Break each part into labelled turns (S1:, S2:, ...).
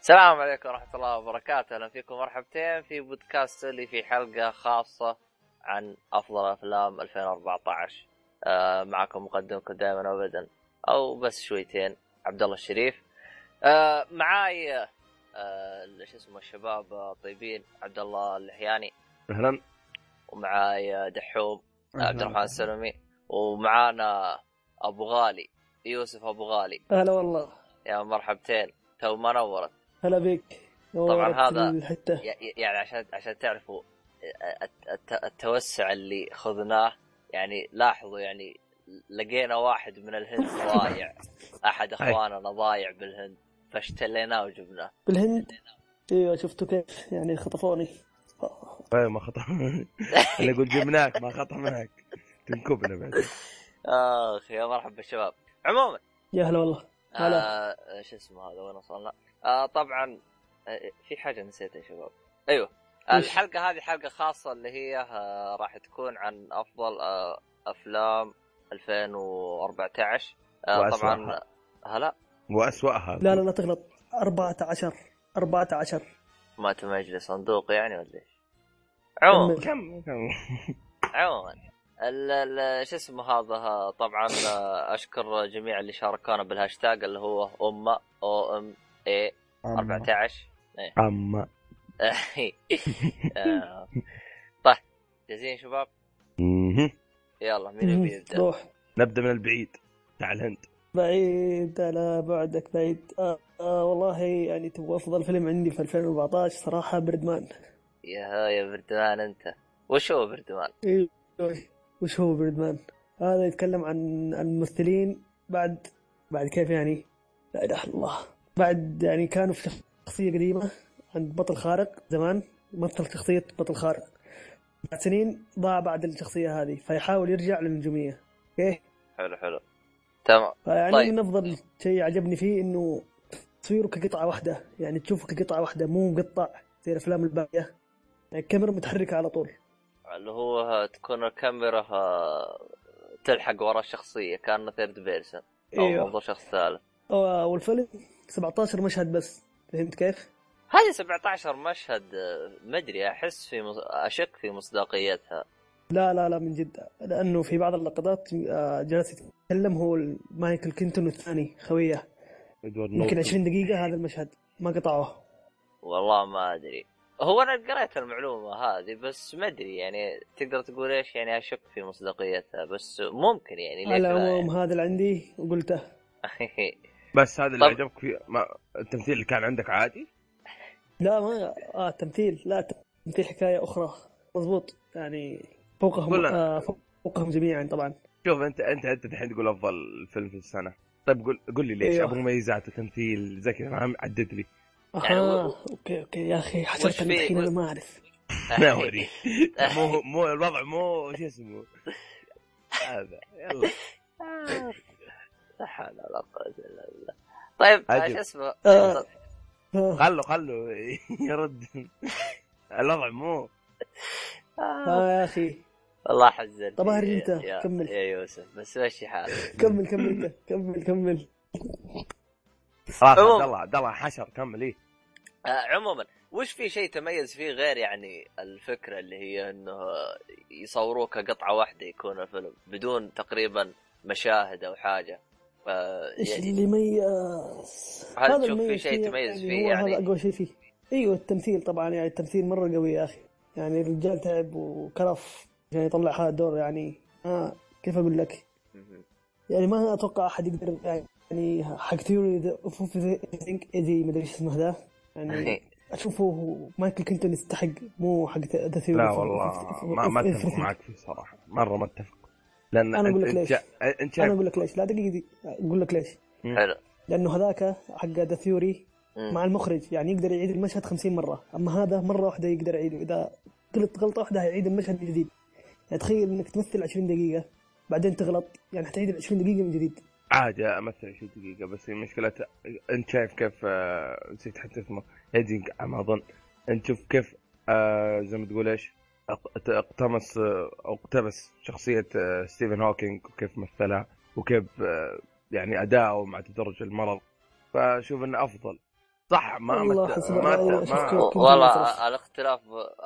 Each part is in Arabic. S1: السلام عليكم ورحمة الله وبركاته، أهلا فيكم مرحبتين في بودكاست اللي في حلقة خاصة عن أفضل أفلام 2014 آه معكم مقدمكم دائما وأبدا أو بس شويتين عبد الله الشريف آه معاي آه شو اسمه الشباب آه، طيبين عبد الله اللحياني
S2: اهلا
S1: ومعاي آه، دحوم آه، عبد
S3: أهلاً.
S1: الرحمن السلمي ومعانا أبو غالي يوسف أبو غالي
S3: هلا والله
S1: يا مرحبتين تو ما نورت
S3: هلا بك نورت
S1: هذا-
S3: الحته
S1: ي- ي- يعني عشان عشان تعرفوا الت- الت- التوسع اللي خذناه يعني لاحظوا يعني لقينا واحد من الهند ضايع احد اخواننا ضايع بالهند فاشتليناه وجبناه
S3: بالهند ايوه شفتوا كيف يعني خطفوني
S2: طيب ما خطا انا اقول جبناك ما خطا معك تنكبنا بعد
S1: اخ آه، يا مرحبا بالشباب عموما
S3: يا هلا والله هلا
S1: آه شو اسمه هذا وين وصلنا؟ آه طبعا آه في حاجه نسيتها يا شباب ايوه آه،
S3: إيش؟
S1: الحلقه هذه حلقه خاصه اللي هي آه راح تكون عن افضل آه افلام 2014 آه طبعا
S2: وأسوأها.
S1: هلا
S2: واسواها
S3: لا لا لا تغلط 14 14
S1: ما تمجلي صندوق يعني ولا ايش؟ عموما
S2: كم كم
S1: عموما ال- ال- شو اسمه هذا ها، طبعا آه، اشكر جميع اللي شاركونا بالهاشتاج اللي هو امه او ام اي 14
S2: اما
S1: آه. طيب جاهزين شباب
S2: مهم.
S1: يلا مين يبي يبدا
S3: روح
S2: نبدا من البعيد تاع الهند
S3: بعيد على بعدك بعيد آه آه والله يعني تبغى افضل فيلم عندي في 2014 صراحه بردمان
S1: يا ها يا بردمان انت وش هو بردمان
S3: ايوه وش هو بردمان هذا يتكلم عن عن الممثلين بعد بعد كيف يعني لا اله الا الله بعد يعني كانوا في شخصيه قديمه عند بطل خارق زمان مثل شخصيه بطل خارق بعد سنين ضاع بعد الشخصيه هذه فيحاول يرجع للنجوميه اوكي
S1: حلو حلو تمام
S3: فيعني
S1: طيب.
S3: طيب. من افضل شيء عجبني فيه انه تصويره كقطعه واحده يعني تشوفه كقطعه واحده مو مقطع زي الافلام الباقيه يعني الكاميرا متحركه على طول
S1: اللي هو ها، تكون الكاميرا ها، تلحق ورا الشخصيه كانه ثيرد بيرسون او
S3: إيوه.
S1: منظور شخص ثالث
S3: آه، والفيلم 17 مشهد بس فهمت كيف؟
S1: هذه 17 مشهد آه، مدري احس في مص... اشك في مصداقيتها
S3: لا لا لا من جد لانه في بعض اللقطات آه، جالس يتكلم هو ال- مايكل كينتون الثاني خويه
S2: ادوارد
S3: يمكن
S2: نورتون.
S3: 20 دقيقه هذا المشهد ما قطعوه
S1: والله ما ادري هو انا قريت المعلومه هذه بس ما ادري يعني تقدر تقول ايش يعني اشك في مصداقيتها بس ممكن يعني
S3: على
S1: ليش لا يعني.
S3: العموم هذا اللي عندي وقلته
S2: بس هذا اللي
S1: طب.
S2: عجبك فيه ما... التمثيل اللي كان عندك عادي
S3: لا ما آه تمثيل لا تمثيل حكايه اخرى مضبوط يعني فوقهم
S2: كلنا.
S3: آه فوقهم جميعا طبعا
S2: شوف انت انت انت الحين تقول افضل فيلم في السنه طيب قول قول لي ليش
S3: أيوه.
S2: ابو مميزات وتمثيل زي كذا فاهم؟ عدد لي
S1: يعني
S3: اها
S1: و-
S3: اوكي اوكي يا اخي
S1: وش
S3: حسبت
S1: في-
S3: الحين انا ما اعرف
S2: ما اوري مو مو الوضع مو شو اسمه هذا يلا
S1: لا حول ولا قوة الا بالله طيب
S2: عجب.
S1: شو اسمه
S3: آه. آه،
S2: خلوا خلوا يرد الوضع مو
S3: آه يا اخي
S1: والله حزن
S3: طب أهرج أنت،
S1: يا-
S3: كمل.
S1: يا يوسف بس مشي حالك
S3: كمل كمل أنت، كمل كمل
S2: خلاص
S1: عموماً.
S2: عبد الله عبد الله حشر كمل ايه
S1: آه، عموما وش في شيء تميز فيه غير يعني الفكره اللي هي انه آه، يصوروه كقطعه واحده يكون الفيلم بدون تقريبا مشاهد او حاجه آه،
S3: ايش
S1: يعني-
S3: اللي يميز
S1: هل
S3: هذا
S1: تشوف في
S3: المميز
S1: شيء تميز فيه
S3: هو
S1: يعني؟
S3: هذا اقوى شيء فيه ايوه التمثيل طبعا يعني التمثيل مره قوي يا اخي يعني الرجال تعب وكرف عشان يطلع هذا الدور يعني آه كيف اقول لك
S1: مهم.
S3: يعني ما اتوقع احد يقدر يعني حق ثيوري اوف ثينك ايدي ما ادري ايش اسمه ذا يعني اشوفه مايكل كنتون يستحق مو حق ذا ثيوري
S2: لا والله ما, ما اتفق معك فيه صراحه مره ما اتفق لان
S3: أنا أقول
S2: أنت-
S3: لك
S2: انت انت
S3: انا
S2: شايف
S3: اقول لك ليش لا دقيقه دي اقول لك ليش
S1: حلو
S3: لانه هذاك حق ذا ثيوري
S1: مم.
S3: مع المخرج يعني يقدر يعيد المشهد 50 مره اما هذا مره واحده يقدر يعيده اذا غلط غلطه واحده هيعيد المشهد من جديد يعني تخيل انك تمثل 20 دقيقه بعدين تغلط يعني حتعيد ال 20 دقيقه من جديد
S2: عادي امثل 20 دقيقه بس المشكله انت شايف كيف آه، نسيت حتى اسمه هيدينج ما اظن انت شوف كيف آه، زي ما تقول ايش اق- اقتمس آه، او اقتبس شخصيه آه، ستيفن هوكينج وكيف مثلها وكيف آه، يعني اداؤه مع تدرج المرض فشوف انه افضل صح ما
S3: والله
S2: مت-
S3: حسب
S2: ما
S3: رأيي
S2: مت-
S3: أشوف
S2: ما
S3: كيف. كنت
S1: والله
S3: مترف.
S1: الاختلاف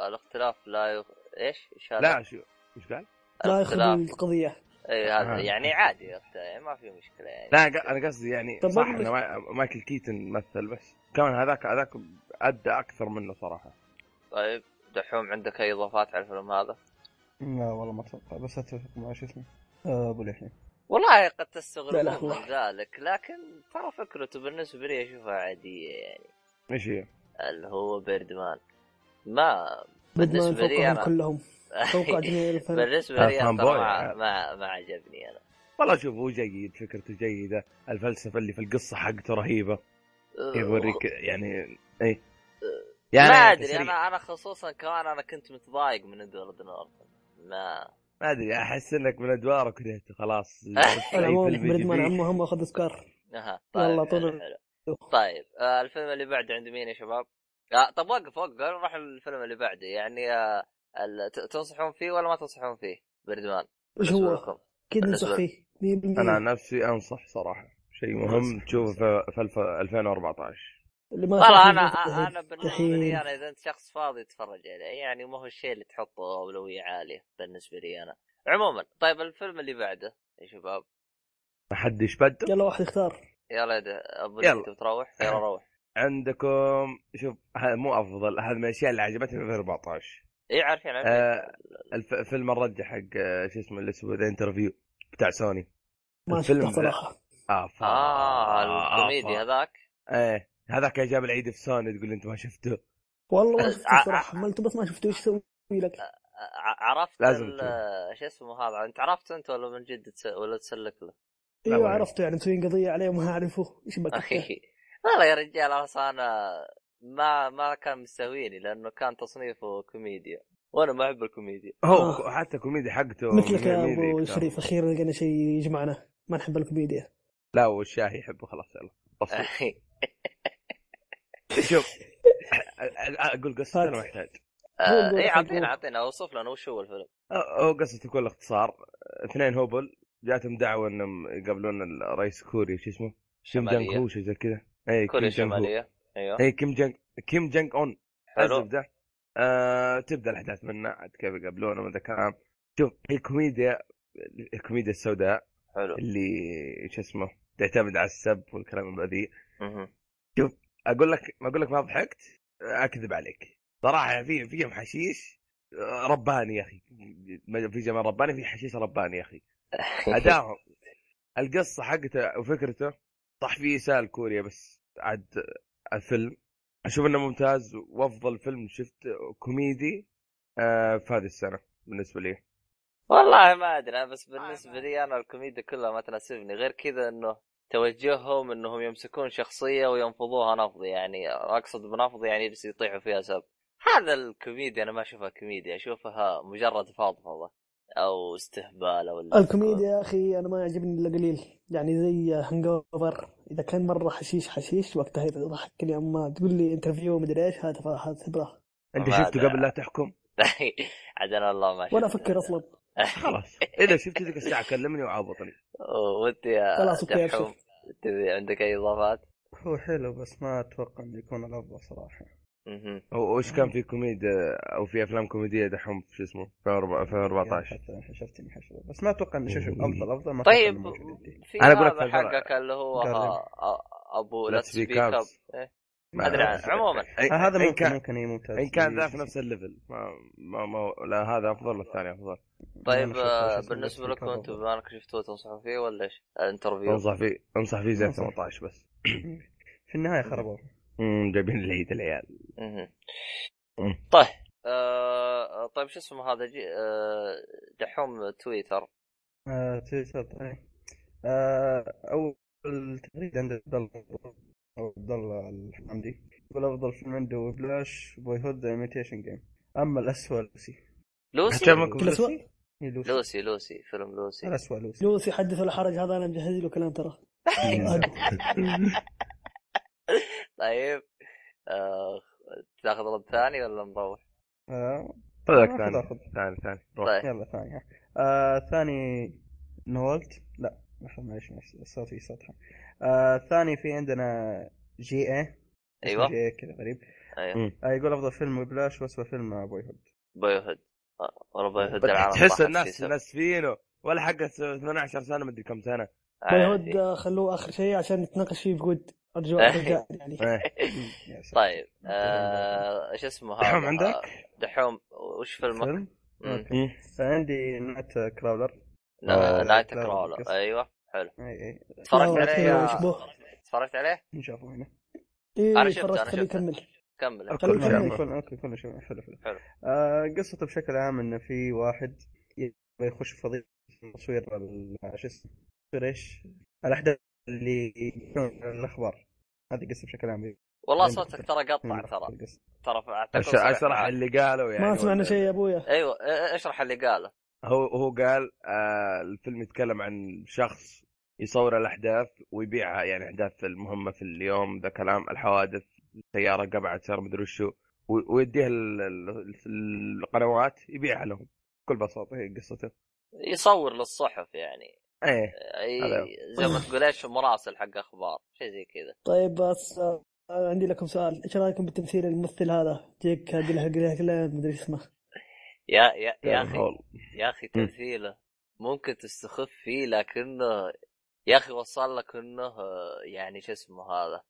S1: الاختلاف لا يخ... ايش؟ ايش هذا؟
S2: لا شو ايش قال؟
S3: لا ياخذ
S1: الاختلاف
S3: القضيه
S1: اي هذا
S2: آه.
S1: يعني عادي يعني ما في مشكله يعني
S2: لا ق- انا قصدي يعني
S3: طب
S2: صح
S3: برضه-
S2: انه ما- مايكل كيتن مثل بس كمان هذاك هذاك ادى اكثر منه صراحه
S1: طيب دحوم عندك اي اضافات على الفيلم هذا؟
S4: لا والله ما اتوقع بس اتفق مع شو اسمه آه، ابو لحية
S1: والله قد
S3: لا، لا،
S1: تستغربون من
S3: والله.
S1: ذلك لكن ترى فكرته بالنسبه لي اشوفها عاديه يعني
S2: ايش هي؟
S1: اللي هو بيردمان ما
S3: بدمان
S1: بالنسبه لي
S3: فوقهم
S1: انا
S3: كلهم فوق جميع الفن
S1: بالنسبه لي
S2: فان
S1: أنا
S2: بوي. يعني.
S1: ترى ما, ما ما عجبني انا
S2: والله شوف هو جيد فكرته جيده الفلسفه اللي في القصه حقته رهيبه يوريك يعني اي
S1: يعني ما ادري
S2: تسريع.
S1: انا انا خصوصا كمان انا كنت متضايق من ادوارد نورتن ما
S2: ما ادري احس انك من ادواره كرهته خلاص
S3: انا
S2: أي
S3: ما
S2: فيلم يجي
S3: بردمان
S2: فيه.
S3: عمه هم اخذ افكار
S1: أها.
S3: يلا
S1: طيب حلو،
S3: طول
S1: حلو. طيب آه الفيلم اللي بعده عند مين يا شباب؟ آه طب وقف وقف قبل ما نروح الفيلم اللي بعده يعني آه ال- ت- تنصحون فيه ولا ما تنصحون فيه؟ بردمان
S3: ايش
S1: بالنسبة
S3: هو؟
S1: لكم.
S3: كذا
S1: بالنسبة-
S3: ننصح فيه 100%
S2: انا عن نفسي انصح صراحه شيء مهم
S4: أنصح.
S2: تشوفه في- في الف- 2014
S3: اللي ما
S1: والله
S3: شاف
S1: انا
S3: الفيلم
S1: انا بالنسبه
S3: دحين.
S1: لي انا اذا انت شخص فاضي تتفرج عليه يعني ما هو الشيء اللي تحطه اولويه عاليه بالنسبه لي انا. عموما طيب الفيلم اللي بعده يا شباب
S2: ما حد يشبد
S3: يلا واحد يختار
S1: يلا يا ده- ابو
S2: يلا.
S1: انت بتروح يلا روح
S2: عندكم شوف هذا مو افضل هذا من الاشياء اللي عجبتني في 2014
S1: اي عارفين عارفين
S2: آه، الف- فيلم الرجة حق آه، شو اسمه اللي اسمه ذا انترفيو بتاع سوني
S3: ما
S2: الفيلم
S3: شفته
S2: ذا-
S3: صراحه
S2: افا
S1: اه
S2: آفا.
S1: الكوميدي هذاك
S2: ايه آه، هذاك يا جاب العيد في سوني تقول لي انت ما شفته
S3: والله ما
S1: آه، آه.
S3: شفته صراحه حملته بس ما شفته ايش اسوي لك؟
S1: ع- عرفت
S2: لازم
S1: ال-
S2: تشوف.
S1: شو اسمه هذا انت عرفته انت ولا من جد تس... ولا تسلك له؟
S2: لا
S3: ايوه
S2: ما
S3: عرفته يعني مسويين قضيه عليه وما اعرفه ايش بك
S1: اخي والله يا رجال اصلا انا ما ما كان مستهويني لانه كان تصنيفه كوميديا وانا ما احب الكوميديا
S2: هو
S3: آه.
S2: ك- حتى كوميدي حقته
S3: مثلك يا
S2: كوميدي
S3: ابو
S2: أكثر.
S3: شريف اخيرا لقينا شيء يجمعنا ما نحب الكوميديا
S2: لا والشاهي يحبه خلاص يلا بسيط.
S1: أخي.
S2: شوف أ- أ- اقول قصه انا محتاج
S1: آه،
S3: قول
S1: اي
S3: أخي،
S1: اعطينا
S3: قول.
S1: اعطينا اوصف لنا وش هو الفيلم
S2: هو قصته بكل اختصار اثنين هوبل جاتهم دعوه انهم يقابلون الرئيس كوريا شو اسمه؟ كيم جانج
S1: شماليه
S2: هو شيء زي كذا اي كيم
S1: كوريا
S2: جانج هو
S1: الشماليه ايوه
S2: اي كيم جانج كيم جانج اون
S1: حلو
S2: الزبده آه تبدا الاحداث منه عاد كيف يقابلونه من ذا الكلام شوف هي كوميديا الكوميديا السوداء
S1: حلو
S2: اللي شو اسمه تعتمد على السب والكلام البذيء
S1: مهم.
S2: اقول لك ما اقول لك ما ضحكت اكذب عليك صراحه في في حشيش آه، رباني يا اخي ما- في جمال رباني في حشيش رباني يا اخي اداهم القصه حقته وفكرته صح في اساءه لكوريا بس عاد الفيلم اشوف انه ممتاز وافضل فيلم شفت كوميدي آه، في هذه السنه بالنسبه لي
S1: والله ما ادري أنا بس بالنسبه لي انا الكوميديا كلها ما تناسبني غير كذا انه توجههم انهم يمسكون شخصيه وينفضوها نفض يعني اقصد بنفض يعني يجلس يطيحوا فيها سب هذا الكوميديا انا ما اشوفها كوميديا اشوفها مجرد فضفضه او استهبال او اللي-
S3: الكوميديا يا اخي انا ما يعجبني الا قليل يعني زي هانج اوفر اذا كان مره حشيش حشيش وقتها يضحك كل يوم ما تقول لي انترفيو مدري ايش هذا هذا هبره
S2: انت
S1: ما
S2: شفته
S1: أدري.
S2: قبل لا تحكم
S1: عاد انا والله ما
S3: ولا
S1: شفت.
S3: افكر اصلا
S2: خلاص اذا شفت ذيك الساعه كلمني وعابطني
S1: وانت يا
S3: خلاص اوكي
S1: دحوم
S3: ابشر
S1: تبي عندك اي اضافات؟
S4: هو حلو بس ما اتوقع انه يكون الافضل صراحه
S1: مهم.
S2: وايش كان في كوميديا او في افلام كوميديه دحوم في شو اسمه في أربعة- في 14
S4: يعني حتى حشرتني حشره بس ما اتوقع انه شوف شوف افضل افضل ما
S1: طيب
S4: أتوقع إنه موجود عندي.
S1: في
S2: أنا أقول لك
S1: هذا
S2: ترى-
S1: حقك اللي هو
S4: قرب.
S1: ها- أ- ابو
S2: Let's
S1: لا
S2: Speak
S1: سبيك اب
S2: Up.
S1: ما ادري
S2: ما-
S1: عموما
S4: آه، هذا
S2: إيه، إن
S4: ممكن
S2: كان-
S4: ممكن اي ممتاز
S2: ان كان ذا في نفس الليفل ما ما, ما لا هذا افضل والثاني افضل
S1: طيب آه، بالنسبه لكم انتم بما انك شفتوه تنصحوا فيه ولا ايش؟ الانترفيو
S2: انصح فيه انصح فيه زي
S4: أنصح.
S2: 18 بس
S4: في النهايه خربوه
S2: امم جايبين العيد العيال
S1: مهم.
S2: مم.
S1: طيب آه، طيب شو اسمه هذا جي- آه، دحوم تويتر
S4: آه، تويتر طيب. آه، اول تغريده عند عبد الله أو عبد الله الحمدي يقول افضل فيلم عنده بلاش بوي هود ايميتيشن جيم اما الاسوء لوسي
S1: لوسي
S2: عشان ما أكون
S3: كل اسوء
S2: لوسي؟
S4: إيه، لوسي
S1: لوسي لوسي فيلم لوسي
S4: الاسوء لوسي
S3: لوسي حدث ولا حرج هذا انا مجهز له كلام ترى
S1: طيب آه، تاخذ رد ثاني ولا نروح؟
S4: آه،
S2: هذاك
S4: آخذ-
S2: ثاني
S4: آخذ.
S2: ثاني ثاني روح.
S1: طيب
S4: يلا ثاني ها. آه ثاني نولت لا لحظة معلش معلش صوتي سطحة آه ثاني في عندنا جي اي
S1: ايوه
S4: مدري إيه كذا غريب
S1: ايوه
S4: آه، يقول افضل فيلم بلاش واسوء فيلم بوي هود
S1: بوي هود والله بوي هود آه، العالم
S2: تحس
S1: صاحب
S2: الناس
S1: طيب، فيه
S2: الناس فينه ولا حق 12 سنه مدري كم سنه
S1: سب.
S3: باي
S1: آه،
S3: هود
S1: فيه.
S3: آه، خلوه اخر شيء عشان نتناقش فيه بجود ارجو ارجع يعني
S2: إيه.
S1: طيب آه، آه، ايش اسمه هذا آه،
S2: دحوم عندك؟
S1: دحوم وش فيلمك؟
S4: فيلم
S1: مم.
S4: أوكي. عندي نايت كراولر
S1: نا-
S2: آه،
S1: نايت
S4: لا،
S1: كرولر
S4: قصة.
S1: ايوه حلو
S4: اي اي
S1: اتفرجت
S3: لا،
S1: عليه
S3: أكثر
S1: يا-
S3: شبه
S1: اتفرجت عليه؟
S4: نشوفه هنا
S1: أنا
S3: ايه
S1: شفته،
S3: اتفرجت
S1: أنا
S3: خليه
S1: شفته.
S3: يكمل
S1: كمل
S2: أوكي.
S3: خليه
S2: كل شيء
S4: نعم،
S3: يكمل
S2: عمر.
S4: يكون اوكي كل شيء حلو حلو
S1: حلو.
S4: آه قصته بشكل عام انه في واحد يبغى يخش في قضيه تصوير ال- آه، شو اسمه تصوير ايش؟ الاحداث اللي يكون الاخبار هذه قصه بشكل عام
S1: والله
S4: عندك
S1: صوتك ترى قطع ترى
S4: القصة.
S1: ترى أعتقد
S2: أش-
S1: صريح
S2: اشرح
S1: معك.
S2: اللي قالوا يعني
S3: ما سمعنا
S2: ولا-
S3: شيء يا ابويا
S1: ايوه إيه، اشرح اللي قاله
S2: هو هو قال آه الفيلم يتكلم عن شخص يصور الاحداث ويبيعها يعني احداث المهمه في اليوم ذا كلام الحوادث السياره قبعت صار مدري وشو و- ويديها ال- ال- ال- القنوات يبيعها لهم بكل بساطه هي قصته
S1: يصور للصحف يعني
S2: ايه هذا.
S1: اي زي ما تقول ايش مراسل حق اخبار شيء زي كذا
S3: طيب بس آه، عندي لكم سؤال ايش رايكم بتمثيل الممثل هذا جيك جلهجلان مدري اسمه
S1: يا يا يا اخي
S2: هول.
S1: يا اخي تمثيله ممكن تستخف فيه لكنه يا اخي وصل لك انه آه، يعني شو اسمه هذا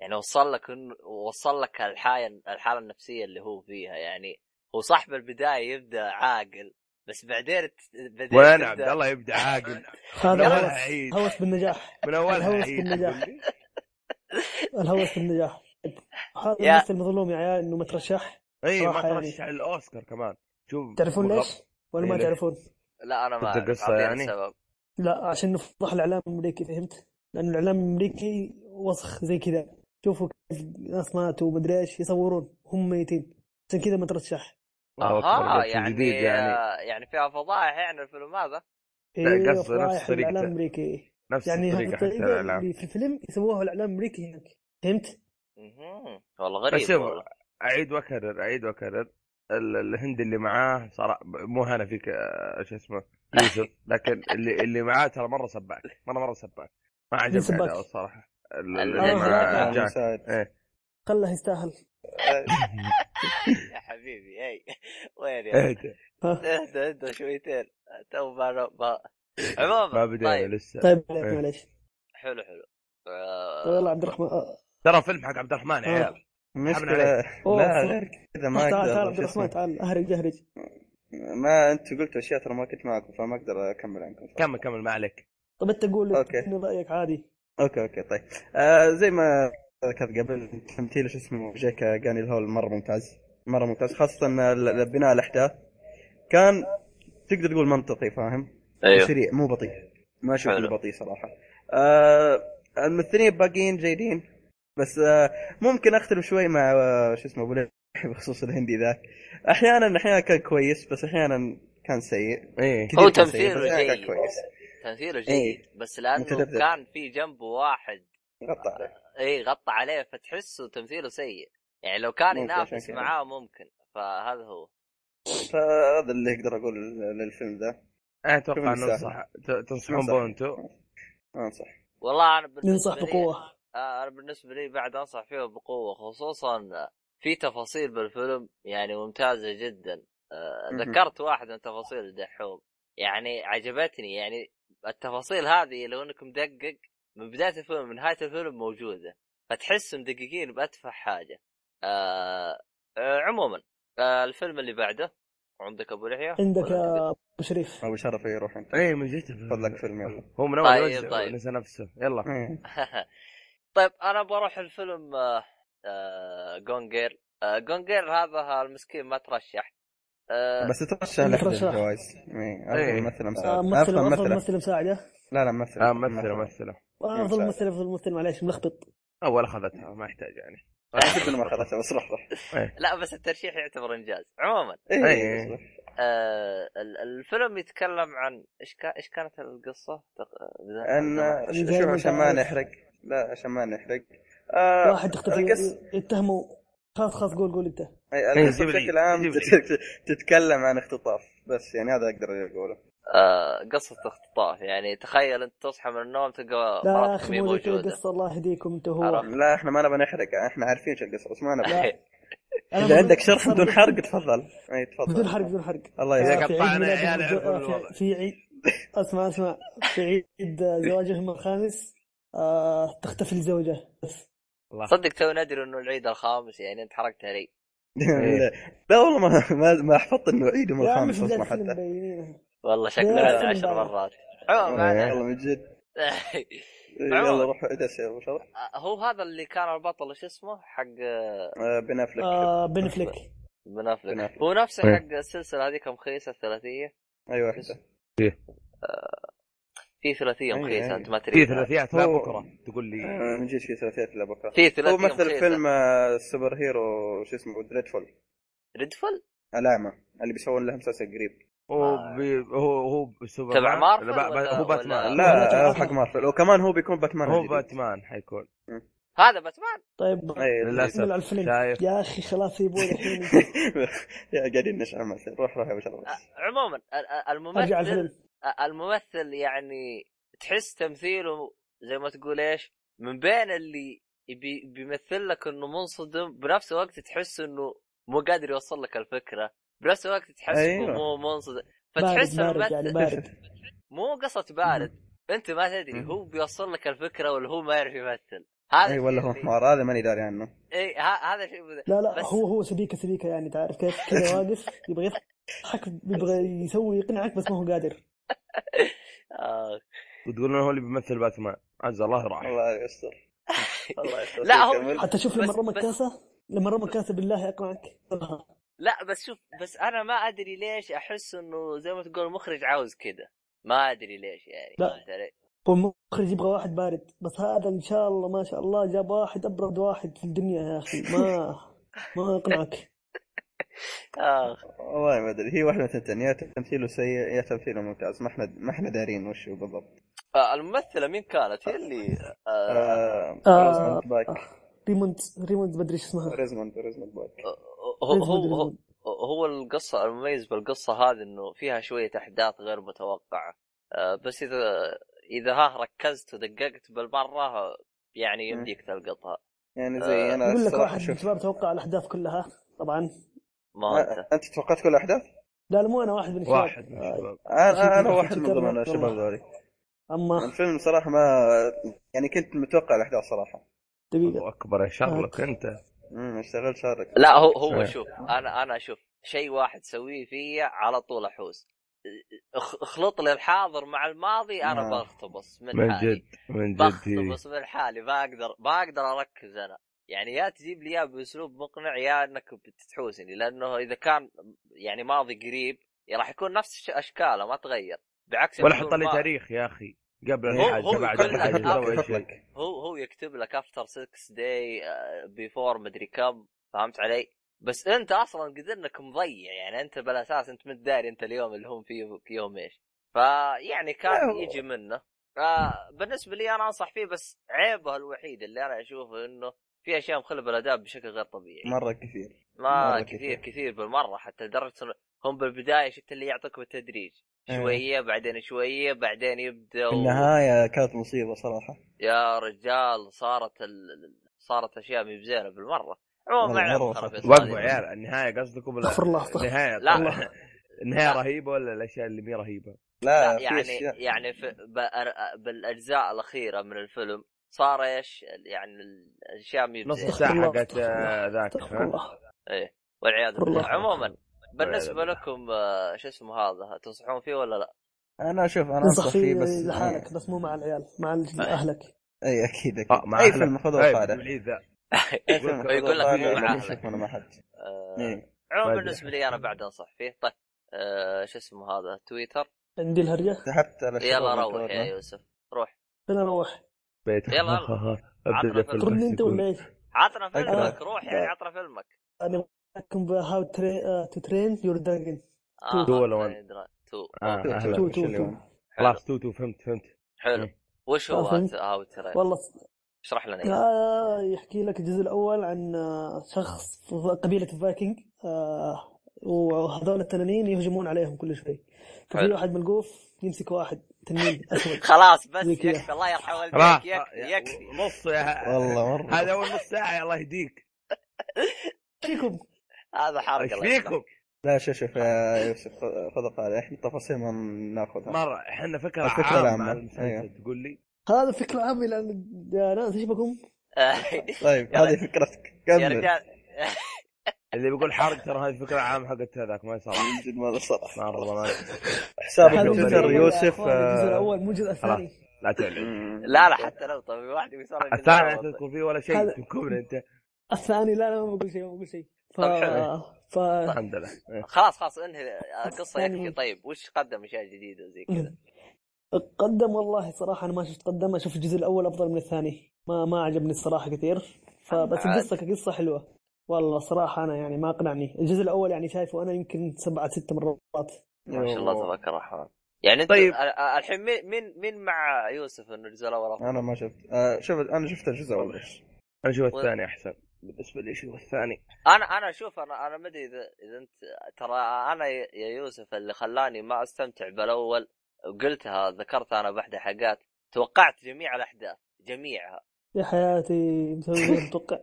S1: يعني وصل لك انه وصل لك الحاله الحاله النفسيه اللي هو فيها يعني هو صح بالبدايه يبدا عاقل بس بعدين بعدين
S2: وين
S1: تبدأ-
S2: عبد الله يبدا عاقل من
S3: هذا
S2: اولها
S3: هوس
S2: عيد
S3: هوس بالنجاح
S2: من اولها
S3: الهوس
S2: عيد
S3: بالنجاح. الهوس بالنجاح هذا
S1: يا-
S3: الممثل مظلوم يا عيال انه ما ترشح
S2: اي إيه، ما
S3: صراحة يعني.
S2: ترشح الاوسكار كمان شوف
S3: تعرفون
S2: مغ-
S3: ليش؟ ولا
S2: إيه
S3: ما
S2: ليش؟
S3: تعرفون؟
S1: لا انا ما
S2: تبدأ
S1: اعرف
S2: قصة
S1: أعطيني
S2: يعني؟
S1: السبب
S3: لا عشان نفضح الاعلام الامريكي فهمت؟ لان الاعلام الامريكي وسخ زي كذا شوفوا كيف ناس ماتوا ومدري ايش يصورون هم ميتين عشان كذا ما ترشح آه،
S2: الله أكبر،
S1: اها
S2: قصة
S1: يعني
S2: آه، جديد يعني
S1: يعني فيها فضائح يعني الفيلم هذا
S2: لا،
S3: ايه
S2: قصده
S3: فضائح
S2: نفس طريقته.
S3: الاعلام الامريكي
S2: نفس
S3: يعني هذه
S2: الطريقه حتى
S3: الطريقه
S2: الاعلام
S3: اللي في الفيلم يسووها الاعلام الامريكي هناك فهمت؟
S1: مهم. والله غريب
S2: بس شوف،
S1: والله
S2: اعيد واكرر اعيد واكرر ال- الهند اللي معاه صراحه مو هنا فيك آه، شو اسمه يوسف لكن اللي اللي معاه ترى مره سباك مره مره سباك ما
S3: مين
S2: عجبني
S3: سباك؟
S2: اداؤه الصراحه ال- ال-
S1: آه،
S2: اللي مع
S3: صراحة.
S2: جاك
S4: مساعد.
S2: إيه.
S3: خله يستاهل
S1: يا حبيبي اي وين يا
S2: إيه،
S3: ها
S1: اهدى اهدى شويتين تو ما ما عموما
S2: ما بدينا
S1: طيب
S2: لسه
S3: طيب
S2: إيه.
S3: معليش
S1: حلو حلو
S3: طيب
S1: آه،
S3: يلا عبد الرحمن آه،
S2: ترى فيلم حق عبد الرحمن يا
S3: آه.
S2: عيال
S4: المشكلة
S2: عليك.
S3: أوه،
S4: لا
S3: ف-
S4: غير كذا ما
S3: تعال
S4: اقدر
S3: تعال عبد
S4: شو اسمه.
S3: الرحمن تعال اهرج اهرج
S4: ما انت قلت اشياء ترى ما كنت معكم فما اقدر اكمل عنكم
S2: كمل كمل ما عليك
S3: طب انت طيب، قول
S4: أوكي.
S3: إن رايك عادي
S4: اوكي اوكي طيب آه زي ما ذكرت قبل تمثيل شو اسمه جيك جاني الهول مره ممتاز مره ممتاز خاصه إن ال- بناء الاحداث كان تقدر تقول منطقي فاهم؟
S1: ايوه
S4: سريع مو بطيء ما شفت
S1: حلو.
S4: إنه بطيء صراحه آه الممثلين باقيين جيدين بس آه ممكن اختلف شوي مع آه شو اسمه ابو ليح بخصوص الهندي ذاك احيانا احيانا كان كويس بس احيانا كان سيء
S2: ايه
S4: كثير
S1: هو
S4: كان سيء،
S1: تمثيله
S4: بس أحياناً
S1: جيد.
S4: كان كويس
S1: تمثيله
S4: إيه.
S1: جيد بس لانه
S4: متذبذب.
S1: كان في جنبه واحد
S4: غطى عليه
S1: اي غطى عليه فتحسه تمثيله سيء يعني لو كان
S4: ممكن عشان
S1: ينافس
S4: كذا.
S1: معاه ممكن فهذا هو
S4: فهذا اللي اقدر اقول للفيلم ذا
S2: أنا اتوقع
S4: كمل
S2: ننصح ت- تنصحون
S4: ننصح.
S2: به انتم
S4: انصح
S1: والله انا بالنسبه
S3: ننصح
S1: لي
S3: بقوه
S1: آه، انا بالنسبه لي بعد انصح فيه بقوه خصوصا في تفاصيل بالفيلم يعني ممتازه جدا آه،
S4: مهم.
S1: ذكرت واحد من تفاصيل الدحوم يعني عجبتني يعني التفاصيل هذه لو انك مدقق من بدايه الفيلم من نهايه الفيلم موجوده فتحس مدققين باتفه حاجه آه آه عموما آه الفيلم اللي بعده عندك ابو لحيه
S3: عندك
S1: ولا عندك؟
S3: يا ابو شريف
S4: ابو شرف يروح انت
S2: ايه من جد
S4: خذ لك فيلم يلا
S2: هو من اول
S1: طيب،
S2: وجه
S1: طيب.
S2: نسى نفسه
S3: آه.
S2: يلا
S4: إيه.
S1: طيب انا بروح الفيلم آه، آه، جونجير آه، جونجير هذا المسكين ما ترشح آه،
S4: بس ترشح لحظه
S3: ترشح.
S4: الجوائز إيه،
S2: إيه.
S4: افضل ممثل
S3: آه،
S4: مساعد
S3: ممثل
S4: افضل
S3: افضل
S4: ممثل
S3: ممثل مساعده
S4: لا لا ممثل
S2: آه ممثله ممثله
S3: افضل
S4: مساعد.
S3: ممثل افضل ممثل معليش ملخبط
S2: اول اخذتها ما يحتاج يعني
S4: احس انه ما اخذته بس لحظه
S1: لا بس الترشيح يعتبر انجاز عموما
S4: إيه،
S2: إيه.
S4: بس
S1: آه، ال- الفيلم يتكلم عن ايش كا- ايش كانت القصه؟ تق-
S4: ان
S3: زي
S4: شوف
S3: ما
S4: عشان
S3: أنت
S4: ما
S3: عارف.
S4: نحرق لا عشان ما نحرق آه،
S3: واحد
S4: القص-
S3: اختفى يتهموا خلاص خلاص قول قول انت
S4: إيه،
S2: إيه،
S4: القصه
S2: جيب لي-
S4: بشكل عام
S2: جيب لي.
S4: تتكلم عن اختطاف بس يعني هذا اقدر اقوله
S1: آه، قصه اختطاف يعني تخيل انت تصحى من النوم تلقى
S3: لا يا
S1: مراتك
S3: اخي
S1: مي
S3: مو ذيك
S1: موجوده
S3: القصه الله يهديكم انت
S1: عرفت.
S3: هو
S4: لا احنا ما نبغى نحرق احنا عارفين شو القصه بس ما نبغى
S3: لا. أنا
S4: اذا
S3: بقول-
S4: عندك شرح بدون حرق تفضل اي تفضل
S3: بدون حرق بدون حرق
S4: الله
S3: آه،
S2: إذا
S4: يسلمك
S3: في عيد
S2: قطعنا
S3: ميلاد
S2: عيال
S3: أحمد-
S2: يعرفون
S3: آه، في-
S2: الوضع.
S3: في عيد اسمع اسمع في عيد آه، زواجهم الخامس آه، تختفي الزوجه بس
S1: صدق تو ندري انه العيد الخامس يعني انت حرقت علي
S2: إيه.
S4: لا والله ما ما, ما حفظت انه عيد يوم
S3: يا عمي
S4: الخامس
S3: في
S4: اصلا
S3: بدايه الفيلم
S4: حتى
S3: مبينينها
S1: والله شكله
S3: لا،
S1: لنا
S3: أحسن
S1: عشر
S3: بعد.
S1: مرات عموما ما
S4: إيه،
S1: علينا.
S4: والله من جد إيه، يلا روح ادرس يا ابو شرف
S1: آه، هو هذا اللي كان البطل شو اسمه حق
S4: آه، بن افلك
S3: آه، بنفلك
S1: بن
S4: بن
S1: افلك
S4: أفلك.
S1: هو نفسه
S2: إيه.
S1: حق السلسله هذيك مخيسه الثلاثيه
S4: اي واحده
S1: في ثلاثيه
S4: أي-
S1: مخيسه
S4: أي.
S1: انت ما تدري
S2: في إيه، ثلاثيات لا
S4: هو-
S2: بكره تقول لي
S4: آه، من جد في ثلاثيات الا بكره
S1: في
S4: هو
S1: ثلاثيه
S4: مثل
S1: مخيسه
S4: فيلم آه، السوبر هيرو شو اسمه دريدفول
S1: ريدفل
S4: علامه اللي بيسوون لها مسلسل قريب
S2: هو بي- هو هو سوبر
S1: طيب. تبع
S2: مان؟
S1: مارفل
S2: لا، با- با-
S1: ولا-
S2: هو
S1: ولا-
S2: باتمان
S4: لا
S3: لا،
S4: آه، حق مارفل وكمان هو بيكون باتمان
S2: هو
S4: الجديد.
S2: باتمان حيكون
S1: هذا باتمان
S3: طيب
S4: إيه،
S2: للاسف
S3: نكمل على الفيلم
S2: شايف
S3: يا اخي خلاص يبون الحين
S4: يا قاعدين نشعل مثل روح روح يا ابو
S1: آه،
S4: شرف
S1: عموما ال- ال-
S3: ارجع على
S1: الممثل آه،
S3: الفيلم
S1: الممثل يعني تحس تمثيله زي ما تقول ايش من بين اللي بي بيمثل لك انه منصدم بنفس الوقت تحس انه مو قادر يوصل لك الفكره بنفس الوقت تحس انه
S4: أيوة.
S1: مو منصدم
S3: بارد
S1: فتحس
S3: بارد يعني
S1: الممثل
S3: بارد
S1: مو قصة بارد انت ما تدري
S4: مم.
S1: هو بيوصل لك الفكره ولا هو ما يعرف يمثل هذا
S4: اي
S1: الشيء
S4: ولا هو
S1: اللي-
S4: حمار هذا ماني داري عنه
S1: اي ه- هذا شيء مذ-
S3: لا لا
S1: بس-
S3: هو هو سبيكه سبيكه يعني تعرف كيف كذا واقف يبغى يضحك يبغى يسوي يقنعك بس ما هو قادر
S1: آه.
S2: وتقولون هو اللي بيمثل باتمان عز الله راح
S4: الله يستر الله يستر
S1: لا، هو-
S4: كمل.
S3: حتى شوف
S1: بس-
S3: لما رمى
S1: بس-
S3: الكاسه لما رمى الكاسه بالله يقنعك
S1: لا بس شوف بس انا ما ادري ليش احس انه زي ما تقول المخرج عاوز كذا ما ادري ليش يعني
S3: لا.
S1: فهمت علي؟
S3: هو المخرج يبغى واحد بارد بس هذا ان شاء الله ما شاء الله جاب واحد ابرد واحد في الدنيا يا اخي ما ما يقنعك
S1: اخ
S4: والله ما ادري هي واحده من الثنتين يا تمثيله سيء يا تمثيله ممتاز ما احنا ما احنا دارين وش هو بالضبط
S1: آه، الممثله مين كانت هي اللي آه،
S4: آه،
S3: آه.
S4: روزموند بايك
S3: ريموند ريموند ما ادري ايش اسمها
S4: روزموند روزموند بايك
S1: هو
S3: ريزموند
S1: هو هو-
S3: ريزموند.
S1: هو القصه المميز بالقصه هذه انه فيها شويه احداث غير متوقعه آه، بس اذا اذا ها ركزت ودققت بالمره يعني
S4: مم.
S1: يمديك تلقطها
S4: يعني زي
S1: آه،
S4: انا
S3: يقول لك
S4: الصراحه
S3: واحد من
S4: شوف
S3: الشباب توقع الاحداث كلها طبعا
S1: ما هو انت
S4: آه، انت توقعت كل الاحداث؟
S3: لا لا مو انا واحد من الشباب
S2: واحد
S4: آه.
S2: من الشباب
S4: انا انا
S3: شوف،
S4: واحد من
S3: شوف،
S4: ضمن
S3: والله. آه.
S4: الشباب ذولي
S3: اما
S4: الفيلم صراحه ما يعني كنت متوقع الاحداث صراحه
S3: دقيقه
S2: الله اكبر يا شارلوك انت
S4: امم اشتغل شارك
S1: لا هو هو
S2: إيه.
S1: شوف انا انا شوف شيء واحد سويه فيا على طول احوس اخ- اخلط لي الحاضر مع الماضي انا
S4: آه.
S1: بختبص من,
S2: من
S1: حالي
S2: جد من جد إيه.
S1: بختبص من حالي ما اقدر ما اقدر اركز انا يعني يا تجيب لي اياه باسلوب مقنع يا انك بتحوسني لانه اذا كان يعني ماضي قريب راح يكون نفس الش- اشكاله ما تغير بعكس
S2: ولا
S1: يكون
S2: حط لي
S1: ما-
S2: تاريخ يا اخي قبل
S4: هو-
S2: الحاجه
S1: هو
S2: بعد
S1: يقول لك
S2: الحاجه
S1: أبل.
S2: سوى أي شيء
S1: هو هو يكتب لك افتر 6 داي بيفور آه، مدري كم فهمت علي؟ بس انت اصلا قد انك مضيع يعني انت بالاساس انت متداري انت اليوم اللي هم فيه يوم ايش؟ فيعني
S4: لا
S1: كان
S4: هو-
S1: يجي منه آه بالنسبه لي انا انصح فيه بس عيبه الوحيد اللي انا اشوفه انه في اشياء مخله بالاداب بشكل غير طبيعي
S4: مره كثير
S1: ما
S4: مرة
S1: كثير
S4: كثير.
S1: كثير بالمره حتى لدرجه إنه هم بالبدايه شفت اللي يعطوك بالتدريج
S4: إيه.
S1: شويه بعدين شويه بعدين يبدا
S4: في النهايه كانت مصيبه صراحه
S1: يا رجال صارت ال... صارت اشياء مي بزينه بالمره عموما ما
S4: والله
S1: علينا
S4: مرة
S1: خرابيط
S4: صح.
S2: وقفوا
S1: هذه.
S2: عيال النهايه قصدكم ولا
S3: استغفر الله استغفر
S2: النهايه
S1: لا.
S2: طلع- النهايه
S1: لا.
S2: رهيبه ولا الاشياء اللي مي رهيبه؟
S4: لا,
S1: لا
S4: في
S1: يعني
S4: اشياء
S1: يعني في... بأر... بالاجزاء الاخيره من الفيلم صار ايش يعني الاشياء مي
S2: نص
S1: بزينه
S3: استغفر
S2: الساعه
S3: الله،
S2: حقت
S3: استغفر الله،
S2: آه، ذاك
S3: استغفر
S2: ها؟
S3: الله
S1: ايه والعياذ
S3: والله.
S1: بالله عموما بالنسبه
S2: بالله.
S1: لكم آه، شو اسمه هذا تنصحون فيه ولا لا؟
S4: انا اشوف انا
S3: تنصح
S4: انصح فيه
S3: فيه
S4: بس يعني إيه،
S3: لحالك بس مو مع العيال مع ال- اهلك
S4: اي اكيد اكيد
S2: آه، مع
S4: اي
S2: أهلك.
S4: فيلم خذوه
S2: طيب،
S4: قاعده
S2: بالعيد ذا.
S4: اي فيلم
S1: يقول
S4: خذوه
S1: لك
S4: قاعده
S1: مو
S4: ما
S1: معاهلة.
S4: نشوفه مع حد
S1: آه،
S4: إيه.
S1: عموما
S2: ما أدري.
S1: بالنسبه لي انا بعد انصح فيه طيب آه، شو اسمه هذا تويتر
S3: عندي الهرجه
S4: سحبت على الشباب
S1: يلا
S4: من
S1: روح يا
S4: كورنا.
S1: يوسف روح
S3: فين اروح؟
S2: بيت
S1: يلا،
S2: ها- ها- ها. ابدا
S1: عطنا
S2: في
S1: فيلم.
S3: تردني
S2: البث
S3: انت ولا
S2: يقول
S3: ايش؟
S1: عطنا فيلمك
S4: أقرأ.
S1: روح يعني عطنا فيلمك
S3: انا معكم بهاو تو ترين يور دراجون
S1: اه
S2: تو ولا
S1: هذا
S2: ون؟
S1: يدرى. تو
S2: آه،
S1: أوكي.
S2: أهلا.
S3: تو
S4: وش
S3: تو
S4: اللي
S3: تو
S4: هون؟
S1: حلو
S2: خلاص توتو فهمت فهمت
S1: حلو وش هو
S3: آه، فهمت.
S1: هاو ترى
S3: والله
S1: اشرح لنا اياه
S3: آه، يحكي لك الجزء الاول عن آه، شخص في قبيله الفايكنج آه، وهذول التنانين يهجمون عليهم كل شوي ففي
S1: حلو.
S3: واحد ملقوف يمسك واحد تنين اسود
S1: خلاص بس
S3: زي كذا.
S1: يكفي الله يرحم والديك
S2: راح
S1: يكفي يكفي
S2: آه، نص يا
S4: والله مره
S2: هذا اول نص ساعه الله يهديك
S3: فيكم
S1: هذا
S2: ايش
S1: حرق الله يصلحك.
S2: فيكم؟
S4: لا شوف شوف يا يوسف خذ- خذ قال احنا تفاصيل ما ناخذها
S2: مره احنا فكره
S4: الفكرة
S2: عامه
S4: العامة.
S2: عن المسلسل،
S4: أيوه.
S2: تقول لي
S3: هذا فكرة عامة لأن يا ناس ايش بكم؟
S4: طيب
S1: يلا.
S4: هذه فكرتك
S1: يا
S4: كمل
S1: رجال
S2: اللي بيقول حرق ترى هذه فكره عامه حقت هذاك ما يصلح
S4: من جد مره صراحه
S2: مره ما
S4: حساب
S2: هذا
S4: تويتر
S2: الجزء
S4: يوسف
S3: الجزء
S4: آه،
S3: الأول مو الجزء الثاني
S2: لا تعلن
S4: مم.
S1: لا لا حتى لو طبي واحد بيصير
S2: الثاني لا تذكر فيه ولا شيء
S3: هذا-
S2: تكمل انت
S3: الثاني لا لا ما بقول شيء ما بقول شيء ف...
S1: طب حلو.
S3: ف...
S2: الحمد لله
S1: خلاص خلاص انهي القصه
S3: يعني-
S1: يكفي طيب وش قدم اشياء جديده زي كذا
S3: قدم والله صراحة أنا ما شفت قدم أشوف الجزء الأول أفضل من الثاني ما ما عجبني الصراحة كثير فبس
S1: عاد.
S3: القصة كقصة حلوة والله صراحة أنا يعني ما أقنعني الجزء الأول يعني شايفه أنا يمكن سبعة ست مرات
S1: ما شاء الله تبارك الرحمن يعني انت
S2: طيب.
S1: طيب. الحين مين- مين مين مع يوسف انه الجزء الاول أفضل؟
S4: انا ما شفت آه، شوف انا شفت الجزء الاول بس
S2: انا اشوف الثاني احسن بالنسبه لي اشوف الثاني
S1: انا انا شوف انا انا ما ادري اذا اذا انت ترى انا يا يا يوسف اللي خلاني ما استمتع بالاول وقلتها ذكرتها انا باحدى حلقات توقعت جميع الاحداث جميعها
S3: يا حياتي مسوي غير متوقع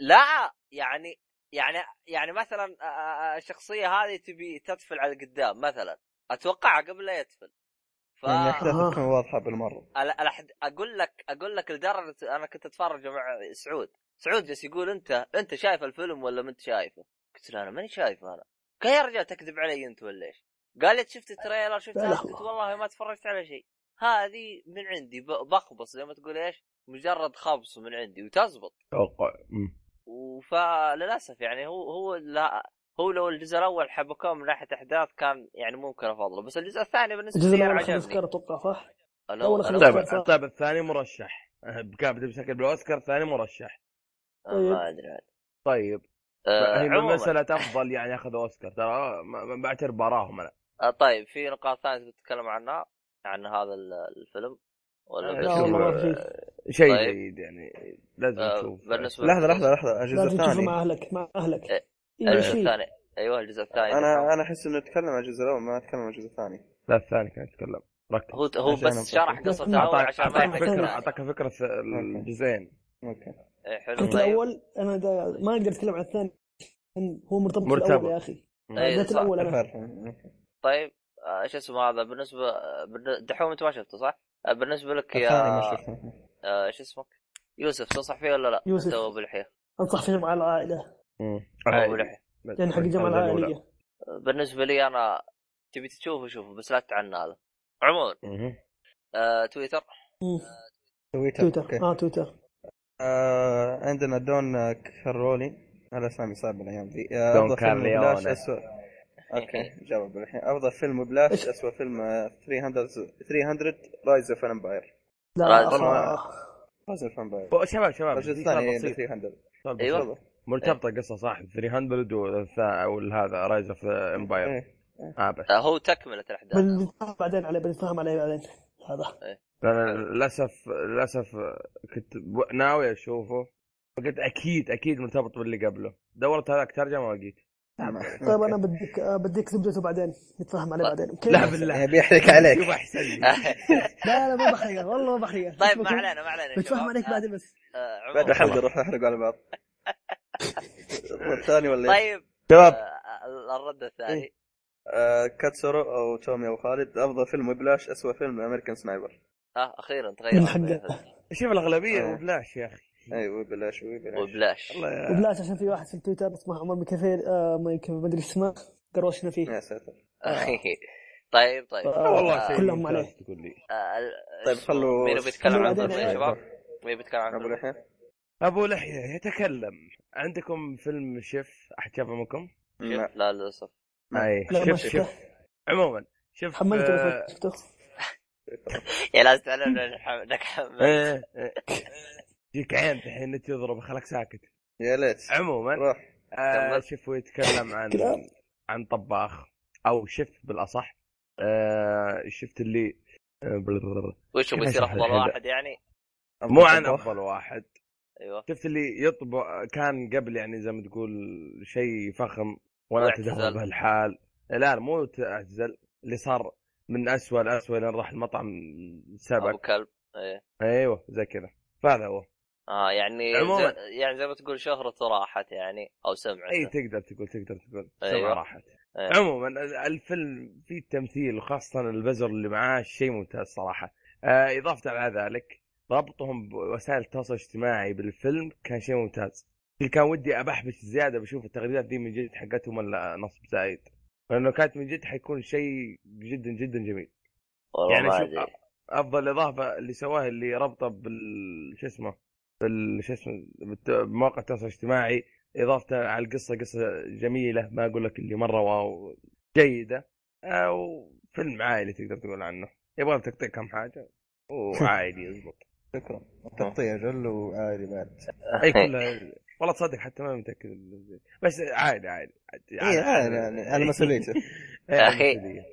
S1: لا يعني يعني يعني مثلا آه، آه، الشخصيه هذه تبي تطفل على قدام مثلا اتوقعها قبل لا يطفل ف
S4: يعني
S3: آه.
S4: احداث تكون واضحه بالمره
S1: ال- الأحد... اقول لك اقول لك لدرجه انا كنت اتفرج مع سعود سعود جالس يقول انت انت شايف الفيلم ولا ما انت شايفه؟ قلت له انا ماني شايفه انا قال يا رجال تكذب علي انت ولا ايش؟ قال لي شفت التريلر شفت
S3: لا
S1: هذا
S3: لا.
S1: قلت والله ما تفرجت على شيء هذه من عندي ب- بخبص زي ما تقول ايش؟ مجرد خبص من عندي وتزبط
S2: توقع مم.
S1: فللاسف يعني هو هو لا هو لو الجزء الاول حبكوه من ناحيه احداث كان يعني ممكن افضله بس الجزء الثاني بالنسبه
S3: الجزء
S1: لي
S3: الأول أخذ
S1: عجبني
S3: أفكار أتوقع صح؟
S1: الأول-
S3: الأول أخذ
S1: الأول-
S2: طيب
S3: أوسكار.
S2: طيب الثاني مرشح أه، كابتن بشكل بالاوسكار ثاني مرشح
S1: ما ادري عاد.
S2: طيب
S1: آه،
S2: هي
S1: عموماً.
S2: مسألة افضل يعني اخذ اوسكار ترى ما ما بعترف براهم انا
S1: آه طيب في نقاط ثانيه تتكلم عنها عن هذا ال- الفيلم ولا آه،
S2: لا
S1: بس؟
S3: لا والله ما في شيء
S2: شيء
S1: طيب.
S2: جيد يعني لازم
S1: آه،
S2: تشوف
S1: بالنسبة-
S4: لحظه لحظه لحظه الجزء
S3: لازم تشوفه
S4: الثاني
S3: مع أهلك مع أهلك
S1: إيه.
S3: إيه، إيش
S1: الجزء
S3: فيه؟
S1: الثاني ايوه الجزء الثاني
S4: انا انا احس انه تكلم عن الجزء الاول ما تكلم عن الجزء الثاني
S2: لا الثاني كان يتكلم ركز
S1: هو هو
S4: عشان أنا
S1: بس شرح
S4: مفكر.
S1: قصة
S3: أعطاك-
S1: الاول
S2: اعطاك
S1: عشان ما
S2: اعطاك
S1: يحرق
S3: فكرة-
S2: فكره
S1: الثاني.
S2: اعطاك فكره الجزئين
S4: اوكي
S1: إيه، حلو
S3: الجزء
S1: طيب
S3: الأول أنا دا ما أقدر أتكلم عن الثاني إن هو مرتبط
S2: مرتبط.
S3: بالأول يا أخي
S1: إيه،
S3: الذات
S1: صح.
S3: الأول أنا
S4: الفرق أوكي.
S1: طيب آه، ايش اسمه هذا بالنسبة آه، بالن- دحوم انت ما شفته صح؟ آه، بالنسبة لك يا
S4: الثاني ما شفته
S1: آه، ايش اسمك؟ يوسف تنصح فيه ولا لا؟
S3: يوسف.
S1: انت وابو لحيه
S3: أنصح فيه مع العائلة
S1: أه،
S2: مم.
S1: وابو لحيه
S3: يعني حق الجامعة
S2: الأولى.
S3: العائلية
S1: آه، بالنسبة لي انا تبي تشوفه شوفه بس لا تتعنى هذا عموما
S2: مم.
S1: آه، تويتر
S3: مم.
S4: تويتر
S3: تويتر
S4: اوكي
S3: اه تويتر
S4: آه، عندنا دون كارولي الاسامي صعبه الايام دي آه،
S2: دون
S4: أفضل فيلم
S2: كارليونه.
S4: بلاش أسوأ- اوكي جاوب الحين افضل فيلم بلاش اسوء فيلم آه، 300 300 رايز اوف امباير
S3: لا
S1: راجل.
S3: آه.
S4: رايز اوف امباير
S2: أو شباب شباب
S4: الجزء
S2: في سؤال
S4: الثاني
S2: بسيط.
S4: 300
S2: سؤال بسيط.
S1: أيوة.
S4: تفضل.
S2: مرتبطه قصه صح 300 والثا- والهذا رايز اوف امباير
S4: إيه.
S2: اه بس
S1: آه، هو تكملة الاحداث
S3: بنتفاهم بعدين عليه بنتفاهم عليه بعدين هذا
S2: انا للاسف للاسف كنت ب- ناوي اشوفه فقلت اكيد اكيد مرتبط باللي قبله دورت هذاك ترجمه ما لقيت
S4: إيه.
S3: طيب انا بديك آه، بديك زبدته بعدين نتفاهم عليه
S1: طيب.
S3: بعدين اوكي
S2: لا بالله
S4: يعني بيحرق عليك
S2: شوف احسن لي
S3: لا لا ما بحرقها والله ما بحرقها
S1: طيب ما علينا ما علينا يا
S3: بتفاهم
S1: شباب.
S3: عليك بعدين بس
S1: آه، عموماً.
S4: بعد الحلقه نروح نحرق على بعض الثاني ولا إيه؟
S1: طيب
S4: شباب
S1: آه، ال- الرد
S3: إيه.
S1: الثاني
S4: آه، كاتسورو او تومي او خالد افضل فيلم بلاش اسوء فيلم امريكان سنايبر
S1: اه اخيرا
S3: من
S1: تغير
S3: حقه
S2: شوف الاغلبيه
S4: آه.
S2: وبلاش يا اخي
S4: ايوه بلاش
S2: طيب.
S4: بلاش
S1: وبلاش
S2: الله يا
S3: وبلاش عشان في واحد في تويتر اسمه عمر مكفير آه ما يمكن- ما ادري اسمه قروشنا
S4: يا
S3: فيه
S4: ساتر
S1: طيب طيب
S3: آه،
S2: والله شيء
S3: كلهم
S2: ممتاز
S3: عليه.
S2: تقول لي
S1: آه، ال-
S4: طيب
S1: اسمه-
S4: خلوا-
S1: مين بيتكلم
S3: خلوا
S1: عن
S3: بعدين
S1: فيلم يا
S3: عيال.
S1: شباب؟ مين بيتكلم عن
S4: ابو
S1: فيلم؟
S4: لحيه
S2: ابو لحيه يتكلم عندكم فيلم شيف احد شافه منكم؟
S4: لا
S1: لا للاسف
S4: لا.
S2: اي
S3: لا ما
S2: شيف شيف
S3: شفته
S2: عموما شوف
S3: حملته
S2: آه،
S3: بس شفته
S1: يا لازم تعلمنا نح- نكمل
S2: ايه إيه. يجيك عين الحين انت تضرب خلك ساكت
S4: يا ليت
S2: عموما
S4: روح
S2: آه
S1: كمل.
S2: شوف هو يتكلم عن
S3: كلام.
S2: عن طباخ او شيف بالاصح آه شفت اللي آه،
S1: وش هو
S2: كيف
S1: بيصير
S2: أشرح
S1: افضل
S2: الحين؟
S1: واحد يعني؟
S2: مو عن
S4: طباخ.
S2: افضل واحد
S1: ايوه
S2: شفت اللي يطبخ كان قبل يعني زي ما تقول شيء فخم ولا
S1: واعتزل.
S2: تدهور بهالحال لا لا مو ت- اعتزل اللي صار من اسوء لاسوء لين راح المطعم
S1: ابو
S2: سبق
S1: كلب ايه
S2: ايوه زي كذا فهذا هو
S1: اه يعني
S2: عموماً. إيه.
S1: زي يعني زي ما تقول شهرته راحت يعني او سمعته
S2: اي تقدر تقول تقدر تقول
S1: أيوة.
S2: أيوة. راحت
S1: أيوة.
S2: عموما ال- الفيلم فيه تمثيل وخاصه البزر اللي معاه شيء ممتاز صراحه آه اضافه على ذلك ربطهم بوسائل التواصل الاجتماعي بالفيلم كان شيء ممتاز اللي كان ودي ابحبش زياده بشوف التغريدات دي من جد حقتهم ولا نصب زايد لانه كانت من جد حيكون شيء جدا جدا جميل
S1: والله
S2: يعني
S1: ما
S2: شوف،
S1: ادري
S2: افضل اضافه اللي سواها اللي ربطه بال شو اسمه بال شو اسمه بالت- بمواقع التواصل الاجتماعي اضافته على القصه قصه جميله ما اقول لك اللي مره واو جيده او فيلم عائلي تقدر تقول عنه يبغى لك تقطيع كم حاجه وعائلي يزبط
S4: شكرا تقطيع جل وعالي بعد
S2: اي
S1: إيه.
S2: كلها والله تصدق حتى ما متاكد بس عائلي عائلي
S4: اي عالي يعني على مسؤوليته
S2: إيه،
S1: يا أخي.
S2: مسؤولية.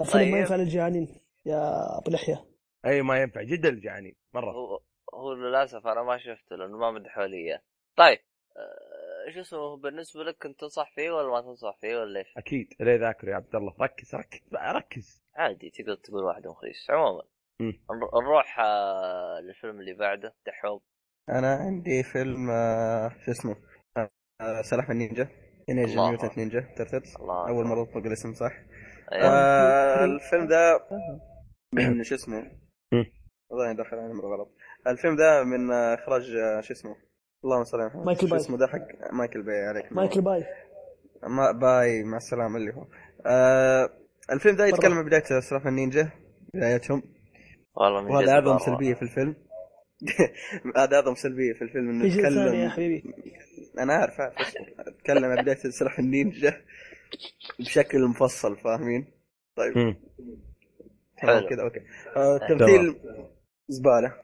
S3: الفيلم
S1: طيب.
S3: ما ينفع للجعانين يا ابو لحيه
S2: اي ما ينفع جدا الجعانين مره
S1: هو هو للاسف انا ما شفته لانه ما مدحوا لي اياه طيب آه، شو اسمه بالنسبه لك كنت تنصح فيه ولا ما تنصح فيه ولا ايش؟
S2: اكيد لا ذاكر يا عبد الله ركز ركز بقى، ركز
S1: عادي تقدر تقول واحد مخيس عموما
S2: مم.
S1: نر- نروح آه، للفيلم اللي بعده دحوم
S4: انا عندي فيلم آه، شو اسمه آه، آه، سلاحف النينجا
S1: الله.
S4: نينجا ميوتنت نينجا ترتبت
S1: الله
S4: اول مره اطلق الاسم صح
S1: أيوة.
S4: آه، الفيلم ذا من شو اسمه
S2: مم.
S4: والله أنا داخل على نمره غلط الفيلم ذا من آه، اخراج آه، شو اسمه اللهم صل على محمد
S3: مايكل
S4: شو
S3: باي.
S4: اسمه ذا حق مايكل باي عليك
S3: مايكل باي
S4: ما باي مع السلامه اللي هو آه، الفيلم ذا يتكلم
S3: مرة.
S4: عن بدايه سلاحف النينجا بدايتهم
S1: والله من جد
S4: وهذا اعظم
S1: مرة.
S4: سلبيه في الفيلم هذا اعظم سلبيه في الفيلم انه
S3: في جزء ثاني يا
S4: يتكلم
S3: حبيبي
S4: انا عارف عارف اصبر. اتكلم عن بدايه سلاح النينجا بشكل مفصل فاهمين؟ طيب
S2: مم.
S1: حلو.
S4: تمام كذا اوكي آه، التمثيل زباله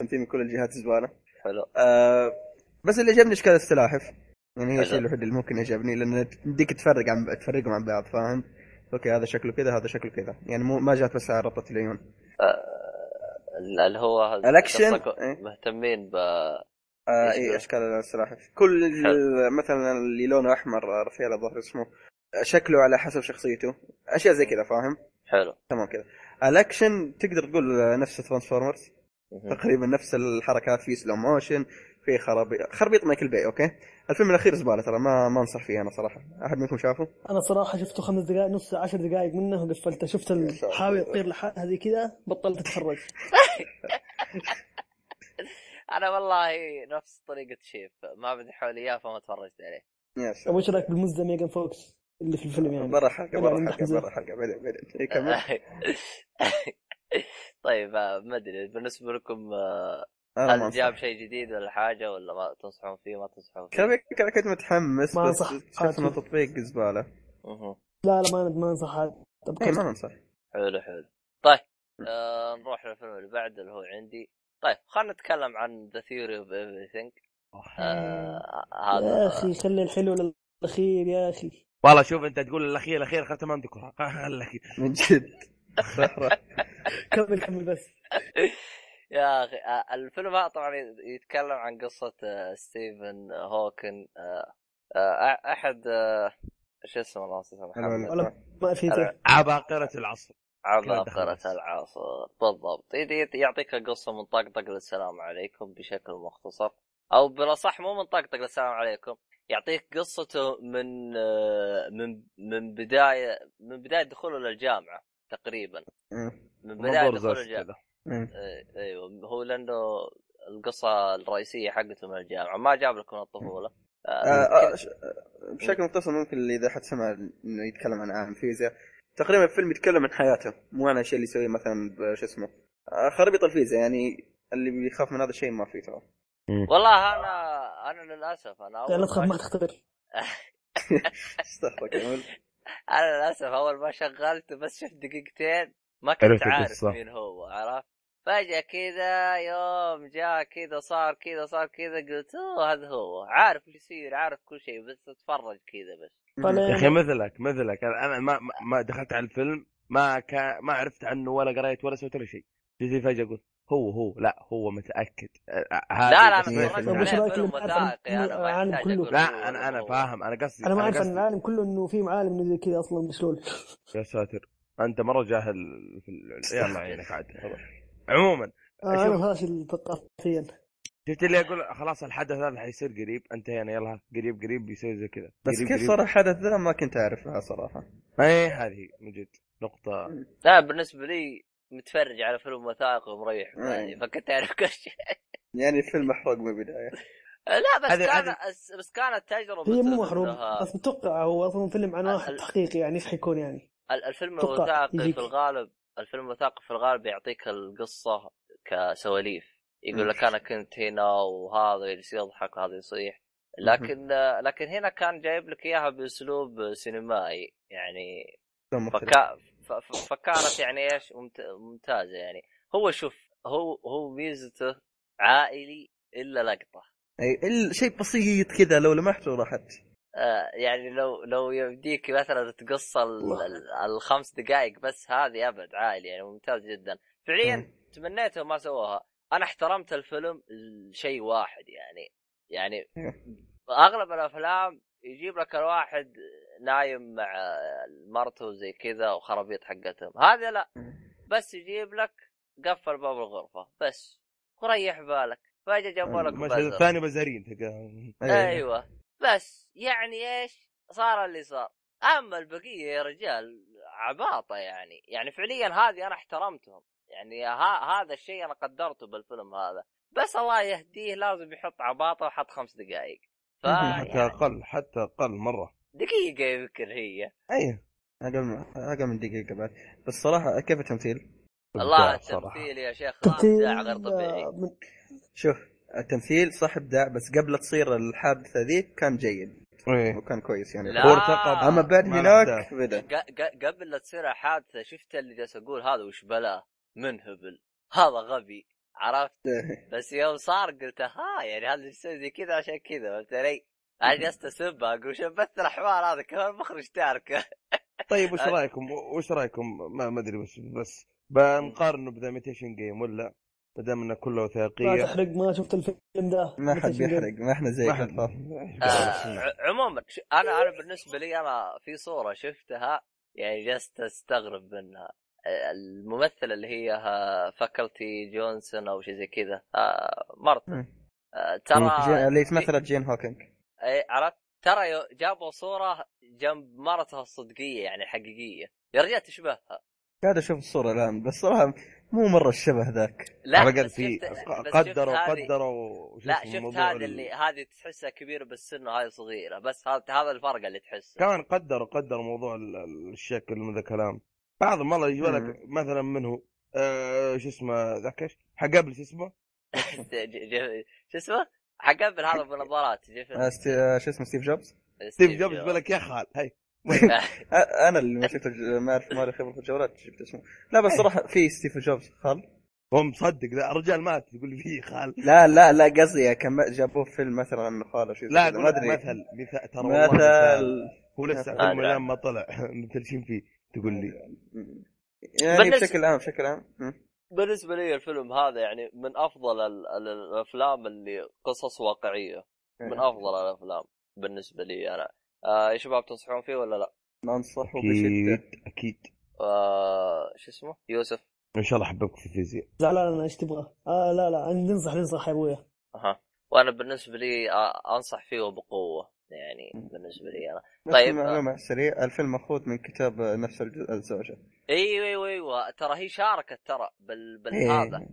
S4: تمثيل من كل الجهات زباله
S1: حلو
S4: آه، بس اللي عجبني اشكال السلاحف يعني هي
S1: حلو.
S4: الشيء الوحيد اللي ممكن يعجبني لان يمديك تفرق عن تفرقهم عن بعض فاهم؟ اوكي هذا شكله كذا هذا شكله كذا يعني مو ما جات بس على رطه العيون
S1: آه، اللي هو
S4: الأكشن؟
S1: قصة كو-
S4: إيه.
S1: مهتمين ب
S4: آه
S1: إيش
S4: اي
S1: بقى؟
S4: اشكال السلاحف كل ال- مثلا اللي لونه احمر آه، رفيع الظهر اسمه آه، شكله على حسب شخصيته اشياء زي كذا فاهم
S1: حلو
S4: تمام كذا الاكشن تقدر تقول آه، نفس ترانسفورمرز
S1: مهم.
S4: تقريبا نفس الحركات في سلو موشن في خرابيط خربيط مايكل باي اوكي الفيلم الاخير زباله ترى ما ما انصح فيه انا صراحه احد منكم شافه
S3: انا صراحه شفته خمس دقائق نص عشر دقائق منه وقفلته شفت ال-
S4: شاطر.
S3: حاول تطير لحالها زي كذا بطلت اتفرج
S1: انا والله نفس طريقه شيف ما مدحوا لي اياه فما تفرجت عليه
S4: يا
S3: طب
S4: سلام
S3: وش رايك بالمزه ميجان فوكس اللي في الفيلم يعني
S4: برا حلقه
S3: أنا
S4: برا
S3: عندي
S4: حلقه
S3: حزن.
S4: برا حلقه بعدين بعدين إيه، كمل
S1: آه، طيب آه، ما ادري بالنسبه لكم آه،
S4: أنا ما
S1: هل
S4: أنصح.
S1: جاب شيء جديد ولا حاجه ولا ما تنصحون فيه ما تنصحون فيه؟
S4: كذا كذا كنت متحمس
S3: ما
S4: بس
S3: أنصح.
S4: شفت انه تطبيق زباله
S1: مهم.
S3: لا لا ما ما انصح هذا طب
S4: اي إيه، ما انصح
S1: حلو حلو طيب آه نروح للفيلم اللي بعده اللي هو عندي طيب خلينا نتكلم عن ذا ثيوري اوف ايفريثينج
S2: آه.
S3: يا
S1: آه،
S4: آه،
S1: هذا
S3: اخي خلي الحلو للاخير يا اخي
S2: والله شوف انت تقول الاخير الاخير خلاص ما نذكرها خلك
S4: من جد صح راح
S3: كمل كمل بس
S1: يا اخي آه، الفيلم هذا طبعا يتكلم عن قصه آه، ستيفن هوكن آه، آه، أح- احد آه، شو اسمه الله نسيت محمد
S3: ولا- ما في
S1: أنا-
S2: عباقره العصر
S1: عباقرة
S2: دخل.
S1: العاصر بالضبط يدي- يعطيك قصه من طقطق للسلام عليكم بشكل مختصر او بالاصح مو من طقطق للسلام عليكم يعطيك قصته من آه، من من بدايه من بدايه دخوله للجامعه تقريبا من بدايه
S2: منظور
S1: دخوله
S2: زوز
S1: الجامعه
S2: كذا
S1: إيه- ايوه هو لانه القصه الرئيسيه حقته من الجامعه ما جاب لك من الطفوله آه،
S4: آه، آه، ش- آه، بشكل مختصر ممكن اللي اذا حد سمع انه يتكلم عن عالم فيزياء تقريبا الفيلم يتكلم عن حياته مو عن الشيء اللي يسويه مثلا ب- شو اسمه آه، خرابيط الفيزياء يعني اللي بيخاف من هذا الشيء ما فيه ترى
S1: والله انا انا للاسف انا
S3: لا
S1: اول
S3: تخاف ما
S1: ما
S3: تختبر
S4: استغفر كمل
S1: انا للاسف اول ما شغلت بس شفت دقيقتين ما
S2: عرفت
S1: كنت عارف
S2: القصة.
S1: مين هو عرفت فجاه كذا يوم جاء كذا صار كذا صار كذا قلت اوه هذا هو عارف ايش يصير عارف كل شيء بس اتفرج كذا بس
S2: يا اخي مثلك مثلك انا أنا ما ما- ما دخلت على الفيلم ما كان ما عرفت عنه ولا قريت ولا سويت ولا شيء جيت فجاه اقول هو هو لا هو متاكد آه، آه،
S1: لا لا
S2: هذه
S1: انا
S2: بس-
S1: اتفرجت
S3: طيب وش
S1: عليه
S3: رأيك
S1: فيلم
S3: لما أفهم
S1: وثائقي انا ما
S3: العالم
S1: يحتاج
S3: كله؟
S1: أقول
S2: لا انا
S1: هو-
S2: انا فاهم انا قصدي
S3: انا ما اعرف ان
S2: قصدي-
S3: العالم كله انه في معالم زي كذا اصلا مسلول
S2: يا ساتر انت مره جاهل في ال... يا الله يعينك عاد عموما
S3: آه، انا
S2: شوف.
S3: فاشل ثقافيا
S2: شفت اللي اقول خلاص الحدث هذا حيصير قريب انتهينا يلا قريب قريب بيصير زي كذا
S4: بس
S2: قريب
S4: كيف
S2: قريب.
S4: صار الحدث ذا ما كنت اعرفها صراحه
S2: اي هذه من جد نقطة
S1: لا بالنسبه لي متفرج على فيلم وثائقي ومريح
S4: أي.
S1: يعني فكنت اعرف كل شيء
S4: يعني الفيلم محروق من البدايه
S1: لا بس
S2: هذه-
S1: كان
S2: هذه-
S1: بس- بس كانت تجربه
S3: هي مو
S1: إنها-
S3: محروق بس متوقع هو اصلا فيلم عن واحد
S1: ال-
S3: حقيقي يعني ايش حيكون يعني
S1: ال- الفيلم
S3: أتوقع
S1: الوثائقي
S3: يجيك.
S1: في الغالب الفيلم الوثائقي في الغالب يعطيك القصه كسواليف يقول لك انا كنت هنا وهذا يجلس يضحك وهذا يصيح لكن لكن هنا كان جايب لك اياها باسلوب سينمائي يعني
S4: فيلم مختلف.
S1: فكا... ف... ف- فكانت يعني ايش ممت... ممتازه يعني هو شوف هو هو ميزته عائلي الا لقطه
S4: اي ال- شيء بسيط كذا لو لمحته راحت
S1: آه يعني لو لو يبديك مثلا تقص ال... ال- الخمس دقائق بس هذه ابد عائلي يعني ممتاز جدا فعليا تمنيته ما سووها انا احترمت الفيلم شيء واحد يعني يعني اغلب الافلام يجيب لك الواحد نايم مع مرته زي كذا وخرابيط حقتهم هذا لا بس يجيب لك قفل باب الغرفه بس وريح بالك فجاه جابوا لك
S2: المشهد
S1: بزر.
S2: الثاني بزارين تلقاهم.
S4: إيه.
S1: ايوه بس يعني ايش صار اللي صار اما البقيه يا رجال عباطه يعني يعني فعليا هذه انا احترمتهم يعني ها هذا الشيء انا قدرته بالفيلم هذا بس الله يهديه لازم يحط عباطه وحط خمس دقائق ف
S2: حتى
S1: يعني.
S2: اقل حتى اقل مرة
S1: دقيقه يمكن هي
S4: اي اقل من اقل من دقيقه بعد بس صراحه كيف التمثيل؟
S1: الله
S2: إبداع صراحة.
S1: التمثيل يا شيخ
S3: تمثيل
S1: ابداع غير طبيعي
S3: آه، من-
S4: شوف التمثيل صح ابداع بس قبل تصير الحادثه ذي كان جيد
S2: ايه
S4: وكان كويس يعني
S1: لا.
S2: وارتقى
S4: اما بعد
S2: مع
S4: هناك
S2: الأحداث.
S4: بدا
S1: ق- ق- قبل لا تصير الحادثه شفت اللي جالس اقول هذا وش بلا منهبل هذا غبي عرفت بس يوم صار قلت ها يعني هذا يسوي زي كذا عشان كذا فهمت علي؟ انا جلست اسبها اقول شبثت الحوار هذا كمان مخرج تاركه
S2: طيب
S1: آه.
S2: وش رايكم وش رايكم ما ما ادري بس بس بنقارنه بذا ميتيشن جيم ولا ما دام انه كله
S3: لا
S2: وثائقية
S3: تحرق ما شفت الفيلم ده
S4: ما حد بيحرق ما احنا زي
S2: ما حد-
S4: كفار
S1: آه ع- عموما ش- انا انا بالنسبه لي انا في صوره شفتها يعني جلست استغرب منها آه، الممثله اللي هي آه، فاكلتي جونسون او شيء زي كذا آه، مرت آه،
S4: جين-
S1: ترى
S4: اللي مثلت جين هوكينج
S1: إيه، عرفت ترى يو- جابوا صوره جنب مرتها الصدقيه يعني حقيقيه يا رجال تشبهها
S4: قاعد اشوف الصوره الان بس صراحه مو مره الشبه ذاك
S1: لا
S2: على الاقل
S1: بس
S2: في
S1: شفت- بس شفت
S2: قدروا
S1: هذه-
S2: قدروا وش
S1: لا
S2: اسمه
S1: شفت
S2: موضوع
S1: هذا
S2: ال-
S1: اللي هذه تحسها كبيره بالسن وهذه صغيره بس هذا هذا الفرق اللي تحسه
S2: كمان قدروا قدروا موضوع ال- ال- الشكل من ذا الكلام بعضهم والله يجيب لك مثلا منه آه، شو اسمه ذاك ايش حق قبل شو اسمه
S1: ج- ج- شو اسمه؟ حقبل هذا بنظارات جيف-
S4: آه، ستي- آه، شو اسمه ستيف جوبز
S2: ستيف جوبز يقول لك يا خال هي
S4: آه، انا اللي ما شفت ما اعرف ما لي خبره في الجوالات شفت اسمه لا بس صراحه في ستيف جوبز خال
S2: هو مصدق ذا الرجال مات يقول لي في خال
S4: لا لا لا قصدي كم جابوه في فيلم مثلا انه خاله شيء زي
S2: لا
S4: كذا،
S2: اقول
S4: ما
S2: لك
S4: ادري
S2: مثل مثل ترى والله مثل.
S4: مثل
S2: هو لسه
S1: آه،
S2: فيلم
S1: لا.
S2: الان ما طلع متلشين فيه تقول لي
S4: يعني
S1: بالنسبة-
S4: بشكل عام بشكل عام م.
S1: بالنسبه لي الفيلم هذا يعني من افضل ال- ال- الافلام اللي قصص واقعيه
S2: إيه.
S4: إيه.
S1: من افضل الافلام بالنسبه لي انا آه يا شباب تنصحون فيه ولا لا؟
S4: ننصحه بشده
S2: اكيد اكيد
S1: آه شو اسمه؟ يوسف
S2: ان شاء الله احببك في الفيزياء
S3: زعلان انا ايش تبغى؟ آه لا لا ننصح ننصح يا ابويا
S1: اها وانا بالنسبه لي آه انصح فيه بقوه يعني بالنسبه لي انا
S4: بس
S1: طيب.
S4: معلومه سريع الفيلم مأخوذ من كتاب نفس الج- الزوجه
S1: ايوه ايوه ايوه ترى هي شاركت ترى بال
S4: إيه.
S1: بالهذا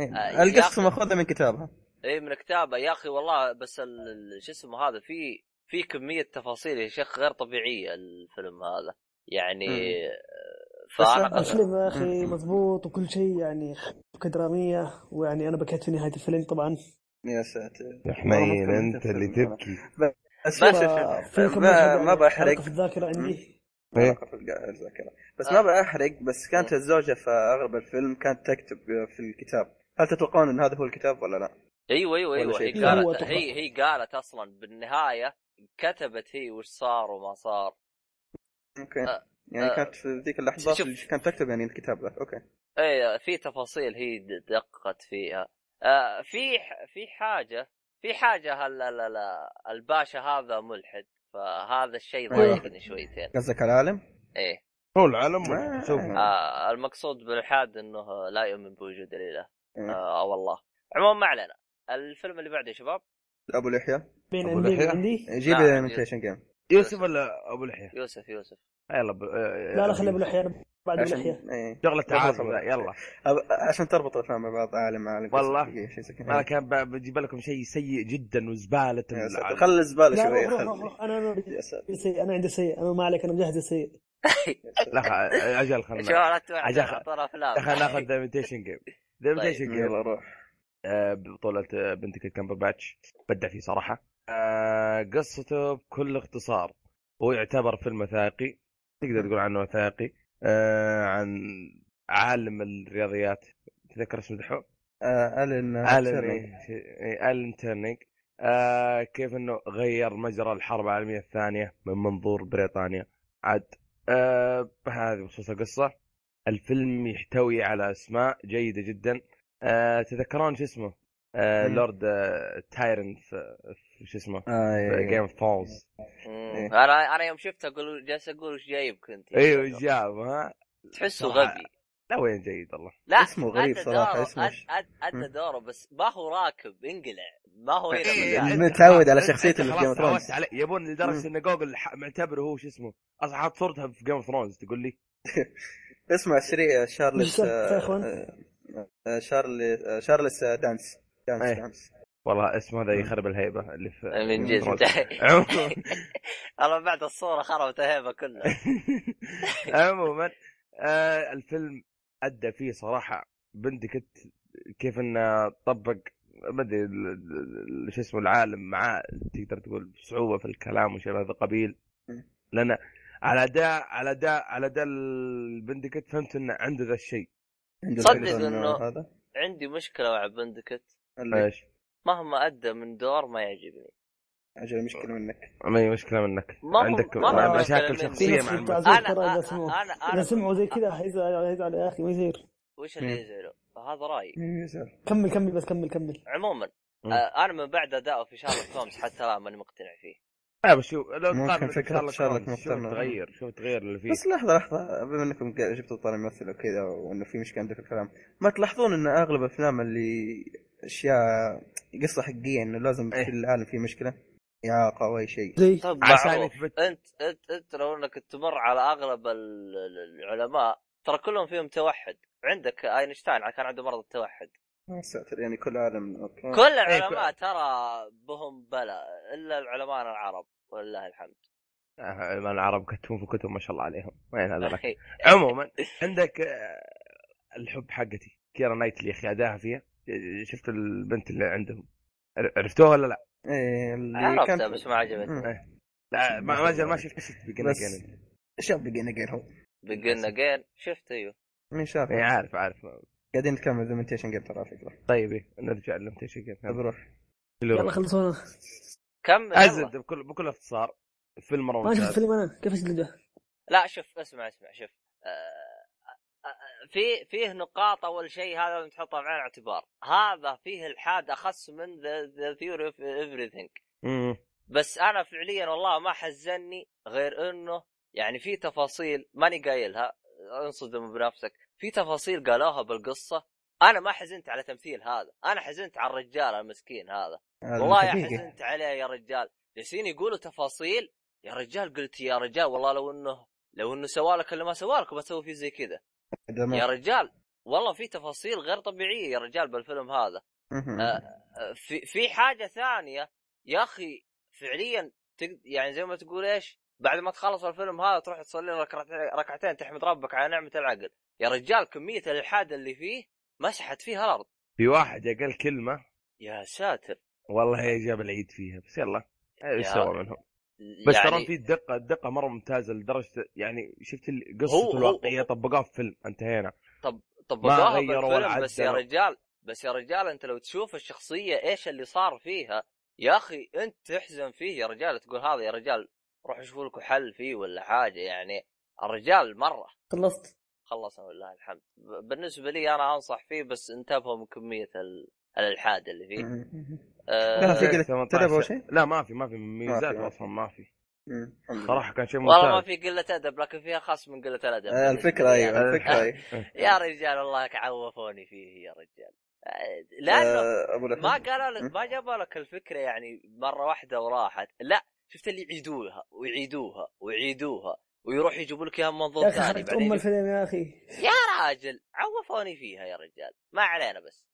S4: إيه.
S1: آه،
S4: القصه
S1: ياخذ-
S4: مأخوذه من كتابها
S1: اي من كتابه يا اخي والله بس ال- ال- شو اسمه هذا في في كميه تفاصيل يا شيخ غير طبيعيه الفيلم هذا يعني
S4: مم.
S1: آه،
S4: بس-
S1: فانا
S3: الفيلم يا اخي مضبوط وكل شيء يعني حبكه دراميه ويعني انا بكيت في نهايه الفيلم طبعا
S4: يا ساتر
S2: يا حنين
S4: والله ما
S2: انت
S4: فكرت
S2: اللي
S4: في الفيلم
S2: تبكي
S4: بس شوف شوف
S3: ترى
S4: شوف.
S3: في كم
S4: ما
S3: مشهد
S4: ما
S3: يعني
S4: بحرق
S3: حركة في الذاكره عندي
S4: ما
S2: إيه.
S4: علاقة في الق- الذاكرة بس
S1: آه.
S4: ما بحرق بس كانت الزوجة في أغلب الفيلم كانت تكتب في الكتاب هل تتوقعون أن هذا هو الكتاب ولا لا؟
S1: ايوه ايوه
S4: ولا
S1: ايوه
S4: شيء.
S1: هي
S4: لا،
S3: هو
S1: قالت
S3: تحفة.
S1: هي هي قالت اصلا بالنهايه كتبت هي وش صار وما صار
S4: اوكي
S1: آه،
S4: يعني
S1: آه.
S4: كانت في ذيك اللحظات
S1: شوف.
S4: اللي كانت تكتب يعني الكتاب ذا اوكي
S1: اي إيه، في تفاصيل هي د- دقت فيها آه، في ح- في حاجه في حاجه هل لا لا لا الباشا هذا ملحد فهذا الشيء
S2: أيوه.
S4: أيوة.
S1: ضايقني شويتين
S4: قصدك العالم؟
S1: ايه
S2: هو العالم
S4: آه.
S2: شوف
S1: آه المقصود بالالحاد انه لا يؤمن بوجود الاله
S2: أيوه.
S4: إيه.
S1: آه او الله عموما ما علينا الفيلم اللي بعده يا شباب
S4: ابو لحيه
S3: بين
S2: أبو
S3: عندي
S2: لحية؟
S3: عندي
S4: جيب
S1: نعم.
S4: ايميتيشن جيم
S2: يوسف ولا ابو لحيه؟
S1: يوسف يوسف
S2: يلا ب... آه،
S3: لا لا خلي ابو لحيه أنا بعد ابو لحيه
S4: إيه.
S2: شغله تعاصب
S4: خلاص.
S2: لا يلا
S4: أب- عشان تربط الافلام مع بعض عالم مع عالم
S2: والله.
S4: قصة، شيء زي كذا.
S2: انا كان ب- بجيب لكم شيء سيء جدا وزباله
S4: يا ساتر.
S2: العالم.
S4: خلي الزباله
S3: لا روح روح
S4: شويه
S3: روح,
S4: خلي
S3: روح. انا انا
S4: يا ساتر.
S3: عندي سيء انا عندي سيء انا ما عليك انا مجهز السيء
S2: لا خ- اجل
S1: شو
S2: خلنا
S1: لا
S2: عجل.
S1: توقع ترى افلام
S2: خلنا ناخذ ذا ميتيشن جيم ذا ميتيشن جيم
S4: يلا روح
S2: آه، ببطولة آه، بنت كيت كامبر باتش بدع فيه صراحة آه، قصته بكل اختصار هو يعتبر فيلم وثائقي تقدر تقول عنه وثائقي آه، عن عالم الرياضيات تذكر اسمه دحوم؟
S4: آه، الن
S2: الن
S4: تيرنينج.
S2: إيه، الن تيرنينج آه، كيف انه غير مجرى الحرب العالمية الثانية من منظور بريطانيا عاد آه، هذه بخصوص القصة الفيلم يحتوي على اسماء جيدة جدا آه، تذكرون شو اسمه آه،
S4: مم.
S2: لورد آه، تايرن في في شو اسمه
S4: آه، إيه.
S2: جيم اوف ثرونز
S1: مم.
S4: إيه.
S1: انا انا يوم شفته اقول جالس اقول وش جايب كنت
S2: ايوه جاب ها
S1: تحسه
S2: صراحة.
S1: غبي
S2: لا وين جيد والله
S1: لا
S4: اسمه غريب
S1: أدى
S4: صراحة،
S1: دوره،
S4: اسمه
S1: أد- أد- ادى دوره بس ما هو راكب انقلع ما هو هنا
S3: يعني
S4: إيه.
S1: مكان.
S4: متعود على
S2: أنت-
S4: شخصية
S2: أنت
S4: اللي في
S2: خلاص
S4: Game of Thrones.
S2: تعودت عليه يبون
S4: مم.
S2: لدرجه ان جوجل ح- معتبره هو شو اسمه اصلا حاط صورتها في جيم اوف ثرونز تقول لي
S4: اسمع شري آه، شارلت
S3: ايش سالفة يا اخوان؟
S4: شارلت شارلس آه، دانس دانس
S2: إيه.
S4: دانس
S2: والله اسمه
S1: آه.
S2: هذا
S4: مم.
S2: يخرب الهيبه اللي في
S1: من
S2: Game of
S1: جد
S2: Thrones.
S1: والله من بعد الصوره خربت هيبه كلها
S2: عموما آه الفيلم ادى فيه صراحه بندكت كيف انه طبق ما ادري ال- ال- ال- شو اسمه العالم معاه تقدر تقول بصعوبه في الكلام وشيء من هذا القبيل لان على اداء على اداء على اداء البندكت فهمت انه عنده ذا الشيء
S4: عنده
S1: صدق
S4: الفيلتون
S1: إنه-
S4: هذا
S1: عندي مشكله مع بندكت
S4: اللي
S2: ايش؟
S1: مهما ادى من دور ما يعجبني
S4: اجل مشكلة منك
S2: ما هي مشكله منك
S1: ما هو-
S2: عندك
S1: ما هو
S2: مشاكل
S1: مشكلة مني.
S3: في
S2: شخصيه
S3: ناس
S2: مع الم-
S3: متعزين
S1: انا
S3: ترى اذا
S1: أنا-
S3: سمعوا
S1: انا
S3: اذا
S1: انا
S3: سمعوا زي كذا حيزعل حيزعل يا اخي ما يصير
S1: وش اللي يزعله؟ هذا رايي
S2: إيه.
S3: كمل كمل بس كمل كمل
S1: عموما
S2: مم.
S1: آه، انا من بعد ادائه في شارلوك هومز حتى الان ماني مقتنع فيه
S2: لا بس شوف لو
S4: ممكن
S2: تقارن
S4: فكرة
S2: شارلوك
S4: شارلوك
S2: هولمز، شوف
S4: مختلف.
S2: تغير شوف تغير اللي فيه
S4: بس لحظة لحظة بما انكم قا- جبتوا طاري ممثل وكذا وانه في مشكلة عندك في الكلام ما تلاحظون ان اغلب افلام اللي اشياء قصة حقيقية انه لازم
S2: إيه.
S4: في العالم في مشكلة اعاقة او اي شيء
S3: زي
S1: طب
S2: عشان
S1: معروف.
S2: يثبت-
S1: انت انت انت لو انك تمر على اغلب ال- ال- العلماء ترى كلهم فيهم توحد عندك اينشتاين كان عنده مرض التوحد
S4: يا ساتر يعني كل عالم اوكي
S1: كل العلماء ترى بهم بلا الا العلماء العرب ولله الحمد
S2: آه، من العرب كتبون في كتب ما شاء الله عليهم وين هذا لك؟ عموما عندك آه، الحب حقتي كيرا نايتلي يا اخي اداها فيها آه، شفت البنت اللي عندهم عر- عرفتوها ولا لا؟
S4: إيه، اللي
S1: عرفتها
S4: كان-
S1: بس ما عجبتني
S4: مم.
S2: لا ما ما زال ما شفت شفت بيجن
S4: بس-
S2: أجين.
S4: شاب بيجين اجين هو
S1: بقلنا جين شفت ايوه
S4: مين شاف
S2: اي إيه، عارف عارف
S4: قاعدين نتكلم عن ميتيشن جيم ترى على فكره
S2: طيب إيه، نرجع لمتيشن
S4: بروح
S3: يلا خلصونا
S1: كمل يلا.
S2: ازد بكل بكل اختصار فيلم مره
S3: ما شفت
S2: ممتاز
S3: فيلم انا كيف اشد
S1: لا شوف اسمع اسمع شوف آه، آه، في فيه نقاط اول شيء هذا لازم تحطها في عين الاعتبار هذا فيه الحاد اخص من ذا ثيوري اوف ايفريثينج
S2: مم.
S1: بس انا فعليا والله ما حزني غير انه يعني في تفاصيل ماني قايلها انصدم بنفسك في تفاصيل قالوها بالقصه انا ما حزنت على تمثيل هذا انا حزنت على الرجال المسكين هذا
S4: آه،
S1: والله يا حزنت عليه يا رجال جالسين يقولوا تفاصيل يا رجال قلت يا رجال والله لو انه لو انه سوالك اللي ما سوالك بسوي فيه زي كذا يا رجال والله في تفاصيل غير طبيعيه يا رجال بالفيلم هذا آه، في في حاجه ثانيه يا اخي فعليا تق- يعني زي ما تقول ايش بعد ما تخلص الفيلم هذا تروح تصلي لك ركعت- ركعتين تحمد ربك على نعمه العقل يا رجال كميه الالحاد اللي فيه مسحت فيها الارض
S2: في واحد قال كلمه
S1: يا ساتر
S2: والله جاب العيد فيها بس يلا ايش
S1: يا
S2: سوى
S1: رب.
S2: منهم
S1: يعني
S2: بس ترى في الدقه الدقه مره ممتازه لدرجه يعني شفت ال-
S1: هو-
S2: قصه
S1: هو-
S2: الواقعيه طبقوها في فيلم انتهينا
S1: طبقوها
S2: ما غيروا ولا
S1: بالفيلم بس يا
S2: عدلوا.
S1: رجال بس يا رجال انت لو تشوف الشخصيه ايش اللي صار فيها يا اخي انت تحزن فيه يا رجال تقول هذا يا رجال روحوا شوفوا لكم حل فيه ولا حاجه يعني الرجال مره
S3: خلصت
S1: خلصنا والله الحمد ب- بالنسبه لي انا انصح فيه بس انتبهوا من كميه ال- الالحاد اللي فيه
S4: لا،
S1: أه
S4: في- فكرة تلعب أول شيء؟
S2: لا ما في ما في ميزات
S4: ما في.
S2: اصلا ما في
S4: صراحه
S2: صراحه كان شيء
S1: والله ما
S2: ممتاز
S1: في قله ادب لكن فيها خاص من قله الادب
S4: الفكره ايوه
S1: آه،
S4: الفكره ايوه
S1: يا رجال الله عوفوني فيه يا رجال آه، لانه
S4: آه، أبو لهب.
S1: ما قالوا لك ما جابوا لك الفكره يعني مره واحده وراحت لا شفت اللي يعيدوها ويعيدوها ويعيدوها ويروح يجيبوا لك اياها من
S3: يا
S1: منظور
S3: اخي
S1: ثاني
S4: يعني
S3: حرقت
S1: بعدين
S3: ام
S1: يجيب-
S3: الفيلم يا اخي
S1: يا راجل عوفوني فيها يا رجال ما علينا بس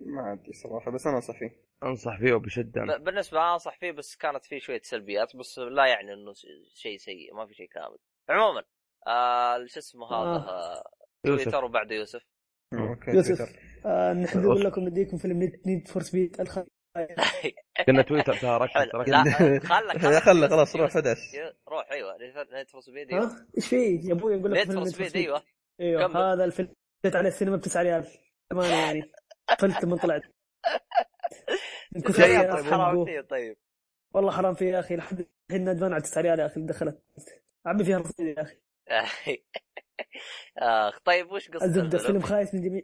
S4: ما ادري صراحه بس انا انصح فيه
S2: انصح فيه وبشده أنا.
S1: ب- بالنسبه أنا انصح فيه بس كانت فيه شويه سلبيات بس لا يعني انه س- شيء سيء ما في شيء كامل عموما آه شو اسمه هذا
S3: آه.
S1: آه،
S2: يوسف
S1: تويتر وبعده يوسف
S4: اوكي
S3: يوسف
S4: تويتر.
S3: آه نحن نقول لكم نديكم فيلم نيد فور سبيد الخ
S2: قلنا تويتر ترى
S1: حلو.
S2: ترى
S1: لا آه، خلك
S4: لا خله خلاص روح
S1: يوسف-
S4: فدس
S1: يو- روح ايوه نيد فور سبيد ايوه
S3: ها ايش في يا ابوي نقول لكم
S1: نيد فور
S3: فيلم Need for
S1: سبيد
S3: Speed.
S1: ايوه
S3: ايوه
S1: كمل.
S3: هذا الفيلم جيت على السينما ب 9 ريال امانه يعني طلت من طلعت من كثر
S1: تخيل
S3: ما
S1: طيب
S3: الناس
S1: حرام
S3: حرقوه.
S1: فيه طيب
S3: والله حرام فيه يا اخي لحد الحين ندمان على 9 ريال يا اخي اللي دخلت عبي فيها رصيد يا اخي
S1: اخ طيب وش قصه
S3: الزبده
S1: الفيلم؟
S3: فيلم خايس من جميع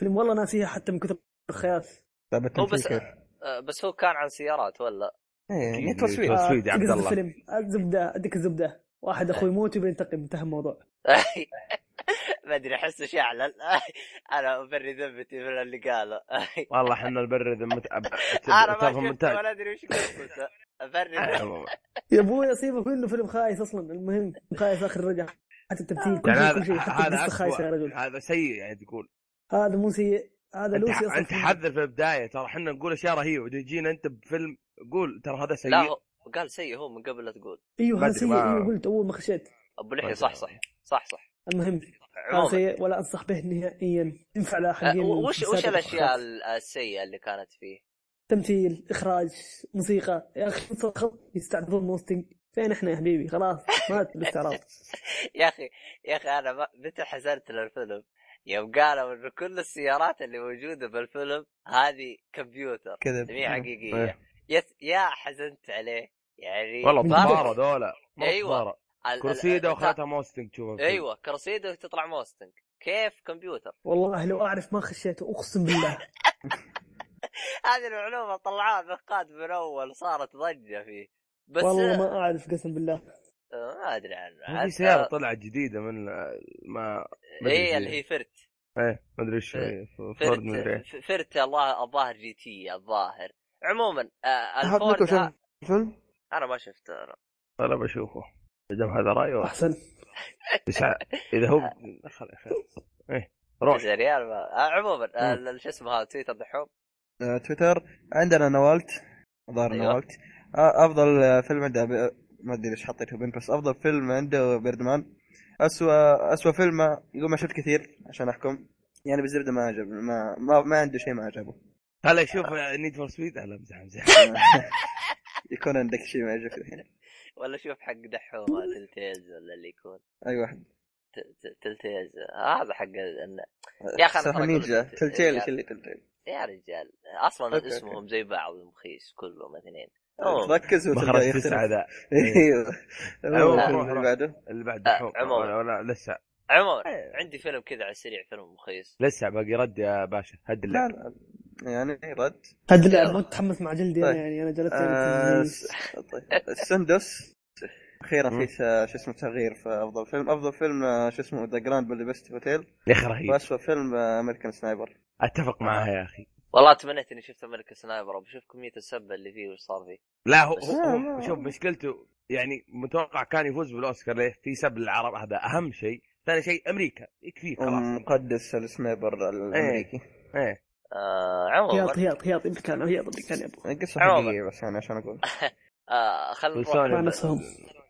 S3: فيلم والله ناسيها حتى من كثر الخياس
S4: طيب التمثيل
S1: بس-
S4: كيف؟
S1: آه، بس هو كان عن سيارات ولا؟
S4: ايه
S2: أكيد
S4: نيد فور سبيد
S2: نيد فور سبيد يا عبد
S3: آه، تقصد
S2: الله.
S3: الفيلم الزبده اديك الزبده واحد اخوي يموت يبي ينتقم انتهى الموضوع
S1: ما ادري احسه شعلل انا بري ذمتي من اللي قاله
S2: والله احنا البر ذمت
S1: انا ما
S2: تعرف
S1: شفته
S2: ممتاز آه.
S1: ولا ادري وش قصته بري ذمتي.
S3: يا ابوي اصيبه كله فيلم خايس اصلا المهم خايس اخر رجع حتى التمثيل كل
S2: يعني
S3: شيء
S2: هذا
S3: كل شيء حتى
S2: هذا
S3: القصه خايسه يا
S2: أسوأ
S3: رجل
S2: هذا سيء يعني تقول
S3: هذا مو سيء هذا
S2: انت
S3: لوسي اصلا
S2: انت حذر في البدايه ترى احنا نقول اشياء رهيبه تجينا انت بفيلم قول ترى هذا
S1: لا
S2: سيء
S1: هو قال سيء هو من قبل لا تقول
S3: ايوه هذا
S2: بدري
S3: سيء
S2: ما-
S3: ايوه قلت اول ما خشيت
S1: ابو
S2: طيب،
S1: لحي صح صح صح صح
S3: المهم هذا
S1: عموما
S3: سيء ولا انصح به نهائيا ينفع
S1: آه،
S3: لاحقين
S1: وش وش
S3: المسلسلات
S1: الاشياء
S3: والأشخاص.
S1: ال- السيئه اللي كانت فيه؟
S3: تمثيل اخراج موسيقى يا اخي خط- يستعرضون موستنج فين احنا يا حبيبي خلاص مات بالاستعراض
S1: يا اخي يا اخي انا ما- متى حزنت للفيلم يوم قالوا انه كل السيارات اللي موجوده بالفيلم هذه كمبيوتر
S4: كذا
S1: مي حقيقيه
S2: إيه.
S1: يا يا حزنت عليه يعني
S2: والله
S3: من
S2: طفاره
S1: برضو
S2: ذولا مو
S1: أيوة.
S2: طفاره
S1: ال- ال-
S2: كرسيده
S1: بتاع-
S2: وخلتها موستنج تشوفها في
S1: ايوه كرسيده تطلع موستنج كيف كمبيوتر
S3: والله لو اعرف ما خشيته اقسم بالله
S1: هذه المعلومه طلعوها نقاد من اول صارت ضجه فيه بس
S3: والله
S1: آه،
S3: ما اعرف قسم بالله
S1: ما ادري عنه
S2: فيلم. في
S1: حتى-
S2: سياره طلعت جديده من ما ما أدري
S1: ايه
S2: شو
S1: اللي هي فرت
S2: ايه ما ادري ايش هي. فورد ما ادري إيه.
S1: فرت فرت الله الظاهر جي تي الظاهر عموما آه،
S4: احد
S1: الفورد
S4: منكم
S1: ه-
S4: شاف الفيلم؟
S1: انا ما شفته انا
S2: انا بشوفه اذا هذا رايه
S3: احسن
S2: يسعى اذا هو خل- خل- ايه روح
S1: يا ريال ما آه، عموما آه،
S4: مم.
S1: ال- شو اسمه هذا تويتر دحوم
S4: آه، تويتر عندنا نوالت ظهر
S1: أيوة.
S4: نوالت آه، افضل آه، فيلم عنده ب... ما ادري ليش حطيته بنت بس افضل فيلم عنده بيردمان اسوء اسوء فيلم ما- يقول ما شفت كثير عشان احكم يعني بالزبده ما عجب ما ما, ما عنده شيء ما عجبه
S2: هلا شوف نيد فور سبيد لا امزح امزح
S4: يكون عندك شيء ما يعجبك الحين
S1: ولا شوف حق دحوم آه، تلتيز ولا اللي يكون
S4: اي واحد
S1: ت- ت- تلتيز آه، هذا حق ال- ال- يا أخي أنا
S4: صراحة
S1: ترى أقول
S4: نينجا
S1: لك-
S4: تلتيل
S1: يا-
S4: كله تلتيل
S1: يا رجال اصلا
S4: أوكي،
S1: اسمهم زي بعض مخيس كلهم اثنين أوه.
S4: ركز وتلقى
S2: بخرج
S4: يختلف
S2: تسعه ذا
S4: ايوه
S2: روح،
S4: الفيلم
S2: روح،
S4: اللي
S2: روح.
S4: بعده
S2: اللي بعد
S1: آه،
S2: دحوم
S1: عموما.
S2: ولا- ولا لسه
S1: عموما
S2: إيه.
S1: عندي فيلم كذا على السريع فيلم مخيس
S2: لسه باقي رد يا باشا هد
S4: لا
S2: اللعب
S4: لا يعني رد
S3: هذا اللعب ما تتحمس مع جلدي انا
S4: طيب.
S3: يعني انا جلست
S4: آه،
S3: يعني
S4: س- طيب. السندس اخيرا في
S2: مم.
S4: س- شو اسمه تغيير في افضل فيلم افضل فيلم آه، شو اسمه ذا جراند بلي بيست هوتيل
S2: يا اخي رهيب
S4: واسوء فيلم آه، امريكان سنايبر
S2: إيه، اتفق معها يا اخي
S1: والله تمنيت اني شفت امريكا سنايبر وبشوف كميه السبه اللي فيه وش صار فيه
S2: لا هو,
S1: بس-
S2: هو,
S4: لا،
S2: هو
S4: لا.
S2: شوف مشكلته يعني متوقع كان يفوز بالاوسكار ليه؟ في سب للعرب هذا اهم شيء، ثاني شيء امريكا يكفيه
S4: أمم.
S2: خلاص
S4: مقدس السنايبر الامريكي
S2: ايه
S1: آه
S3: هياط
S1: عموما
S3: هياط هياط اللي كان هياط اللي كان يا ابو
S4: قصه
S1: عموما.
S4: حقيقيه بس يعني عشان اقول
S1: آه خل
S2: وسوني
S1: نروح
S3: مع
S2: ب-
S3: نفسهم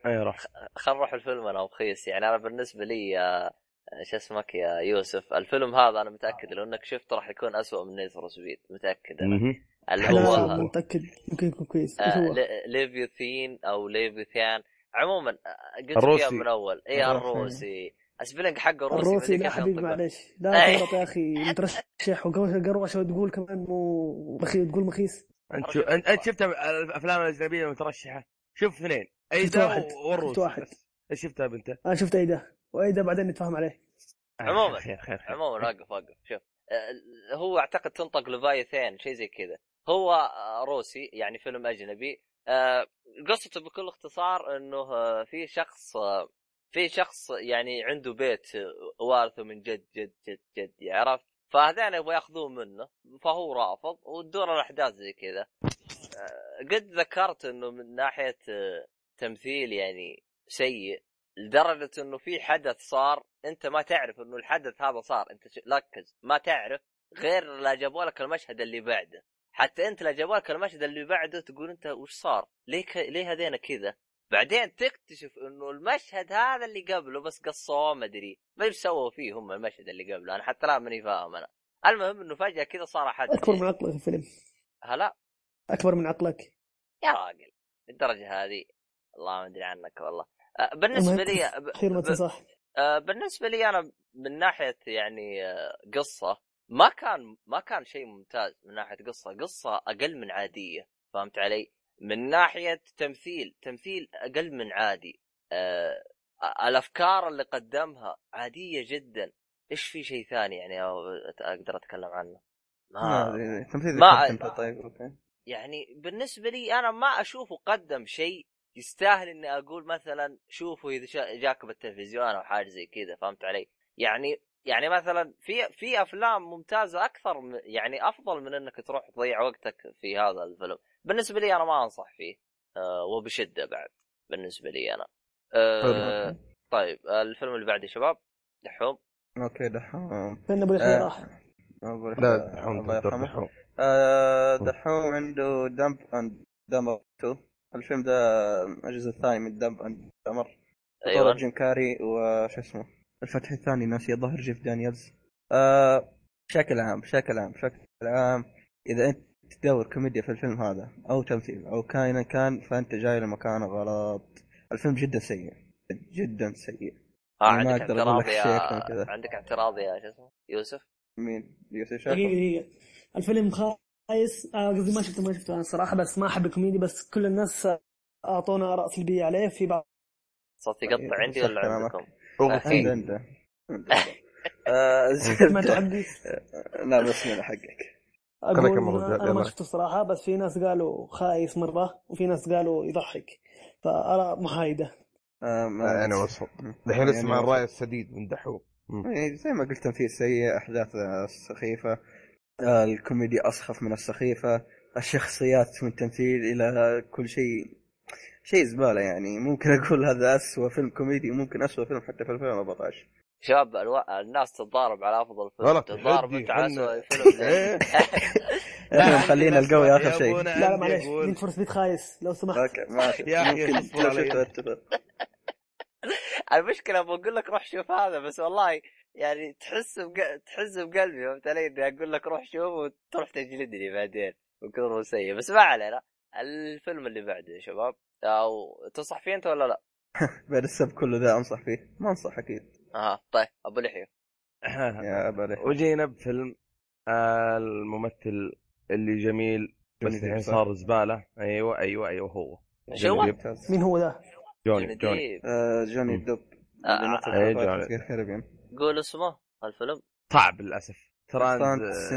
S2: ايه روح
S1: خل نروح الفيلم انا ومخيس يعني انا بالنسبه لي آه، شو اسمك يا يوسف الفيلم هذا انا متاكد لو انك شفته راح يكون أسوأ من نيد فور سبيد متاكد انا
S2: مهم.
S1: اللي
S3: لا
S1: هو
S3: ما متاكد يمكن يكون كويس ايش
S1: آه،
S3: هو؟
S1: ل- ليفيوثين او ليفيوثان عموما آه، قلت
S2: الروسي.
S1: فيها من اول اي
S4: الروسي.
S1: الروسي اسبلنج حقه روسي
S3: الروسي
S1: مدري
S3: لا
S1: كيف
S3: حبيبي
S1: ينطقه
S3: معلش
S1: آه.
S3: لا تغلط يا اخي مترشح وقروشه وتقول كمان مو مخيس تقول مخيس
S2: انت شو انت أنت شفت الافلام الاجنبيه المترشحه؟ شوف اثنين
S3: شفت
S2: ايدا
S3: واحد.
S2: والروسي
S3: شفت واحد.
S2: بس. ايش شفتها بنت؟ آه،
S3: انا شفت ايده واذا بعدين نتفاهم عليه
S1: عموماً.
S2: خير خير خير
S1: عموما وقف وقف شوف آه، هو اعتقد تنطق لفايثين شيء زي كذا هو آه، روسي يعني فيلم اجنبي آه، قصته بكل اختصار انه آه، في شخص آه، في شخص يعني عنده بيت آه، وارثه من جد جد جد جد يعني عرفت فهذين يبغوا ياخذوه منه فهو رافض وتدور الاحداث زي كذا آه، قد ذكرت انه من ناحيه آه، تمثيل يعني سيء لدرجه انه في حدث صار انت ما تعرف انه الحدث هذا صار انت ش- ركز ما تعرف غير لا جابوا لك المشهد اللي بعده حتى انت لا جابوا لك المشهد اللي بعده تقول انت وش صار؟ ليه ك... ليه هذينا كذا؟ بعدين تكتشف انه المشهد هذا اللي قبله بس قصوه ما ادري ما ادري إيش سووا فيه هم المشهد اللي قبله انا حتى الان ماني فاهم انا المهم انه فجاه كذا صار حدث
S3: اكبر من عقلك الفيلم
S1: هلا
S3: اكبر من عقلك
S1: يا راجل الدرجه هذه الله ما ادري عنك والله آه، بالنسبه
S3: المهم،
S1: لي ب-
S3: خير ما
S1: ب-
S3: تنصح
S1: آه، بالنسبه لي انا من ناحيه يعني آه، قصه ما كان ما كان شيء ممتاز من ناحيه قصه قصه اقل من عاديه فهمت علي من ناحيه تمثيل تمثيل اقل من عادي آه، الافكار اللي قدمها عاديه جدا ايش في شيء ثاني يعني أو- اقدر اتكلم عنه
S4: ما
S1: ما
S4: ادري آه، تمثيل
S1: آه. ما-
S4: ذكرت انت طيب اوكي
S1: يعني بالنسبه لي انا ما اشوفه قدم شيء يستاهل اني اقول مثلا شوفوا اذا شا- جاك بالتلفزيون او حاجه زي كذا فهمت علي؟ يعني يعني مثلا في في افلام ممتازه اكثر من يعني افضل من انك تروح تضيع وقتك في هذا الفيلم، بالنسبه لي انا ما انصح فيه أه وبشده بعد بالنسبه لي انا. أه
S4: طيب،
S1: طيب الفيلم اللي بعده يا شباب دحوم
S4: اوكي دحوم
S3: لان ابو اليحيى
S4: آه.
S3: راح
S4: أبو
S2: لا
S4: الحلا-
S2: دحوم
S4: الله
S2: دكتور
S4: يرحمه
S2: دحوم
S4: آه، دحوم عنده دمب اند دمر 2 الفيلم ده الجزء الثاني من دمب اند دمر بطولة
S1: ايوه
S4: جيم كاري وش اسمه الفتح الثاني ناسي الظاهر جيف دانييلز آه، بشكل عام بشكل عام بشكل عام اذا انت تدور كوميديا في الفيلم هذا او تمثيل او كائنا كان فانت جاي لمكان غلط الفيلم جدا سيء جدا سيء
S1: آه
S4: أنا ما
S1: عندك
S4: أقدر أقول لك
S1: اعتراض يا
S4: شيء عشان كذا.
S1: عندك اعتراض يا شو اسمه يوسف؟
S4: مين يوسف
S3: دقيقه
S4: شافه
S3: دقيقه الفيلم خايس آه، قصدي ما شفته ما شفته انا صراحه بس ما احب الكوميدي بس كل الناس آه، اعطونا اراء سلبيه عليه في بعض
S1: صوتي
S4: طيب،
S1: يقطع عندي ولا
S4: صح كلامك.
S1: عندكم؟
S4: عنده
S2: اغثي
S4: عنده عنده. آه،
S3: سمعتوا حقي
S4: لا بس من حقك
S2: خليك
S3: اقول
S2: يا مرة،
S3: انا
S2: يلا.
S3: ما شفته صراحه بس في ناس قالوا خايس مره وفي ناس قالوا يضحك فاراء محايده
S4: آه، ما-
S2: انا يعني وصل
S4: مم.
S2: الحين
S4: يعني
S2: اسمع
S4: وصل.
S2: الراي السديد من دحوم مم.
S4: يعني زي ما قلت تمثيل سيء احداث آه، سخيفه آه، الكوميديا اسخف من السخيفه الشخصيات من تمثيل الى كل شيء شيء زباله يعني ممكن اقول هذا اسوء فيلم كوميدي ممكن اسوء فيلم حتى في 2014
S1: شباب الو... الناس تتضارب على افضل فيلم
S2: غلط،
S1: تتضارب
S2: حدي،
S1: انت على
S2: حنا.
S1: اسوء فيلم
S2: إيه.
S4: لا، إحنا
S3: إيه،
S4: مخلينا القوي آخر شيء.
S3: لا لا معليش نيد فور سبيد خايس لو سمحت
S4: اوكي ماشي
S2: يا أخي،
S4: ممكن
S2: اصبر
S4: لو
S2: علي.
S4: شفته اتفق
S1: المشكله بقول لك روح شوف هذا بس والله يعني تحس بق... تحس بقلبي فهمت علي اني اقول لك روح شوف وتروح تجلدني بعدين من كثر ما سيء بس ما علينا الفيلم اللي بعده يا شباب او تنصح فيه انت ولا لا؟
S4: بعد السب كله ذا انصح فيه ما انصح اكيد
S1: اها طيب ابو لحيه
S4: يا ابا عليه
S2: وجينا بفيلم آه، الممثل اللي جميل بس
S4: جوني ديب،
S2: الحين
S4: صح؟
S2: صار زباله ايوه ايوه ايوه هو
S1: شو يعني هو؟
S2: جوني
S4: ممتاز
S3: مين هو ذا؟
S2: جوني جوني
S1: ديب.
S4: آه، جوني
S2: مم.
S4: دوب
S1: آه،
S4: اللي مثل
S2: إيه،
S4: في
S2: جوني.
S4: بايرتس كاريبيان
S1: قول اسمه الفيلم
S2: صعب للاسف ترانز
S4: ترانز-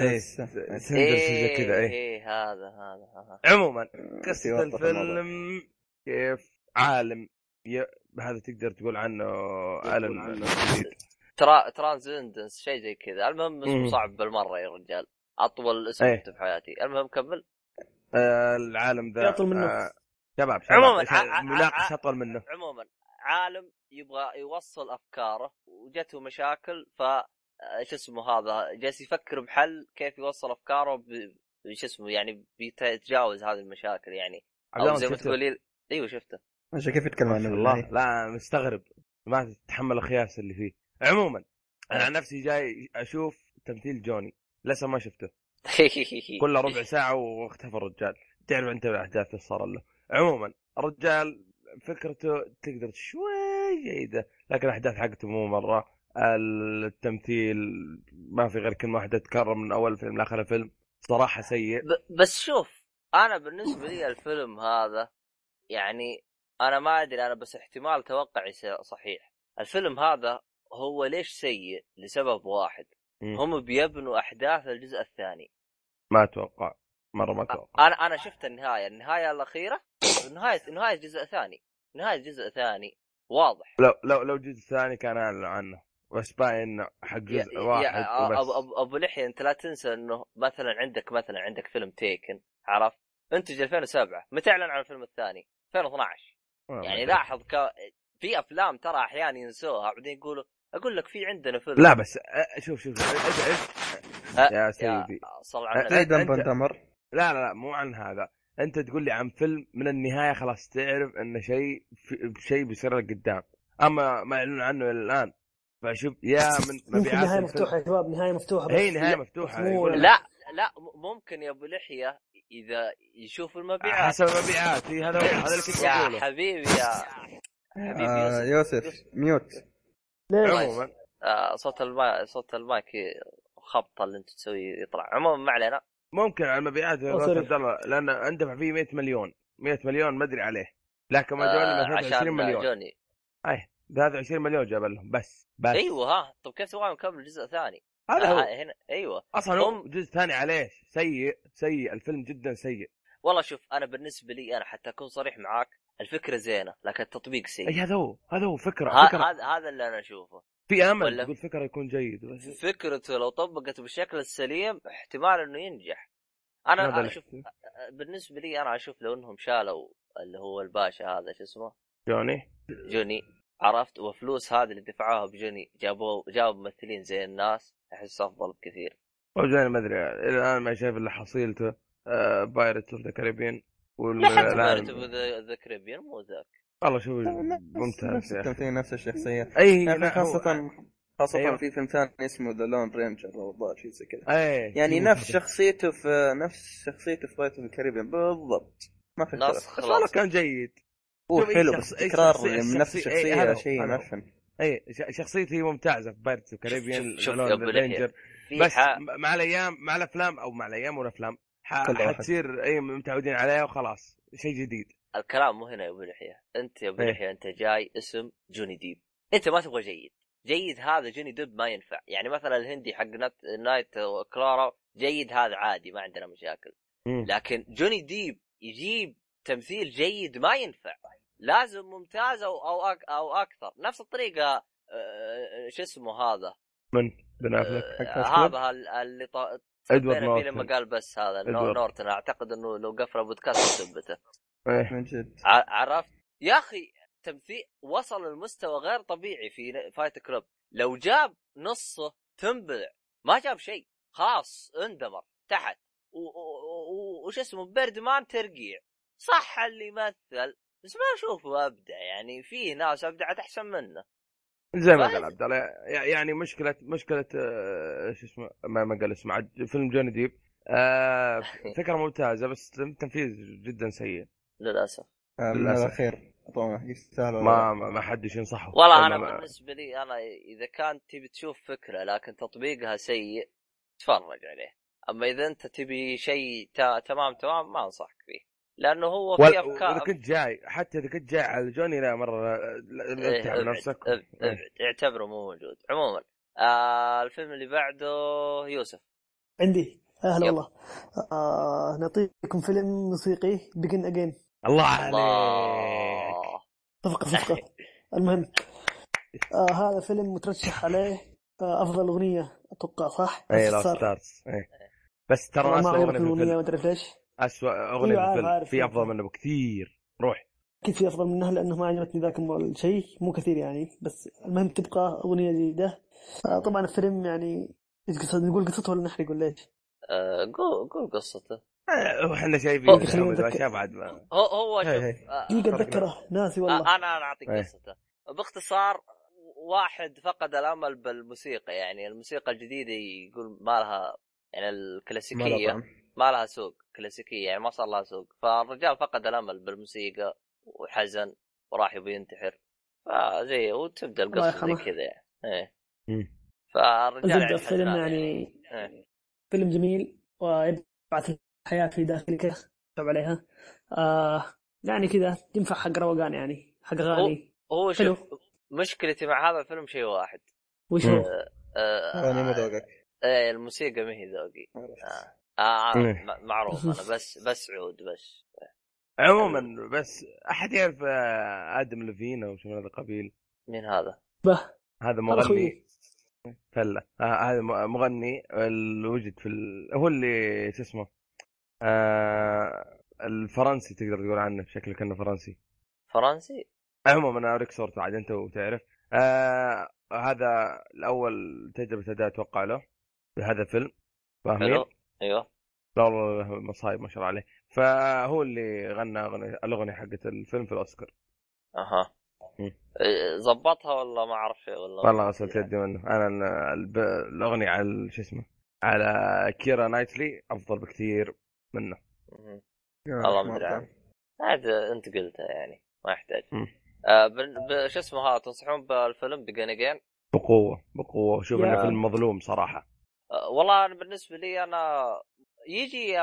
S2: ايه
S4: سن-
S2: سندر شيء كذا
S3: إيه.
S2: ايه
S1: ايه هذا هذا هذا
S2: عموما
S1: آه،
S4: يوضح
S2: قصه
S4: الموضوع.
S2: الفيلم كيف عالم ي... هذا تقدر تقول عنه عالم
S4: عنه.
S2: جديد
S1: ترا ترانزندنس شيء زي كذا المهم اسمه
S2: مم.
S1: صعب بالمره يا رجال اطول اسم
S2: إيه.
S1: جبته في حياتي المهم كمل
S2: آه العالم ذا
S3: يعطل منه.
S2: آه شباب شباب
S1: عموما،
S2: إيش-
S1: ع- ع-
S2: مناقش
S1: ع-
S2: اطول منه
S1: عموما عالم يبغى يوصل افكاره وجته مشاكل ف آه، شو اسمه هذا جالس يفكر بحل كيف يوصل افكاره ب... شو اسمه يعني بيتجاوز هذه المشاكل يعني
S2: عبد
S1: او
S2: الله
S1: زي ما
S2: شفته؟
S1: تقولي ايوه شفته
S4: ماشي كيف يتكلم
S2: ما
S4: عن
S2: شاء الله لا مستغرب ما تتحمل الخياس اللي فيه عموما انا عن نفسي جاي اشوف تمثيل جوني لسه ما شفته كله ربع ساعه واختفى الرجال تعرف انت الاحداث اللي صار له عموما الرجال فكرته تقدر شوي جيده لكن الاحداث حقته مو مره التمثيل ما في غير كلمه واحده تكرر من اول فيلم لاخر فيلم صراحه سيء
S1: ب... بس شوف انا بالنسبه لي الفيلم هذا يعني انا ما ادري انا بس احتمال توقعي س- صحيح الفيلم هذا هو ليش سيء لسبب واحد
S2: مم.
S1: هم بيبنوا احداث الجزء الثاني
S2: ما اتوقع مره ما اتوقع
S1: انا انا شفت النهايه النهايه الاخيره نهايه نهايه جزء ثاني نهايه جزء ثاني واضح
S2: لو لو لو جزء ثاني كان اعلن عنه بس باين حق جزء واحد
S1: أ-
S2: وبس
S1: أبو, أبو, ابو لحيه انت لا تنسى انه مثلا عندك مثلا عندك فيلم تيكن عرفت انتج 2007 متى اعلن عن الفيلم الثاني 2012
S2: والله
S1: يعني
S2: ما
S1: لاحظ ك... في افلام ترى احيانا ينسوها بعدين يقولوا اقول لك في عندنا فيلم
S2: لا بس أ- شوف شوف شوف.
S1: أ-
S2: يا
S1: يا
S2: سيدي
S1: صل على النبي.
S4: ايضا
S2: أنت-
S4: بندمر
S2: لا لا لا مو عن هذا انت تقول لي عن فيلم من النهايه خلاص تعرف انه شيء في- شيء بيصير لك قدام اما ما يعلنون عنه الى الان فشوف يا من
S3: يمكن
S2: مبيعات إيه.
S3: نهايه
S2: الفيلم-
S3: مفتوحه يا شباب نهايه مفتوحه بس
S2: هي نهايه
S1: لا.
S2: مفتوحه
S3: مو-
S2: يقول لك
S1: لا لا م- ممكن يا ابو لحيه اذا يشوف المبيعات
S2: حسب المبيعات هي هذا هذا اللي كنت
S1: يا
S2: بقوله
S1: حبيبي يا حبيبي
S4: آه
S1: يوسف.
S4: يوسف ميوت
S3: ليش؟
S2: عموما
S1: آه، صوت المايك صوت المايك خبطه اللي انت تسويه يطلع عموما ما علينا
S2: ممكن على المبيعات يا
S3: أصرف.
S2: راس عبد الله لان اندفع فيه 100 مليون 100 مليون ما ادري عليه لكن ما جوني
S1: آه،
S2: الا 23 مليون
S1: جوني
S2: 23 مليون جاب لهم بس بس
S1: ايوه ها طب كيف سواها مكمل جزء ثاني
S2: هذا
S1: آه،
S2: هو
S1: هنا ايوه
S2: اصلا هو
S1: هم-
S2: جزء ثاني عليه سيء سيء الفيلم جدا سيء
S1: والله شوف انا بالنسبه لي انا حتى اكون صريح معاك الفكره زينه لكن التطبيق
S2: اي
S1: سيء
S2: هذا هو هذا هو فكره
S1: ه-
S2: فكره
S1: هذا هذا اللي انا اشوفه
S2: في امل
S1: ولا-
S2: تقول فكره يكون جيد بس
S1: فكرته لو طبقت بالشكل السليم احتمال انه ينجح انا
S2: هذا
S1: انا
S2: اللي-
S1: شوف بالنسبه لي انا اشوف لو انهم شالوا اللي هو الباشا هذا شو اسمه
S2: جوني
S1: جوني عرفت وفلوس هذه اللي دفعوها بجوني جابوا جابوا ممثلين زي الناس احس افضل بكثير
S2: هو جوني ما ادري الى الان ما شايف آه، الا حصيلته بايرتس اوف ذا كاريبيان
S1: لا حتى بايرت ذا كريبيان مو ذاك
S2: والله شوف
S4: نفس- نفس
S2: ممتاز يا أخي.
S4: التمثيل نفس الشخصيات
S2: اي
S4: يعني
S2: لا، هو-
S4: خاصة خاصة
S2: أيوة.
S4: في فيلم ثاني اسمه ذا لون رينجر او الظاهر شيء زي كذا
S2: ايه
S4: يعني
S2: شوف
S4: نفس
S2: هذا.
S4: شخصيته في نفس شخصيته في بايت اوف الكاريبيان بالضبط ما في
S1: ناس
S4: اختلاف
S2: بس والله
S1: خلاص
S2: كان جيد
S4: هو
S2: شوف أي
S4: حلو
S2: شخص-
S4: بس
S2: أي
S4: تكرار
S2: شخصية-
S4: من نفس
S2: شخصية- أي هذا
S4: الشخصية
S2: هو،
S4: شيء
S2: هذا
S4: ما
S2: هو.
S4: فهم
S2: اي ش- شخصيته ممتازه في بايرتس اوف كاريبيان
S1: شوف- شوف يا أبو لحية.
S2: رينجر
S1: في
S2: بس
S1: ح-
S2: م- مع الايام مع الافلام او مع الايام والافلام
S4: كل
S2: ح-
S4: واحد.
S2: حتصير اي متعودين عليها وخلاص شيء جديد
S1: آه، الكلام مو هنا يا ابو لحيه انت يا ابو
S2: إيه.
S1: لحيه انت جاي اسم جوني ديب انت ما تبغى جيد جيد هذا جوني ديب ما ينفع يعني مثلا الهندي حق نت- نايت كلارا جيد هذا عادي ما عندنا مشاكل
S2: مم.
S1: لكن جوني ديب يجيب تمثيل جيد ما ينفع لازم ممتاز او او, أك او اكثر نفس الطريقه آه، شو اسمه هذا
S2: من بن افلك
S1: آه،
S2: حق فاست كلاب؟
S1: هذا ال- اللي طا-
S2: ادوارد
S1: تخبينا فيه لما
S2: نورتون
S1: قال بس هذا نو-
S2: إدوارد.
S1: نورتون اعتقد انه لو قفل بودكاست ثبته
S2: إيه.
S4: من جد
S1: ع- عرفت يا اخي تمثيل وصل لمستوى غير طبيعي في فايت كلوب لو جاب نصه تنبلع ما جاب شيء خلاص اندمر تحت و- و- و- وش اسمه بيردمان ترقيع صح اللي يمثل بس ما اشوفه ابدع يعني في ناس ابدعت احسن منه
S2: زي ما
S1: فاز.
S2: قال عبد الله يع- يعني مشكله مشكله آه، شو اسمه ما ما قال اسمه عاد فيلم جوني ديب آه، فكره ممتازه بس تنفيذ جدا سيء
S1: للاسف
S4: آه، من
S2: للأسف.
S4: الاخير طبعا يستاهل
S2: ما ما ما حدش ينصحه
S1: والله
S2: لما-
S1: انا بالنسبه لي انا اذا كان تبي تشوف فكره لكن تطبيقها سيء تفرج عليه اما اذا انت تبي شيء تا- تمام تمام ما انصحك فيه لانه هو في
S2: وال-
S1: افكار
S2: واذا كنت جاي حتى اذا كنت جاي على جوني لا مره لا- لا- لا
S1: إيه،
S2: اتعب
S1: ابعد،
S2: نفسك
S1: ابعد،
S2: إيه.
S1: ابعد، اعتبره مو موجود عموما آه الفيلم اللي بعده يوسف
S3: عندي اهلا
S1: يب.
S3: والله آه نعطيكم فيلم موسيقي بيجن اجين
S2: الله عليك
S1: الله
S3: صفقه صفقه المهم آه هذا فيلم مترشح عليه آه افضل اغنيه اتوقع صح؟
S2: اي
S3: بس
S2: إيه، لا
S3: صار.
S2: ستارز إيه. بس ترى
S3: ما
S2: اسوء
S3: عجبك
S2: اغنيه في
S3: الاغنيه
S2: الفيلم
S3: ما ادري ليش
S2: اسوء
S3: أيوة،
S2: اغنيه في
S3: عارف-
S2: الفيلم
S3: عارف.
S2: في افضل منه بكثير روح
S3: اكيد في افضل منها لانه ما عجبتني ذاك الشيء مو كثير يعني بس المهم تبقى اغنيه جيده آه طبعا الفيلم يعني ايش قصة نقول قصته ولا نحرق ولا ايش؟
S1: آه، قول قول قصته
S2: آه، واحنا
S1: أوه.
S2: شايفين
S3: خليني
S2: محمد ما
S3: أتذكر.
S2: شاف عاد إيه، ما-
S1: هو هو شوف
S4: هي هي.
S1: آه،
S3: دقيقه
S4: فرق
S3: اتذكره ناسي والله
S1: آه، انا انا اعطيك
S2: إيه.
S1: قصته باختصار واحد فقد الامل بالموسيقى يعني الموسيقى الجديده يقول ما لها يعني
S4: ما
S2: إيه.
S4: له
S1: الكلاسيكيه
S4: طعم.
S1: ما لها سوق كلاسيكيه يعني ما صار لها سوق فالرجال فقد الامل بالموسيقى وحزن وراح يبي ينتحر فزي وتبدا
S3: الله
S1: القصه زي
S3: يرحمه.
S1: كذا يعني ايه
S2: مم.
S1: فالرجال
S3: الفيلم
S1: يعني حزنان
S3: فيلم يعني
S1: إيه.
S3: فيلم جميل ويبعث الحياة في داخلك كذا تتعب عليها آه يعني كذا ينفع حق روقان يعني حق أغاني
S1: هو
S3: حلو
S1: شوف مشكلتي مع هذا الفيلم شيء واحد
S3: وش
S2: مم.
S3: هو؟
S1: آه
S4: انا ما ذوقك
S1: ايه الموسيقى ما هي ذوقي
S4: عرفت.
S1: آه عارف،
S2: إيه.
S1: م- معروف انا بس بس عود بس
S2: عموما بس احد يعرف آه، ادم لفين او شو من هذا القبيل
S1: مين هذا؟
S3: به
S2: هذا مغني
S3: اخوي
S2: فلا آه، هذا م- مغني اللي وجد في ال... هو اللي شو اسمه آه الفرنسي تقدر تقول عنه شكله كانه فرنسي
S1: فرنسي؟
S2: عموما انا اوريك صورته عاد انت وتعرف آه هذا الاول تجربه اداء اتوقع له بهذا الفيلم فاهمين؟
S1: حلو ايوه
S2: لا والله مصايب ما شاء الله عليه فهو اللي غنى أغنية- الاغنيه حقت الفيلم في الاوسكار
S1: اها
S2: مم.
S1: إيه، ظبطها ولا ما يعني. اعرف شيء ولا
S2: والله غسلت يدي منه انا ال- الب- الاغنيه على ال- شو اسمه على كيرا نايتلي افضل بكثير منه
S1: مم.
S4: يا
S1: الله
S4: رحمة
S1: مدري
S4: الله.
S1: عنه. عاد انت قلتها يعني ما يحتاج
S2: مم.
S1: آه بن- ب- شو اسمه هذا تنصحون بالفيلم دقن اجين
S2: بقوه بقوه شوف
S3: يا.
S2: انه فيلم مظلوم صراحه
S1: آه والله انا بالنسبه لي انا يجي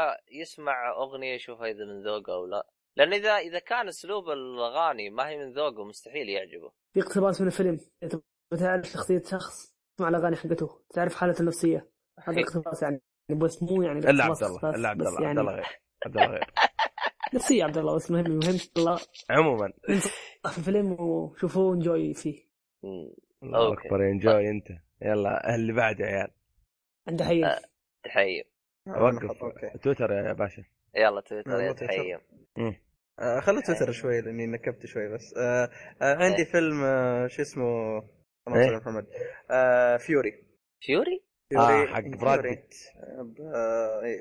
S1: يسمع اغنيه يشوف اذا من ذوقه او لا لان اذا اذا كان اسلوب الاغاني ما هي من ذوقه مستحيل يعجبه
S3: في اقتباس من الفيلم انت بتعرف شخصية شخص تسمع الاغاني حقته تعرف حالته النفسية هذا اقتباس يعني بس مو يعني
S2: الا إيه. عبد
S3: اقتباس
S2: الله
S3: بس-
S2: الا عبد
S3: بس
S2: الله عبد
S3: يعني
S2: الله غير عبد الله غير
S3: نفسية عبد الله بس مهم مهم الله
S2: عموما
S3: في الفيلم وشوفوه انجوي فيه
S1: مم.
S2: الله
S1: أوكي.
S2: اكبر انجوي انت يلا اللي بعده يا عيال
S3: عنده حي
S1: آه. تحيم
S4: آه،
S2: وقف
S4: اوكي
S2: تويتر يا باشا
S1: يلا تويتر يا
S4: يلا تويتر.
S1: تحيم
S2: مم.
S4: آه،
S2: يعني
S4: خلوا تويتر شوي لاني نكبت شوي بس آه، آه، عندي
S2: إيه.
S4: فيلم آه، شو اسمه اللهم صل على محمد آه، فيوري
S1: فيوري
S2: اه
S4: فيوري
S2: حق براد
S4: فيوري.
S2: بيت
S4: آه، إيه،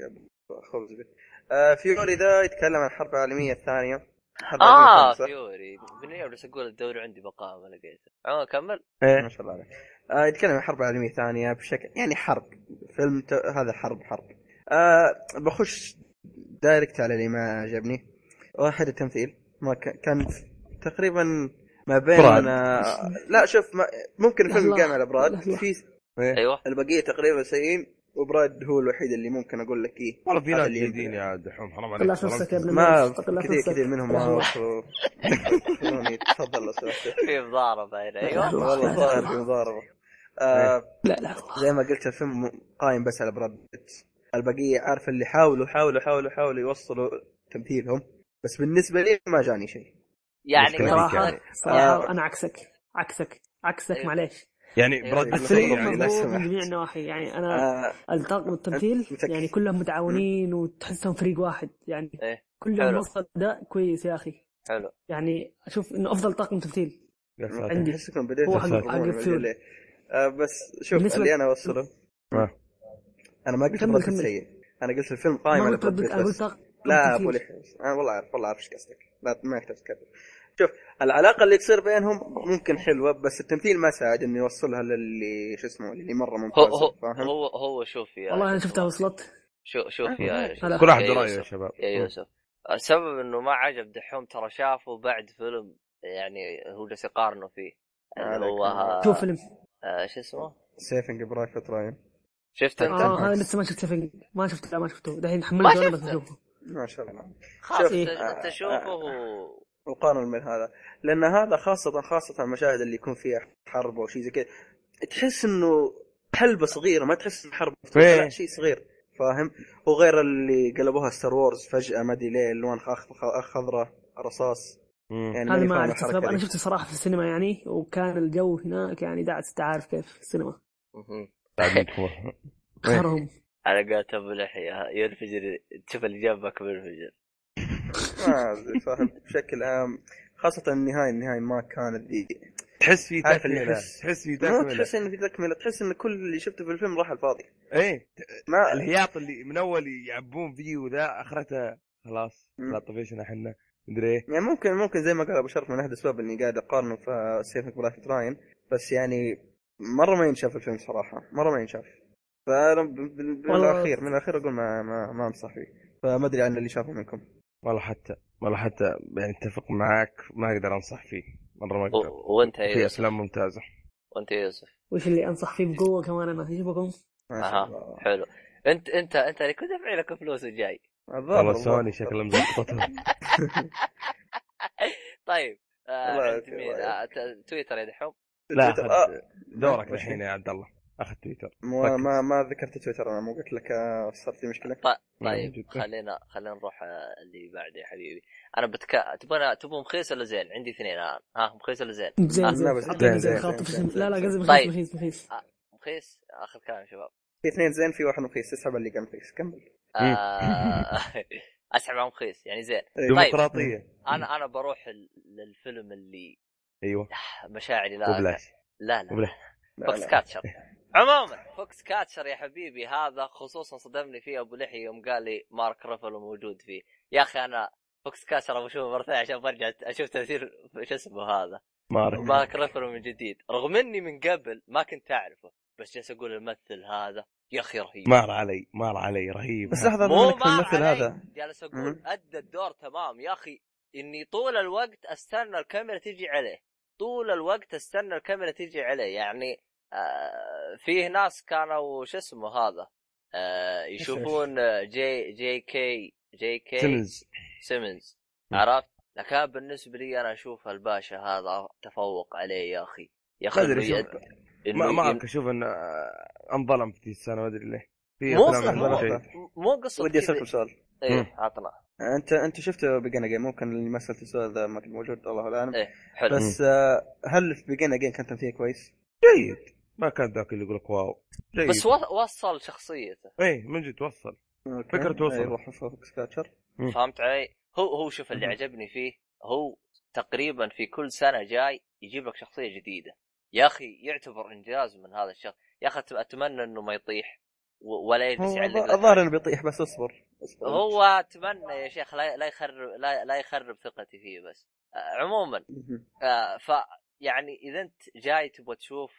S4: خبز بيت. آه، فيوري ذا يتكلم عن الحرب العالمية الثانية
S2: آه،
S4: الحرب العالمية
S1: اه
S4: الخامسة.
S1: فيوري من اليوم بس اقول الدوري عندي بقاء ما لقيته اه كمل
S2: إيه.
S4: ما شاء الله عليك آه، يتكلم عن الحرب العالميه الثانيه بشكل يعني حرب فيلم ت... هذا حرب حرب آه بخش دايركت على اللي ما عجبني واحد التمثيل ما ك... كان تقريبا ما بين
S2: براد.
S4: آه... لا شوف ما... ممكن الفيلم
S3: لحظة.
S4: قام على براد
S3: لحظة.
S4: في
S1: ايوه
S4: البقيه تقريبا سيئين وبراد هو الوحيد اللي ممكن اقول لك ايه
S2: والله في
S4: هذا
S2: ناس
S4: اللي يمكن.
S2: جيدين يا دحوم حرام عليك
S3: طلع في نفسك يا ابن
S4: ما
S3: الناس طلع في
S4: كثير
S3: نفسك
S4: كثير منهم ما
S3: لحظة.
S4: وصلوا خلوني تفضل لو سمحت
S1: في مضاربه هنا
S3: لا،
S1: ايوه
S3: لا.
S4: والله ظاهر في مضاربه آه
S3: لا لا الله
S4: زي ما قلت الفيلم م- قايم بس على براد بيت البقيه عارف اللي حاولوا حاولوا حاولوا حاولوا يوصلوا تمثيلهم بس بالنسبه لي ما جاني شيء
S1: يعني
S2: مشكلة
S1: كان
S2: فيك يعني.
S1: كان-
S3: صراحة انا عكسك عكسك عكسك
S2: إيه.
S1: أيوه.
S3: معليش
S2: يعني براد بيت
S4: الفيلم
S3: الفيلم
S2: يعني
S3: مضبوط من
S4: مظلوم. لو سمحت.
S3: جميع النواحي يعني انا
S4: آه
S3: الطاقم التمثيل
S4: متأكد.
S3: يعني كلهم متعاونين وتحسهم فريق واحد يعني
S1: إيه.
S3: كلهم
S1: حلو.
S3: وصل اداء كويس يا اخي
S1: حلو
S3: يعني اشوف انه افضل طاقم تمثيل
S2: يا ساتر.
S3: عندي.
S4: احسك من بدايه
S3: هو
S4: الفيلم
S2: حق-
S3: حق
S4: عموماً، ما أدري
S3: الفيلم.
S4: ليه. آه بس شوف
S3: بالنسبة-
S4: اللي انا اوصله
S2: آه.
S4: انا ما قلت
S3: كمل،
S4: براد بيت
S3: كمل.
S4: سيء انا قلت الفيلم قايم
S3: ما
S4: على
S3: قلت
S4: براد
S3: ردك
S4: بيت
S3: انا قلت
S4: بس
S3: طاقم
S4: لا
S3: تمثيل.
S4: ابو لحيه انا والله عارف والله عارف ايش قصدك لا ما يحتاج تكرر شوف العلاقه اللي تصير بينهم ممكن حلوه بس التمثيل ما ساعد انه يوصلها للي شو اسمه اللي مره
S1: هو
S4: ممتاز
S1: هو
S4: فاهم
S1: هو, هو شوف يا
S3: والله انا شفتها وصلت
S1: شو شوف يا شوف
S3: هلا.
S2: كل واحد
S1: يا
S2: رايه يا أمم.
S1: يوسف.
S2: شباب
S1: يا يوسف السبب انه ما عجب دحوم ترى شافه بعد فيلم يعني هو جالس يقارنه فيه اللي
S4: عليك
S1: هو
S4: الله.
S1: آه،
S3: شوف فيلم
S1: آه، شو اسمه
S4: سيفنج برايفت راين آه،
S1: شفت انت؟
S3: اه
S4: عكس.
S3: انا لسه ما شفت سفنج ما شفته لا ما شفته دحين
S1: ما
S3: حملته انا بس
S1: شفته.
S3: اشوفه
S4: ما شاء الله
S1: خلاص
S3: شوف.
S1: انت أنت شوفه و-
S4: وقارن من هذا لان هذا خاصه خاصه المشاهد اللي يكون فيها حرب او شيء زي كذا تحس انه حلبه صغيره ما تحس ان حرب مفتوحه
S2: إيه.
S4: لا شيء صغير فاهم وغير اللي قلبوها ستار وورز فجاه ما ادري ليه الوان خ- خ- خضراء رصاس
S2: مم.
S4: يعني
S3: هذا
S4: ماني
S3: ما
S4: فاهم
S3: اعرف السبب
S4: الحركه
S3: انا
S4: دي.
S3: شفته صراحه في السينما يعني وكان الجو هناك يعني دعت انت عارف كيف في السينما
S1: مهم.
S2: بعد ندخل.
S3: خسرهم
S1: أمم. على قولة ابو لحيه ينفجر تشوف اللي جنبك بينفجر
S4: ما أدري، فاهم بشكل عام خاصه النهايه النهايه ما كانت ذي
S2: تحس في
S4: عارف اللي
S2: تكمله
S4: يحس-
S2: تحس في
S4: ما
S2: تكمله
S4: تحس ان في تكمله تحس ان كل اللي شفته في الفيلم راح على الفاضي
S2: ايه
S4: ما
S2: الهياط اللي من اول يعبون فيه وذا اخرته خلاص
S4: مم.
S2: لا طفشنا احنا مدري ايه
S4: يعني ممكن ممكن زي ما قال ابو شرف من احد الاسباب اني قاعد اقارنه في سيفنج برايفت راين بس يعني مره ما ينشاف الفيلم صراحه مره ما ينشاف فانا ب- ب- من
S3: والله-
S4: الاخير من الاخير اقول ما ما ما انصح فيه فما ادري عن اللي شافه منكم
S2: والله حتى والله حتى يعني اتفق معاك ما اقدر انصح فيه مره ما اقدر
S1: و- وانت يا
S2: في
S1: يوسف
S2: افلام ممتازه
S1: وانت يا يوسف
S3: وش اللي انصح فيه بقوه كمان انا يجيبكم
S4: ما
S1: أها.
S4: شاء الله
S1: حلو انت انت انت اللي كنت دافع لك فلوس وجاي
S4: الظاهر
S2: والله سوني شكلها مزبطتها
S1: طيب آه
S4: الله
S1: عند
S4: يعافيك،
S1: مين؟
S4: الله
S1: آه ت- تويتر يا دحوم
S2: لا
S4: تويتر.
S2: أخذ
S4: آه،
S2: دورك
S4: أكبر
S2: الحين
S4: شيء.
S2: يا عبد الله اخذ تويتر
S4: ما ما, ما ذكرت تويتر انا مو قلت لك آه، صار في مشكله
S2: نعم،
S1: طيب
S2: جدا.
S1: خلينا خلينا نروح آه، اللي بعده يا حبيبي انا بتك تبون تبون مخيس ولا زين؟ عندي اثنين الان ها مخيس ولا زين؟
S3: زين
S4: آه، لا بس-
S3: زين
S2: زين،
S3: حطني زين
S2: زين،
S3: خاطر في
S4: زين،
S3: اسم- لا لا
S4: زين،
S3: قصدي
S1: طيب.
S3: مخيس مخيس مخيس
S1: مخيس اخذ كلام يا شباب
S4: في اثنين زين في واحد مخيس اسحب اللي قال مخيس كمل
S1: آه، اسحب على مخيس يعني زين
S4: إيه.
S1: طيب.
S2: ديمقراطيه
S1: انا انا بروح ال- للفيلم اللي آه،
S2: ايوه
S1: مشاعري لا
S2: وبلاش
S1: لا لا
S2: وبلاش
S4: لا،
S1: فوكس
S4: لا.
S1: كاتشر عموما فوكس كاتشر يا حبيبي هذا خصوصا صدمني فيه ابو لحي يوم قال لي مارك رفلو موجود فيه يا اخي انا فوكس كاتشر ابغى اشوفه مره ثانيه عشان برجع اشوف تاثير شو اسمه هذا
S2: مارك
S1: مارك رفلو من جديد رغم اني من قبل ما كنت اعرفه بس جالس اقول الممثل هذا يا اخي رهيب
S2: مار علي مار علي رهيب
S4: بس لحظه
S1: مو
S4: بما انك
S1: مار
S4: الممثل
S1: علي.
S4: هذا
S1: جالس اقول
S4: مم.
S1: ادى الدور تمام يا اخي اني طول الوقت استنى الكاميرا تجي عليه طول الوقت استنى الكاميرا تجي عليه يعني آه فيه ناس كانوا شو اسمه هذا آه يشوفون آه، جي جي كي جي كي
S2: سيمنز
S1: سيمنز
S2: مم.
S1: عرفت لكن بالنسبه لي انا اشوف الباشا هذا تفوق عليه يا اخي يا اخي
S2: ما ادري
S1: إنه
S2: شوف
S1: يد-
S2: ما
S1: إنه
S2: ما
S1: ين-
S2: أعرف، اشوف انه آه، انظلم في ذي السنه ما ادري ليه في
S1: مو
S2: أفلام
S4: أصلاً، مو
S2: أنظلم
S4: أصلاً.
S2: شيء.
S1: مو قصه
S4: ودي
S1: كذا.
S4: اسالكم سؤال
S1: ايه عطنا
S4: انت انت شفته بيجن اجين ممكن اللي ما سالت السؤال ذا ما كان موجود الله اعلم
S1: إيه، حلو
S4: بس آه، هل في بيجن اجين كان تمثيل كويس؟
S2: جيد ما كان ذاك اللي يقول لك واو جيد
S1: بس و- وصل شخصيته
S2: اي من جد وصل
S4: أوكي.
S2: فكرة وصلت.
S4: إيه، روح فوكس كاتشر
S2: مم.
S1: فهمت علي؟ هو هو شوف اللي
S2: مم.
S1: عجبني فيه هو تقريبا في كل سنه جاي يجيب لك شخصيه جديده. يا اخي يعتبر انجاز من هذا الشخص، يا اخي أت- اتمنى انه ما يطيح و- ولا يجلس
S4: هو
S1: يعلق
S4: الظ-
S1: لك.
S4: الظاهر انه بيطيح بس اصبر اصبر
S1: هو اتمنى يا شيخ لا لا يخرب لا, لا يخرب ثقتي فيه بس. آه، عموما
S4: مهم.
S1: آه، ف يعني اذا انت جاي تبغى تشوف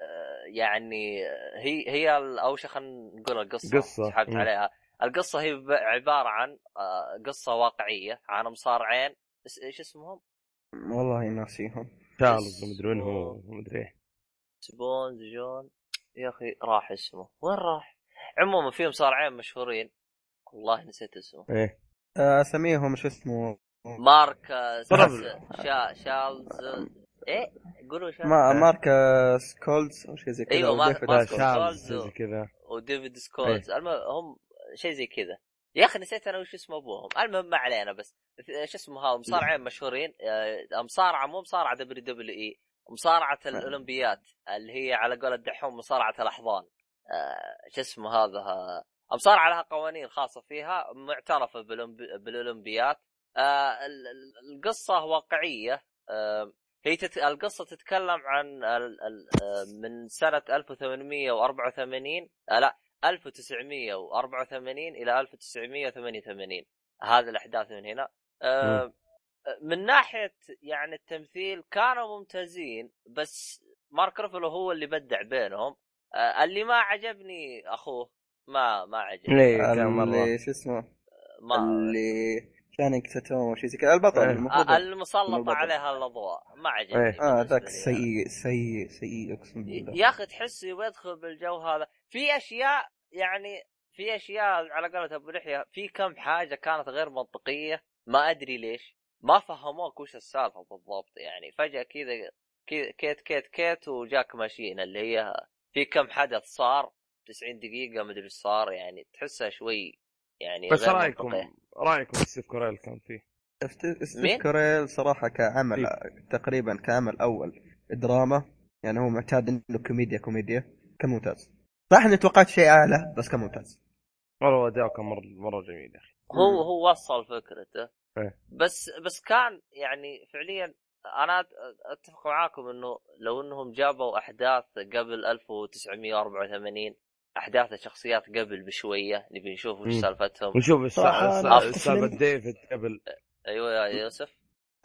S1: آه، يعني آه، هي هي ال- او شيء خلينا نقول القصه
S2: قصة.
S1: سحبت
S2: مم.
S1: عليها القصه هي ب- عباره عن آه، قصه واقعيه عن مصارعين اس- ايش اسمهم؟
S4: والله ناسيهم
S2: تشارلز ومدري وين هو ومدري ايه
S1: سبونز جون يا اخي راح اسمه وين راح؟ عموما في مصارعين مشهورين والله نسيت اسمه
S2: ايه
S4: آه، اسميهم شو اسمه
S1: مارك آه،
S2: طرف.
S1: س- شا شارلز آه، ايه قولوا شارلز
S4: ما مارك آه، سكولز او شيء زي كذا
S1: أيوة،
S4: أو
S1: مارك-
S4: ديفيد.
S1: مارك- ماسكو
S2: لا، تشارلز
S1: سولزو.
S2: زي كذا
S1: وديفيد سكولز المهم هم شيء زي كذا يا اخي نسيت انا وش اسم ابوهم المهم ما علينا بس شو اسمه هذا مصارعين مشهورين آه، مصارعه مو مصارعه دبليو دبليو اي مصارعه الاولمبيات اللي هي على قول الدحوم مصارعه الاحضان آه، شو اسمه هذا آه، مصارعه لها قوانين خاصه فيها معترفه بالأولمبي- بالاولمبيات آه، ال- ال- القصه واقعيه آه، هي تت... القصه تتكلم عن ال... ال... آه، من سنه 1884 آه، لا 1984 الى 1988 هذه الاحداث من هنا آه، من ناحيه يعني التمثيل كانوا ممتازين بس مارك رفلو هو اللي بدع بينهم آه، اللي ما عجبني اخوه ما ما عجبني
S4: إيه،
S2: ليه كان مره
S4: اللي شو اسمه
S1: ما
S4: اللي كان يقتتهم او شيء زي كذا البطل
S2: إيه.
S4: المفروض
S1: آه، المسلطه
S4: المبرر.
S1: عليها الاضواء ما عجبني
S2: إيه.
S4: اه
S1: بالنسبة
S4: ذاك
S1: لي.
S4: سيء سيء سيء اقسم بالله
S1: يا اخي تحس يبغى يدخل بالجو هذا في اشياء يعني في اشياء على قولة ابو لحيه في كم حاجه كانت غير منطقيه ما ادري ليش ما فهموك وش السالفه بالضبط يعني فجاه كذا كي- كيت كيت كيت وجاك ماشيين اللي هي في كم حدث صار 90 دقيقه مدري ايش صار يعني تحسها شوي يعني
S2: بس
S1: غير
S2: رايكم
S1: منطقية.
S2: رايكم في ستيف كوريل كان فيه
S4: ست- ستيف
S1: مين؟ إيه.
S4: كوريل صراحه كعمل تقريبا كعمل اول دراما يعني هو معتاد انه كوميديا كوميديا كان ممتاز صح اني توقعت شيء اعلى بس كان ممتاز
S2: والله اداؤه كان مره مره جميل يا اخي
S1: هو هو وصل فكرته
S2: إيه.
S1: بس بس كان يعني فعليا انا أت- اتفق معاكم انه لو انهم جابوا احداث قبل 1984 احداث الشخصيات قبل بشويه نبي نشوف وش
S2: مم.
S1: سالفتهم
S2: ونشوف الس-
S3: صراحة
S2: الس-
S3: أنا
S1: شفت
S2: سالفه
S3: فيلم-
S2: ديفيد قبل
S1: ايوه يا يوسف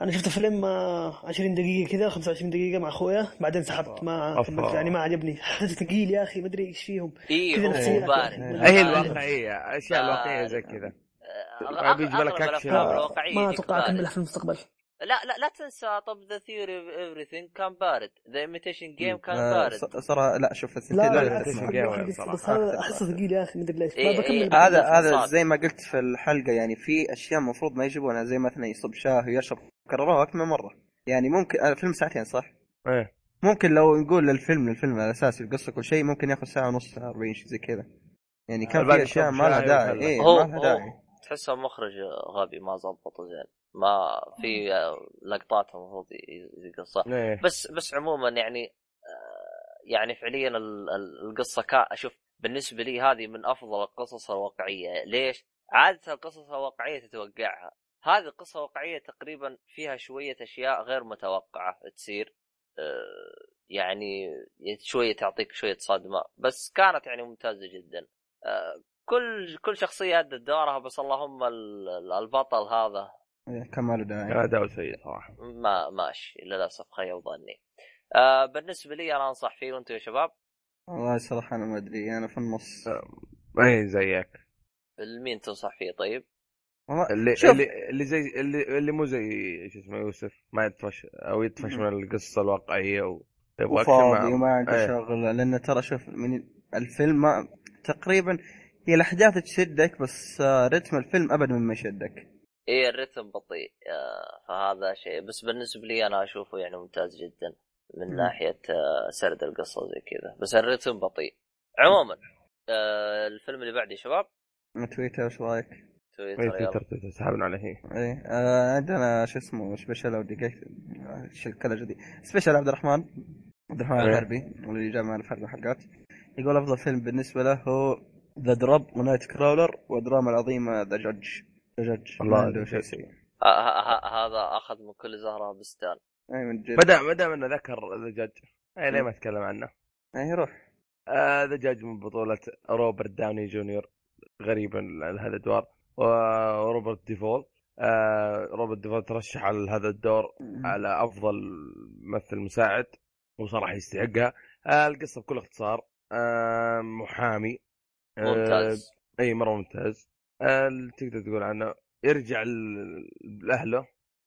S3: انا شفت فيلم آه، 20 دقيقه كذا 25 دقيقه مع اخويا بعدين سحبت ما
S2: أفا.
S3: كملت يعني ما عجبني حسيت ثقيل يا اخي ما ادري ايش فيهم
S1: اي
S3: كذا يعني. آه،
S1: هو
S3: نفسيات
S1: بارد
S3: يا أخي.
S4: إيه،
S2: هي
S1: بارد.
S2: الواقعيه اشياء
S1: آه،
S2: الواقعيه زي كذا
S1: آه،
S2: ما بيجيب لك
S1: اغلب
S2: أكشن.
S1: الافلام
S2: آه،
S1: الواقعيه
S3: ما
S1: يجيك
S3: اتوقع
S1: بارد.
S3: اكملها في المستقبل
S1: لا لا لا تنسى طب ذا ثيوري اوف ايفريثينج كان بارد ذا ايميتيشن جيم كان
S4: آه،
S1: بارد
S4: ص- صراحه لا شوف الثنتين
S3: لا
S2: لا،
S4: لا
S3: بالعكس
S2: Imitation
S4: يتسمعون.
S2: Game
S3: حق- حق ديسك،
S2: صراحة.
S3: بس هذا احسه ثقيل يا اخي ما ادري ليش
S1: إيه،
S3: ما بكمل
S1: إيه.
S3: بكمل
S4: هذا
S3: في
S4: هذا
S3: المستقبل.
S4: زي ما قلت في الحلقه يعني في اشياء المفروض ما يجيبونها زي مثلا يصب شاه ويشرب كرروها اكثر من مره يعني ممكن الفيلم ساعتين صح؟
S2: ايه
S4: ممكن لو نقول الفيلم الفيلم الاساسي القصه كل شيء ممكن ياخذ ساعه ونص ساعه 40 شيء زي كذا يعني
S1: آه،
S4: كان
S2: الباقي
S4: في اشياء
S2: كم
S4: ما لها
S2: شاي
S4: داعي
S2: وخلاص.
S4: اي
S1: هو-
S4: ما لها
S1: هو-
S4: داعي
S1: تحسه مخرج غبي ما ضبطه زين ما في آه، لقطات المفروض يقصها
S2: ايه
S1: بس بس عموما يعني آه، يعني فعليا ال- ال- القصه كا اشوف بالنسبه لي هذه من افضل القصص الواقعيه ليش؟ عاده القصص الواقعيه تتوقعها هذه القصه واقعيه تقريبا فيها شويه اشياء غير متوقعه تصير آه، يعني شويه تعطيك شويه صدمه بس كانت يعني ممتازه جدا آه، كل كل شخصيه ادت دورها بس اللهم ال- ال- البطل هذا
S4: إيه، كان ما له داعي
S2: اداء سيء صراحه
S1: ما ماشي للاسف خيب ظني. آه بالنسبه لي انا انصح فيه وانتم يا شباب
S4: والله صراحه انا ما ادري انا في النص
S2: ايه زيك
S1: مين تنصح فيه طيب؟
S4: والله
S2: اللي
S4: شوف.
S2: اللي اللي زي اللي, اللي مو زي شو اسمه يوسف ما يطفش او يطفش من القصه الواقعيه و يبغى أكشن
S4: وفاضي
S2: مع-
S4: وما عنده
S2: إيه.
S4: شغل لان ترى شوف من الفيلم ما تقريبا هي الاحداث تشدك بس آه، رتم الفيلم ابدا ما يشدك
S1: ايه الرتم بطيء آه فهذا شيء بس بالنسبه لي انا اشوفه يعني ممتاز جدا من
S4: مم.
S1: ناحيه آه سرد القصه وزي كذا بس الرتم بطيء. عموما آه الفيلم اللي بعده يا شباب
S4: من تويتر ايش رايك؟
S2: ما
S1: تويتر
S2: إيه، في
S1: يلا.
S2: ترتيب تسحبنا عليه
S4: ايه آه، عندنا شو اسمه سبيشال او دقيقة آه، شو الكلجة دي سبيشال عبد الرحمن عبد الرحمن
S2: إيه.
S4: الحربي اللي جاء معنا في حلقة حلقات يقول افضل فيلم بالنسبة له هو ذا دروب ونايت كراولر والدراما العظيمة ذا جادج ذا جادج
S2: الله
S4: عنده
S2: The
S4: شيء
S2: Judge.
S4: سيء
S1: آه ه- ه- هذا اخذ من كل زهره بستان.
S4: اي من جد
S2: بدا بدا انه ذكر ذا جاج ايه ليه
S4: مم.
S2: ما اتكلم عنه؟
S4: اي روح
S2: آه، ذا جاج من بطولة روبرت داوني جونيور غريبا لهذا الدور و- وروبرت ديفول آه، روبرت ديفول ترشح على هذا الدور على افضل ممثل مساعد وصراحه يستحقها آه، القصه بكل اختصار آه، محامي آه،
S1: ممتاز.
S2: اي مره ممتاز آه، اللي تقدر تقول عنه يرجع ل- لاهله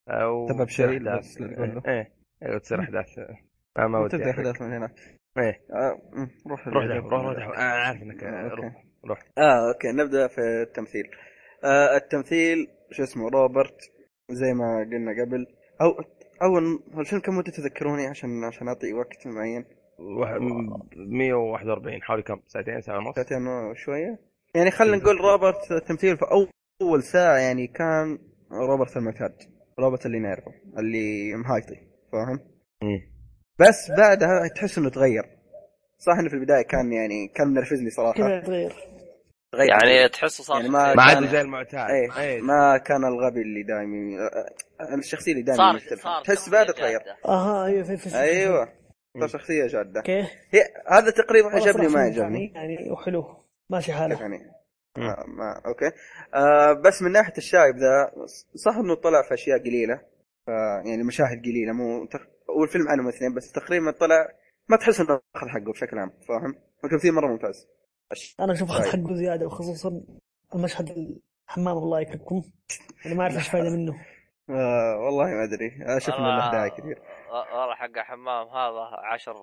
S2: آه، وتصير
S4: سبب شيء
S2: أحداث.
S4: بس لا تقول له.
S2: ايه ايوه تصير احداث آه، ما ودي
S4: تبدا
S2: أحرق.
S4: احداث من هناك
S2: إيه.
S4: آه، مم، روح
S2: روح
S4: اللي
S2: دحوم روح روح
S4: عجبك.
S2: دحوم انا عارف انك
S4: آه،
S2: روح
S4: أوكي.
S2: روح
S4: اه اوكي نبدا في التمثيل آه التمثيل شو اسمه روبرت زي ما قلنا قبل او اول الفيلم كم مدته تذكروني عشان عشان اعطي وقت معين
S2: واحد- 141 حوالي كم ساعتين ساعه ونص
S4: ساعتين وشويه يعني
S2: إيه،
S4: خلينا نقول روبرت التمثيل في أو- اول ساعه يعني كان روبرت المعتاد روبرت اللي نعرفه اللي مهايطي فاهم
S2: مم.
S4: بس بعدها تحس انه تغير صح انه في البدايه كان يعني كان منرفزني صراحه
S3: كذا تغير
S4: تغير
S1: يعني تحسه صار
S4: يعني ما-
S2: ما
S1: شخصية-
S2: عاد
S4: كان-
S2: زي المعتاد
S4: ايه
S2: إيه.
S4: ما كان الغبي اللي دايم آه، الشخصيه اللي دايم
S1: صار
S4: مختلفة.
S1: صار
S4: تحس
S1: شخصية
S4: بعد تغير
S1: جادة.
S3: اها ايوه في في في-
S4: ايوه
S2: مم.
S4: صار شخصيه جاده
S3: اوكي
S4: هي هذا تقريبا
S3: والله
S4: عجبني وما
S3: صراحة
S4: عجبني
S3: يعني وحلو ماشي
S4: كيف
S3: حاله
S4: يعني
S2: مم.
S4: آه، ما اوكي آه بس من ناحيه الشايب ذا صح انه طلع في اشياء قليله ف- يعني مشاهد قليله مو تق- والفيلم عنهم اثنين بس تقريبا طلع ما تحس انه اخذ حقه بشكل عام فاهم؟ التمثيل مره ممتاز أش-
S3: انا اشوف
S4: طيب.
S3: اخذ حقه زياده وخصوصا المشهد الحمام الله يكرمكم انا ما اعرف ايش فايده منه
S4: آه والله ما ادري اشوف انه له داعي كثير
S1: و- والله حق حمام هذا عشر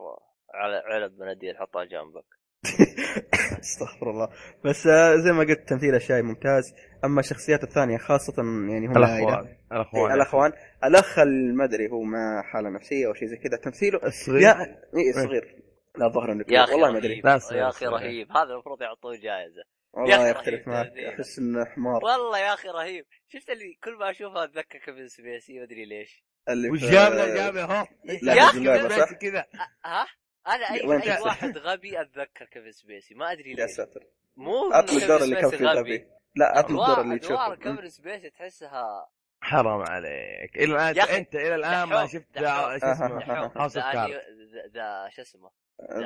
S1: عل- علب مناديل حطها جنبك
S4: استغفر الله بس آه، زي ما قلت تمثيل الشاي ممتاز اما الشخصيات الثانيه خاصه يعني هم عائلة.
S2: الاخوان
S4: إيه،
S2: الاخوان
S4: الاخوان الاخ المدري هو ما حاله نفسيه او شيء زي كذا تمثيله
S2: الصغير
S4: يا إيه، صغير لا ظهر انه
S1: يا
S4: كبير
S1: اخي
S4: والله ما ادري
S1: رهيب.
S2: لا أصير-
S1: يا اخي
S2: أصير.
S1: رهيب هذا المفروض يعطوه جائزه
S4: والله
S1: يا أخي
S4: يختلف
S1: رهيب
S4: معك
S1: ذي.
S4: احس انه حمار
S1: والله يا اخي رهيب شفت اللي كل ما اشوفه اتذكر كيفن سبيسي ما ادري ليش
S4: اللي
S2: وش
S4: في-
S2: جاب له جاب له هو
S1: لا،
S4: آه، يا
S1: يا
S4: أخي،
S2: كيف
S4: جلابة،
S2: الناس
S4: صح؟
S2: كذا
S1: ها انا اي
S4: وين
S1: اي
S4: تحس؟
S1: واحد غبي اتذكر كيفن سبيسي ما ادري
S4: يا
S1: ليش
S4: ساتر
S1: مو
S4: عطني
S1: إنه
S4: الدور
S1: كيفن
S4: اللي كان
S1: سبيسي
S4: فيه غبي لا عطني
S1: أدوار-
S4: الدور اللي
S1: ادوار
S4: تشوفه
S1: كيفن سبيسي تحسها
S2: حرام عليك الى الان
S1: يا أخي،
S2: انت الى الان ما
S1: دحوم،
S2: شفت
S1: دحوم.
S2: دا- شو اسمه
S1: دحوم
S2: House of
S1: ذا
S2: Cards.
S1: أنيو- ذا- ذا شو اسمه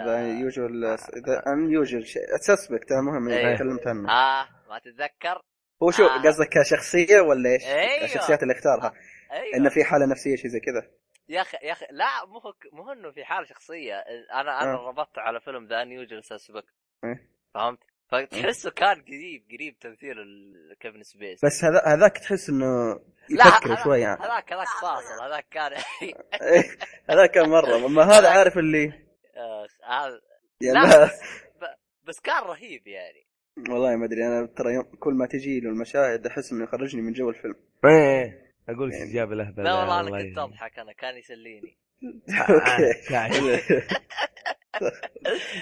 S4: ذا يوجوال ذا ان يوجوال سسبكت المهم
S1: إيه.
S4: تكلمت عنه
S1: ها ما تتذكر
S4: هو شوف
S1: آه.
S4: قصدك كشخصيه ولا ايش؟
S1: أيوة.
S4: الشخصيات اللي اختارها
S1: ايوه
S4: انه في حاله نفسيه شيء زي كذا
S1: يا اخي يا اخي لا مو هو مو انه في حاله شخصيه انا انا
S4: آه.
S1: ربطت على فيلم ذا نيوجل سسبكت
S4: إيه.
S1: فهمت؟ فتحسه كان قريب قريب تمثيل ال- كيفن سبيس
S4: بس هذا هذاك تحس انه
S1: لا،
S4: يفكر
S1: هذا-
S4: شوي يعني
S1: هذاك هذاك فاصل هذاك كان
S4: إيه، هذا كان مره اما هذا عارف اللي
S1: آخ، آه، هذا-
S4: يعني
S1: لا
S4: ما-
S1: بس, ب- بس كان رهيب يعني
S4: والله ما ادري انا ترى يوم كل ما تجي له المشاهد احس انه يخرجني من جو الفيلم
S2: ايه اقول استجابه الاهبل
S1: لا والله انا كنت اضحك انا كان يسليني
S4: آه،
S2: يعني
S4: يعني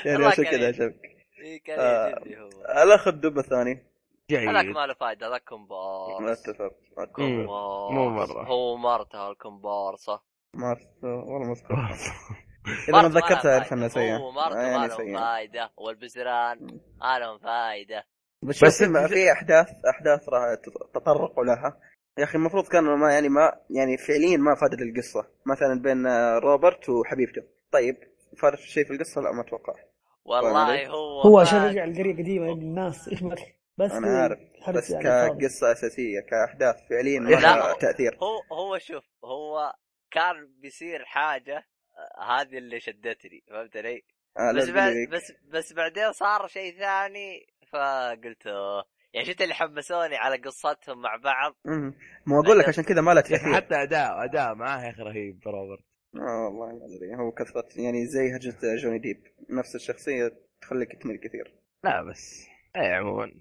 S1: الله
S4: عشان
S1: كان
S4: كذا
S1: يعيش.
S4: شبك
S1: إيه،
S4: آه.
S1: كان يجلني هو
S4: انا اخذ دبه ثانيه
S1: هذاك
S2: جيد
S1: ما له فائده هذاك
S4: ما
S1: كومبارس
S4: اتفق ما اتفق
S2: مم.
S1: كومبارس
S2: مو مرة.
S1: هو مرته الكومبارسه
S4: ما أتفق. والله ما اذكر
S2: برضه.
S4: اذا
S1: مرته ما
S4: ما
S1: لها
S4: تذكرت اعرف
S1: فايدة.
S4: انها سيئه
S1: هو مرته
S4: آه،
S1: ما
S4: يعني
S1: لهم
S4: سيئه
S1: فايده والبزران ما لهم
S4: طيب،
S1: فايده
S4: بس,
S2: بس
S4: بس ما في احداث احداث راح تت- تطرقوا لها يا اخي المفروض كان ما يعني ما يعني فعليا ما فادت القصه مثلا بين آه، روبرت وحبيبته طيب فادت شيء في القصه لا ما اتوقع فاهم علي؟
S1: والله هو
S3: هو عشان
S1: كان-
S3: رجع القريه قديمه يا ابن الناس ايش بك بس
S4: أنا عارف،
S3: الحرس
S4: بس
S3: يعني فاضي.
S4: كقصه اساسيه كاحداث فعليا ما
S1: لا،
S4: لها
S1: هو-
S4: تاثير
S1: هو هو شوف هو كان بيصير حاجه آه، هذه اللي شدتني فهمت علي؟
S4: آه، لا
S1: بس بعد
S4: تقولي لي.
S1: بس بس بعدين صار شيء ثاني فقلت آه. يعني شفت اللي حمسوني على قصتهم مع بعض
S4: مم. ما اقول لك
S1: بعدين-
S4: عشان كذا ما لها
S2: يا اخي
S4: تاثير
S2: يعني حتى اداء اداء معاه يا اخي رهيب روبرت
S4: آه، والله ما ادري هو كثرة يعني زي هرجة جوني ديب نفس الشخصيه تخليك تمل كثير
S2: لا بس اي عموما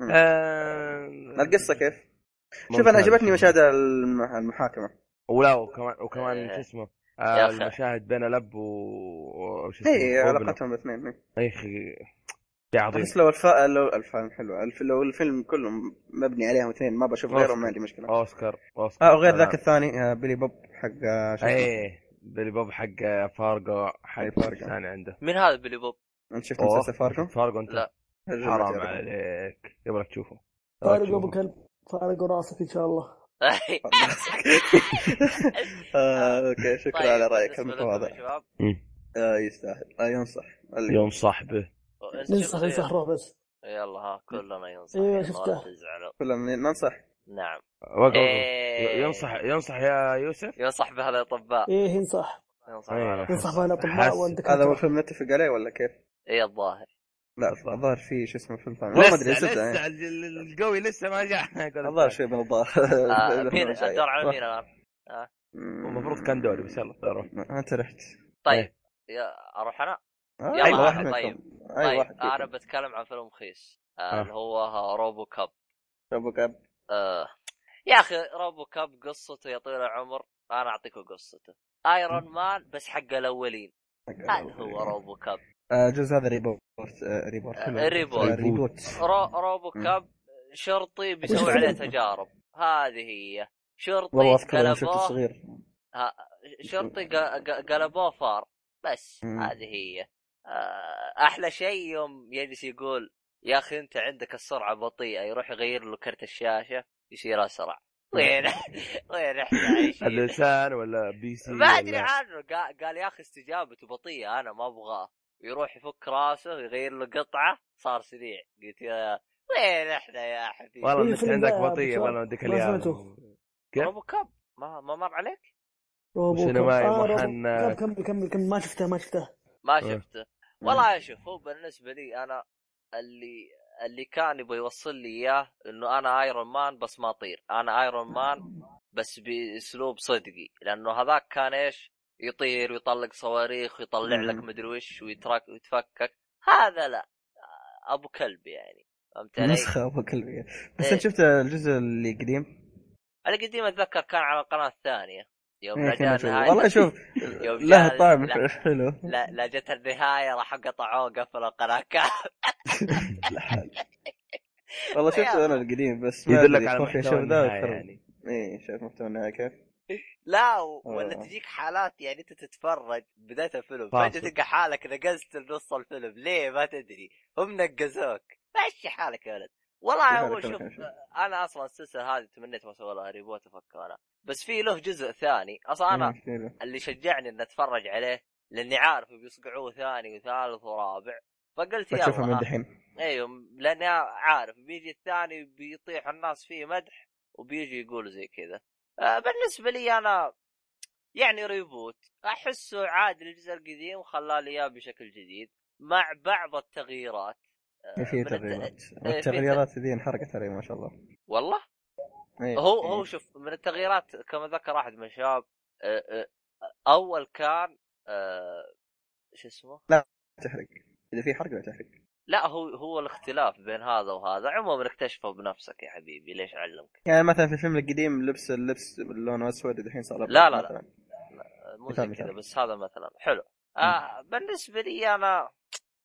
S4: مم.
S2: آه،
S4: القصه كيف؟ شوف
S2: ممتاز.
S4: انا عجبتني مشاهد الم- المحاكمه
S2: ولا وكمان وكمان
S1: إيه.
S2: شو اسمه
S1: يا
S2: آه
S1: أخي.
S2: المشاهد بين الاب و وش
S4: اي
S2: وابنه.
S4: إيه، علاقتهم الاثنين إي.
S2: يا اخي إيه، شيء عظيم
S4: بس لو الف... لو الفيلم حلو الف... لو الفيلم كله مبني عليهم اثنين ما بشوف
S2: أوكي.
S4: غيرهم ما عندي مشكله
S2: اوسكار اوسكار
S4: اه وغير ذاك
S2: سلام.
S4: الثاني آه، بيلي بوب حق آه، شو اسمه
S2: ايه بيلي بوب حق فارجو
S4: أي
S2: حق
S4: إيه، فارجو.
S2: ثاني عنده
S1: من هذا بيلي بوب؟
S4: انت شفت
S2: أوه،
S4: مسلسل فاركو؟
S2: شفت فارجو انت
S1: لا.
S2: حرام عليك يبغى لك تشوفه يبغى لك
S3: فارق ابو
S2: تشوفه.
S3: كلب فارق راسك ان شاء الله
S4: آه،
S1: طيب،
S4: اوكي شكرا على رايك
S1: بالنسبة لكم يا
S4: المتواضع
S1: شباب
S2: مم.
S4: آه، يستاهل آه، ينصح اللي-
S2: يوم صاحبه
S1: انت
S3: ننصح
S1: شوف
S3: ننصح روح بس
S1: يلا ها كلنا ينصح
S3: إيوه،
S1: يلا، لا
S3: شفته.
S1: تزعلوا
S4: كلنا من- ننصح
S1: نعم
S2: وقف وقف.
S1: إيه.
S2: ينصح ينصح يا يوسف
S1: ينصح بها الاطباء
S3: ايه ينصح
S1: ينصح
S2: إيه،
S1: بها الأطباء.
S2: حس-
S3: ينصح بها الاطباء
S2: حس-
S4: هذا هو
S3: والدكاتره
S4: الفيلم نتفق عليه ولا كيف؟
S1: اي إيه، الظاهر
S4: لا الظاهر في شو اسمه فيلم ثاني والله ما ادري
S2: لسه
S4: صدق
S2: لسه
S4: يعني.
S2: ال- ال- القوي لسه ما جاء يقول
S4: الظاهر شوي من الظاهر
S1: آه، مين الدور على مين الان؟
S2: المفروض كان دوري بس يلا روح
S4: انت رحت
S1: طيب يا اروح انا؟
S4: آه،
S1: يلا،
S4: أي واحد
S1: طيب.
S4: منكم. اي
S1: طيب
S4: واحد
S1: انا بتكلم عن فيلم خيس آه،
S2: آه.
S1: اللي هو آه، روبو كاب
S4: ابو كاب
S1: آه. يا اخي روبو كاب قصته يا طويل العمر انا اعطيكم قصته ايرون مان بس حق الاولين هذا هو روبو كاب
S4: آه، جزء هذا ريبورت آه، ريبورت
S1: آه،
S4: كله
S1: ريبورت.
S4: آه، ريبوت
S1: رو... روبو
S4: مم.
S1: كاب شرطي بيسوي
S3: وش
S1: عليه
S3: اسمه؟
S1: تجارب هذه هي
S4: والله
S1: شرطي
S4: اذكر يوم شفته
S1: قلبوه
S4: صغير
S1: شرطي ق- ق- قلبوه فار بس
S4: مم.
S1: هذه هي آه، احلى شيء يوم يجلس يقول يا اخي انت عندك السرعه بطيئه يروح يغير له كرت الشاشه يصير اسرع وين وين احنا عايشين
S2: الانسان ولا بي سي
S1: ما ادري
S2: ولا-
S1: عنه قال, قال يا اخي استجابته بطيئه انا ما ابغاه يروح يفك راسه يغير له قطعه صار سريع قلت يا وين احنا يا حبيبي
S2: والله
S3: إيه،
S2: انت
S3: الفيلم
S2: عندك
S3: ده
S2: بطيء
S3: بشوار.
S2: والله اديك
S3: ما
S2: اليوم
S3: سمعته.
S2: كيف؟
S1: روبو كاب ما ما مر عليك
S3: روبو كاب
S2: وسينمائي
S3: آه، روبو
S2: محنك.
S3: كاب. كمل كمل كمل ما شفته ما شفته
S1: ما
S2: إيه.
S1: شفته والله شوف هو بالنسبه لي انا اللي اللي كان يبغى يوصل لي اياه انه انا ايرون مان بس ما اطير انا ايرون مان بس باسلوب صدقي لانه هذاك كان ايش يطير ويطلق صواريخ ويطلع
S4: مم.
S1: لك مدري وش ويترك ويتفكك هذا لا ابو كلب يعني فهمت علي؟
S4: نسخه ابو كلب بس
S1: إيه.
S4: انت شفت الجزء اللي قديم؟
S1: القديم اتذكر كان على القناه الثانيه يوم
S4: إيه، كنا
S1: جاء
S4: نشوفه.
S1: النهايه
S4: والله شوف
S1: يوم
S4: له
S1: جاء-
S4: طعم
S1: لا.
S4: حلو
S1: لا لا جت النهايه راح قطعوه قفلوا القناه كامل
S4: والله شفته انا
S1: يلا.
S4: القديم بس ما
S2: يدلك
S4: أدري،
S2: على
S4: أخوي
S2: محتوى
S4: شاف ذا
S2: النهاية
S4: وكرر.
S2: يعني
S4: ايه شايف محتوى النهايه كيف؟
S1: لا و- ولا
S4: آه.
S1: تجيك حالات يعني انت تتفرج بدايه الفيلم
S2: فاصل.
S1: فجاه تلقى حالك نقزت نص الفيلم ليه ما تدري هم نقزوك مشي حالك يا ولد والله
S4: مشي
S1: هو
S4: حالك،
S1: شوف
S4: مشي حالك.
S1: انا اصلا السلسله هذه تمنيت ما سووا لها ريبوت افكر انا بس في له جزء ثاني اصلا انا
S4: إيه، كذا.
S1: اللي شجعني اني اتفرج عليه لاني عارف بيصقعوه ثاني وثالث ورابع فقلت
S4: بشوفها
S1: يلا
S4: من
S1: ها.
S4: دحين
S1: ايوه لاني عارف بيجي الثاني بيطيح الناس فيه مدح وبيجي يقول زي كذا آه، بالنسبه لي انا يعني ريبوت احسه عاد للجزء القديم وخلاه لي اياه بشكل جديد مع بعض التغييرات آه،
S4: في
S1: من الت-
S4: تغييرات
S1: إيه، في
S4: التغييرات ذي انحرقت علي ما شاء الله
S1: والله
S4: إيه.
S1: هو
S4: إيه.
S1: هو شوف من التغييرات كما ذكر احد من الشباب آه، آه، اول كان آه، شو اسمه
S4: تحرق اذا في حرق لا تحرق
S1: لا هو هو الاختلاف بين هذا وهذا عموما اكتشفه بنفسك يا حبيبي ليش علمك
S4: يعني مثلا في الفيلم القديم لبس اللبس لونه اسود الحين صار أبيض
S1: لا، لا، لا.
S4: مثلاً.
S1: مو زي
S4: مثال-
S1: كذا
S4: مثال.
S1: بس هذا مثلا حلو آه بالنسبه لي انا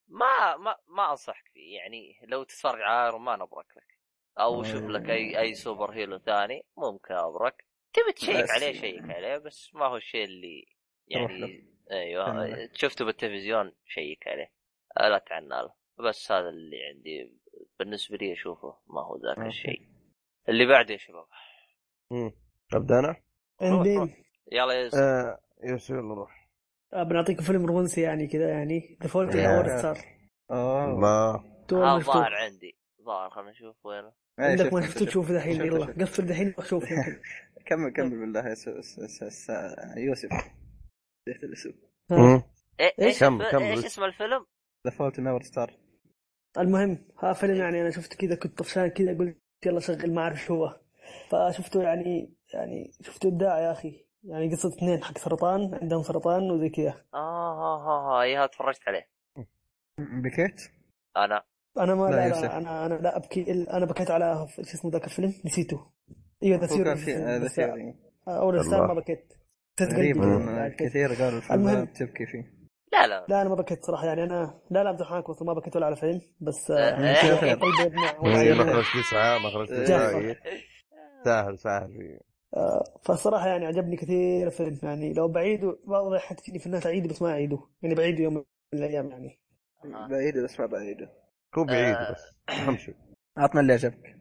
S1: ما ما ما انصحك فيه يعني لو تتفرج على ايرون مان ابرك لك او
S4: آه.
S1: شوف لك اي اي سوبر هيرو ثاني ممكن ابرك تبي تشيك
S4: بس.
S1: عليه شيك عليه بس ما هو الشيء اللي
S4: تروح
S1: يعني
S4: له.
S1: ايوه
S4: تمام.
S1: شفته بالتلفزيون شيك عليه آه، لا تعنى له بس هذا اللي عندي بالنسبه لي اشوفه ما هو ذاك
S4: أوكي.
S1: الشيء اللي بعده يا شباب
S2: مم. ابدا انا؟
S1: روح.
S3: عندي
S1: يلا يا يوسف.
S2: آه يوسف يلا روح
S3: آه، بنعطيك فيلم رومانسي يعني كذا يعني ذا فولت
S2: يا.
S3: اور ستار
S2: آه.
S4: اوه
S2: الله
S1: ها ظاهر عندي ظاهر خلنا نشوف وينه
S4: إيه،
S3: عندك
S4: شفت-
S3: ما
S4: شفت-
S3: شفته تشوفه دحين
S4: شفت-
S3: يلا
S4: شفت.
S3: قفل دحين وشوف يمكن. آه.
S4: كمل كمل بالله يا س- س- س- س- يوسف زيت الاسم
S2: آه.
S3: ها.
S1: إيه
S3: إيش؟
S1: ايش
S2: كمل،
S1: الف-
S2: كمل.
S1: ايش اسم الفيلم؟
S4: ذا فولت ان اور ستار
S3: المهم ها فيلم يعني انا شفته كذا كنت طفشان كذا قلت يلا شغل ما اعرف شو هو فشفته يعني يعني شفته ابداع يا اخي يعني قصه اثنين حق سرطان عندهم سرطان وزي كذا
S1: اه ها ها إيه، ها يا تفرجت عليه
S4: بكيت؟
S1: انا
S3: انا ما
S4: لا
S3: لا,
S4: يوسف.
S3: لا انا انا لا ابكي الا انا بكيت على شو اسمه ذاك الفيلم نسيته ايوه ذا
S4: هو كان في آه، يعني.
S3: ثيوري
S4: هذا
S3: بس
S4: ثيوري
S3: اول ستار ما
S2: الله.
S3: بكيت بكيت
S4: غريب
S3: قلبي
S4: إن
S3: بعد كده.
S4: آه، كثير قالوا الفيلم
S3: المهم.
S4: هذا تبكي فيه
S1: لا لا
S3: لا انا ما بكيت صراحه يعني انا لا لا امزح معك والله ما بكيت ولا على فيلم بس آه،
S1: إيه.
S3: يعني قلبي يدمع
S2: إيه،
S3: وعيني-
S2: مخرج تسعه مخرج تسعه
S3: جعفر.
S2: إيه. سهل سهل
S3: آه، فصراحة يعني عجبني كثير الفيلم يعني لو بعيده واضح حتجيني في الناس اعيده بس ما اعيده يعني بعيده يوم من الايام يعني
S1: آه.
S4: بعيده بس ما بعيده
S2: هو بعيد
S1: آه.
S2: بس اهم شيء
S4: عطنا اللي عجبك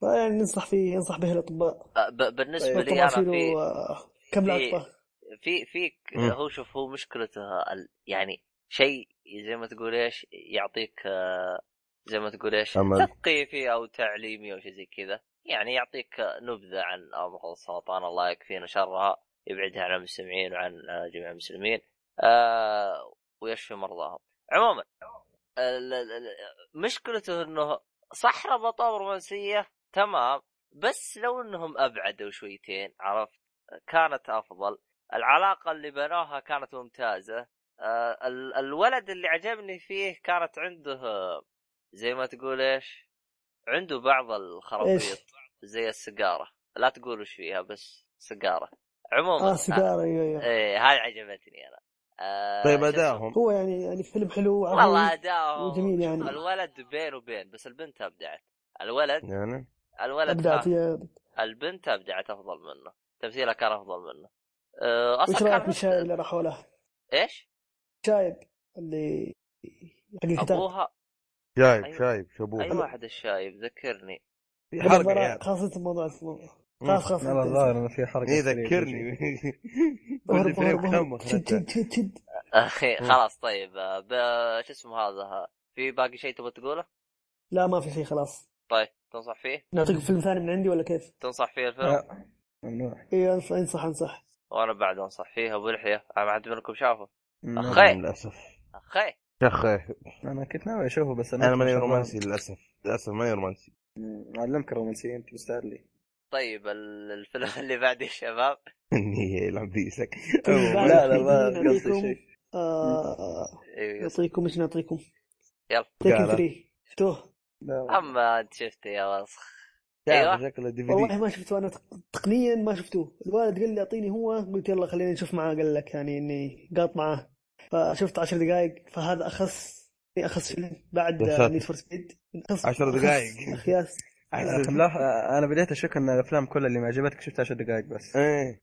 S3: فيعني ننصح فيه ينصح به الاطباء
S1: آه، ب-
S2: طيب،
S1: بالنسبه لي
S3: طبعا
S1: انا
S3: شيلوا
S1: في
S3: آه، كم
S1: في-
S3: لقطة
S1: في في
S2: مم.
S1: هو شوف هو مشكلته ال- يعني شيء زي ما تقول ايش يعطيك آه، زي ما تقول ايش
S2: أمل.
S1: تثقيفي او تعليمي او شيء زي كذا يعني يعطيك نبذه عن امراض السرطان الله يكفينا شرها يبعدها عن المستمعين وعن آه، جميع المسلمين آه، ويشفي مرضاهم عموما ال- ال- ال- مشكلته انه صح ربطوه رومانسيه تمام بس لو انهم ابعدوا شويتين عرفت كانت افضل العلاقه اللي بنوها كانت ممتازه آه، ال- الولد اللي عجبني فيه كانت عنده آه، زي ما تقول ايش عنده بعض الخرابيط
S3: ايش؟
S1: زي السيجاره لا تقول وش فيها بس سيجاره عموما
S3: اه سيجارة ايوه ايوه
S1: ايه هاي عجبتني انا آه،
S2: طيب
S1: شو اسمه؟
S2: اداهم
S3: هو يعني يعني فيلم حلو وعميق.
S1: والله اداؤهم
S3: وجميل
S1: شوف،
S3: يعني.
S1: الولد بين وبين بس البنت ابدعت الولد
S2: يعني
S1: الولد
S3: ابدعت
S1: كان
S3: هي
S1: البنت ابدعت افضل منه تمثيلها كان افضل منه آه، اصلا
S3: وش
S1: كان
S3: رايك
S1: نفس-
S3: بالشايب اللي راح له؟
S1: ايش؟
S3: شايب اللي حق الكتاب
S1: ابوها
S2: شايب
S1: أيوة.
S2: شايب شابوه
S1: اي واحد الشايب ذكرني
S2: في حرق يا
S4: يعني.
S2: عيال.
S3: خاصة موضوع السموم
S2: مم.
S3: خلاص خلاص
S4: لا الظاهر انه في حركه
S2: ايه
S4: سريعة.
S2: ذكرني
S3: اهرب
S2: بدي فريم
S3: اهرب
S2: خام
S3: اهرب شد
S2: اخرتها
S3: شد شد شد
S1: اخي خلاص طيب آه، ب- شو اسمه هذا آه، في باقي شيء تبغى تقوله؟
S3: لا ما في شيء خلاص
S1: طيب تنصح فيه؟
S3: نعطيك فيلم ثاني من عندي ولا كيف؟
S1: تنصح فيه الفيلم؟
S4: لا
S2: آه.
S4: ممنوع
S3: ايوه انصح انصح انصح
S1: وانا بعد انصح فيه ابو لحيه انا ما حد منكم شافه
S4: ممنوع.
S1: أخي.
S2: للاسف
S1: اخي
S2: يا اخي
S4: انا كنت ناوي اشوفه بس
S2: انا ماني رومانسي للاسف للاسف ماني رومانسي
S4: اعلمك رومانسيه انت مستاهل لي
S1: طيب ال- الفيلم اللي بعد يا شباب
S2: يلعب بيسك
S3: طيب، بعد
S4: لا لا
S3: الحين
S4: ما قصدي
S3: نعطيكم-
S4: شيء
S3: آه
S1: إيه، يس-
S3: نعطيكم ايش نعطيكم؟
S1: يلا.
S3: تيكن
S2: قالة.
S3: 3 شفتوه؟
S4: لا
S1: اما انت شفته يا وسخ أيوة.
S2: تعرف شكله دي في
S3: والله
S2: دي
S3: ما شفته انا تق- تقنيا ما شفتوه، الوالد قال لي اعطيني هو قلت يلا خلينا نشوف معاه قال لك يعني اني قاط معاه فشفت 10 دقائق فهذا اخس اخس فيلم بعد
S2: يا ساتر.
S3: نيد فور سبيد
S2: 10 دقائق.
S3: اخياس
S2: عزيز.
S4: لا انا بديت اشك ان الافلام كلها اللي ما عجبتك شفت 10 دقائق بس
S2: ايه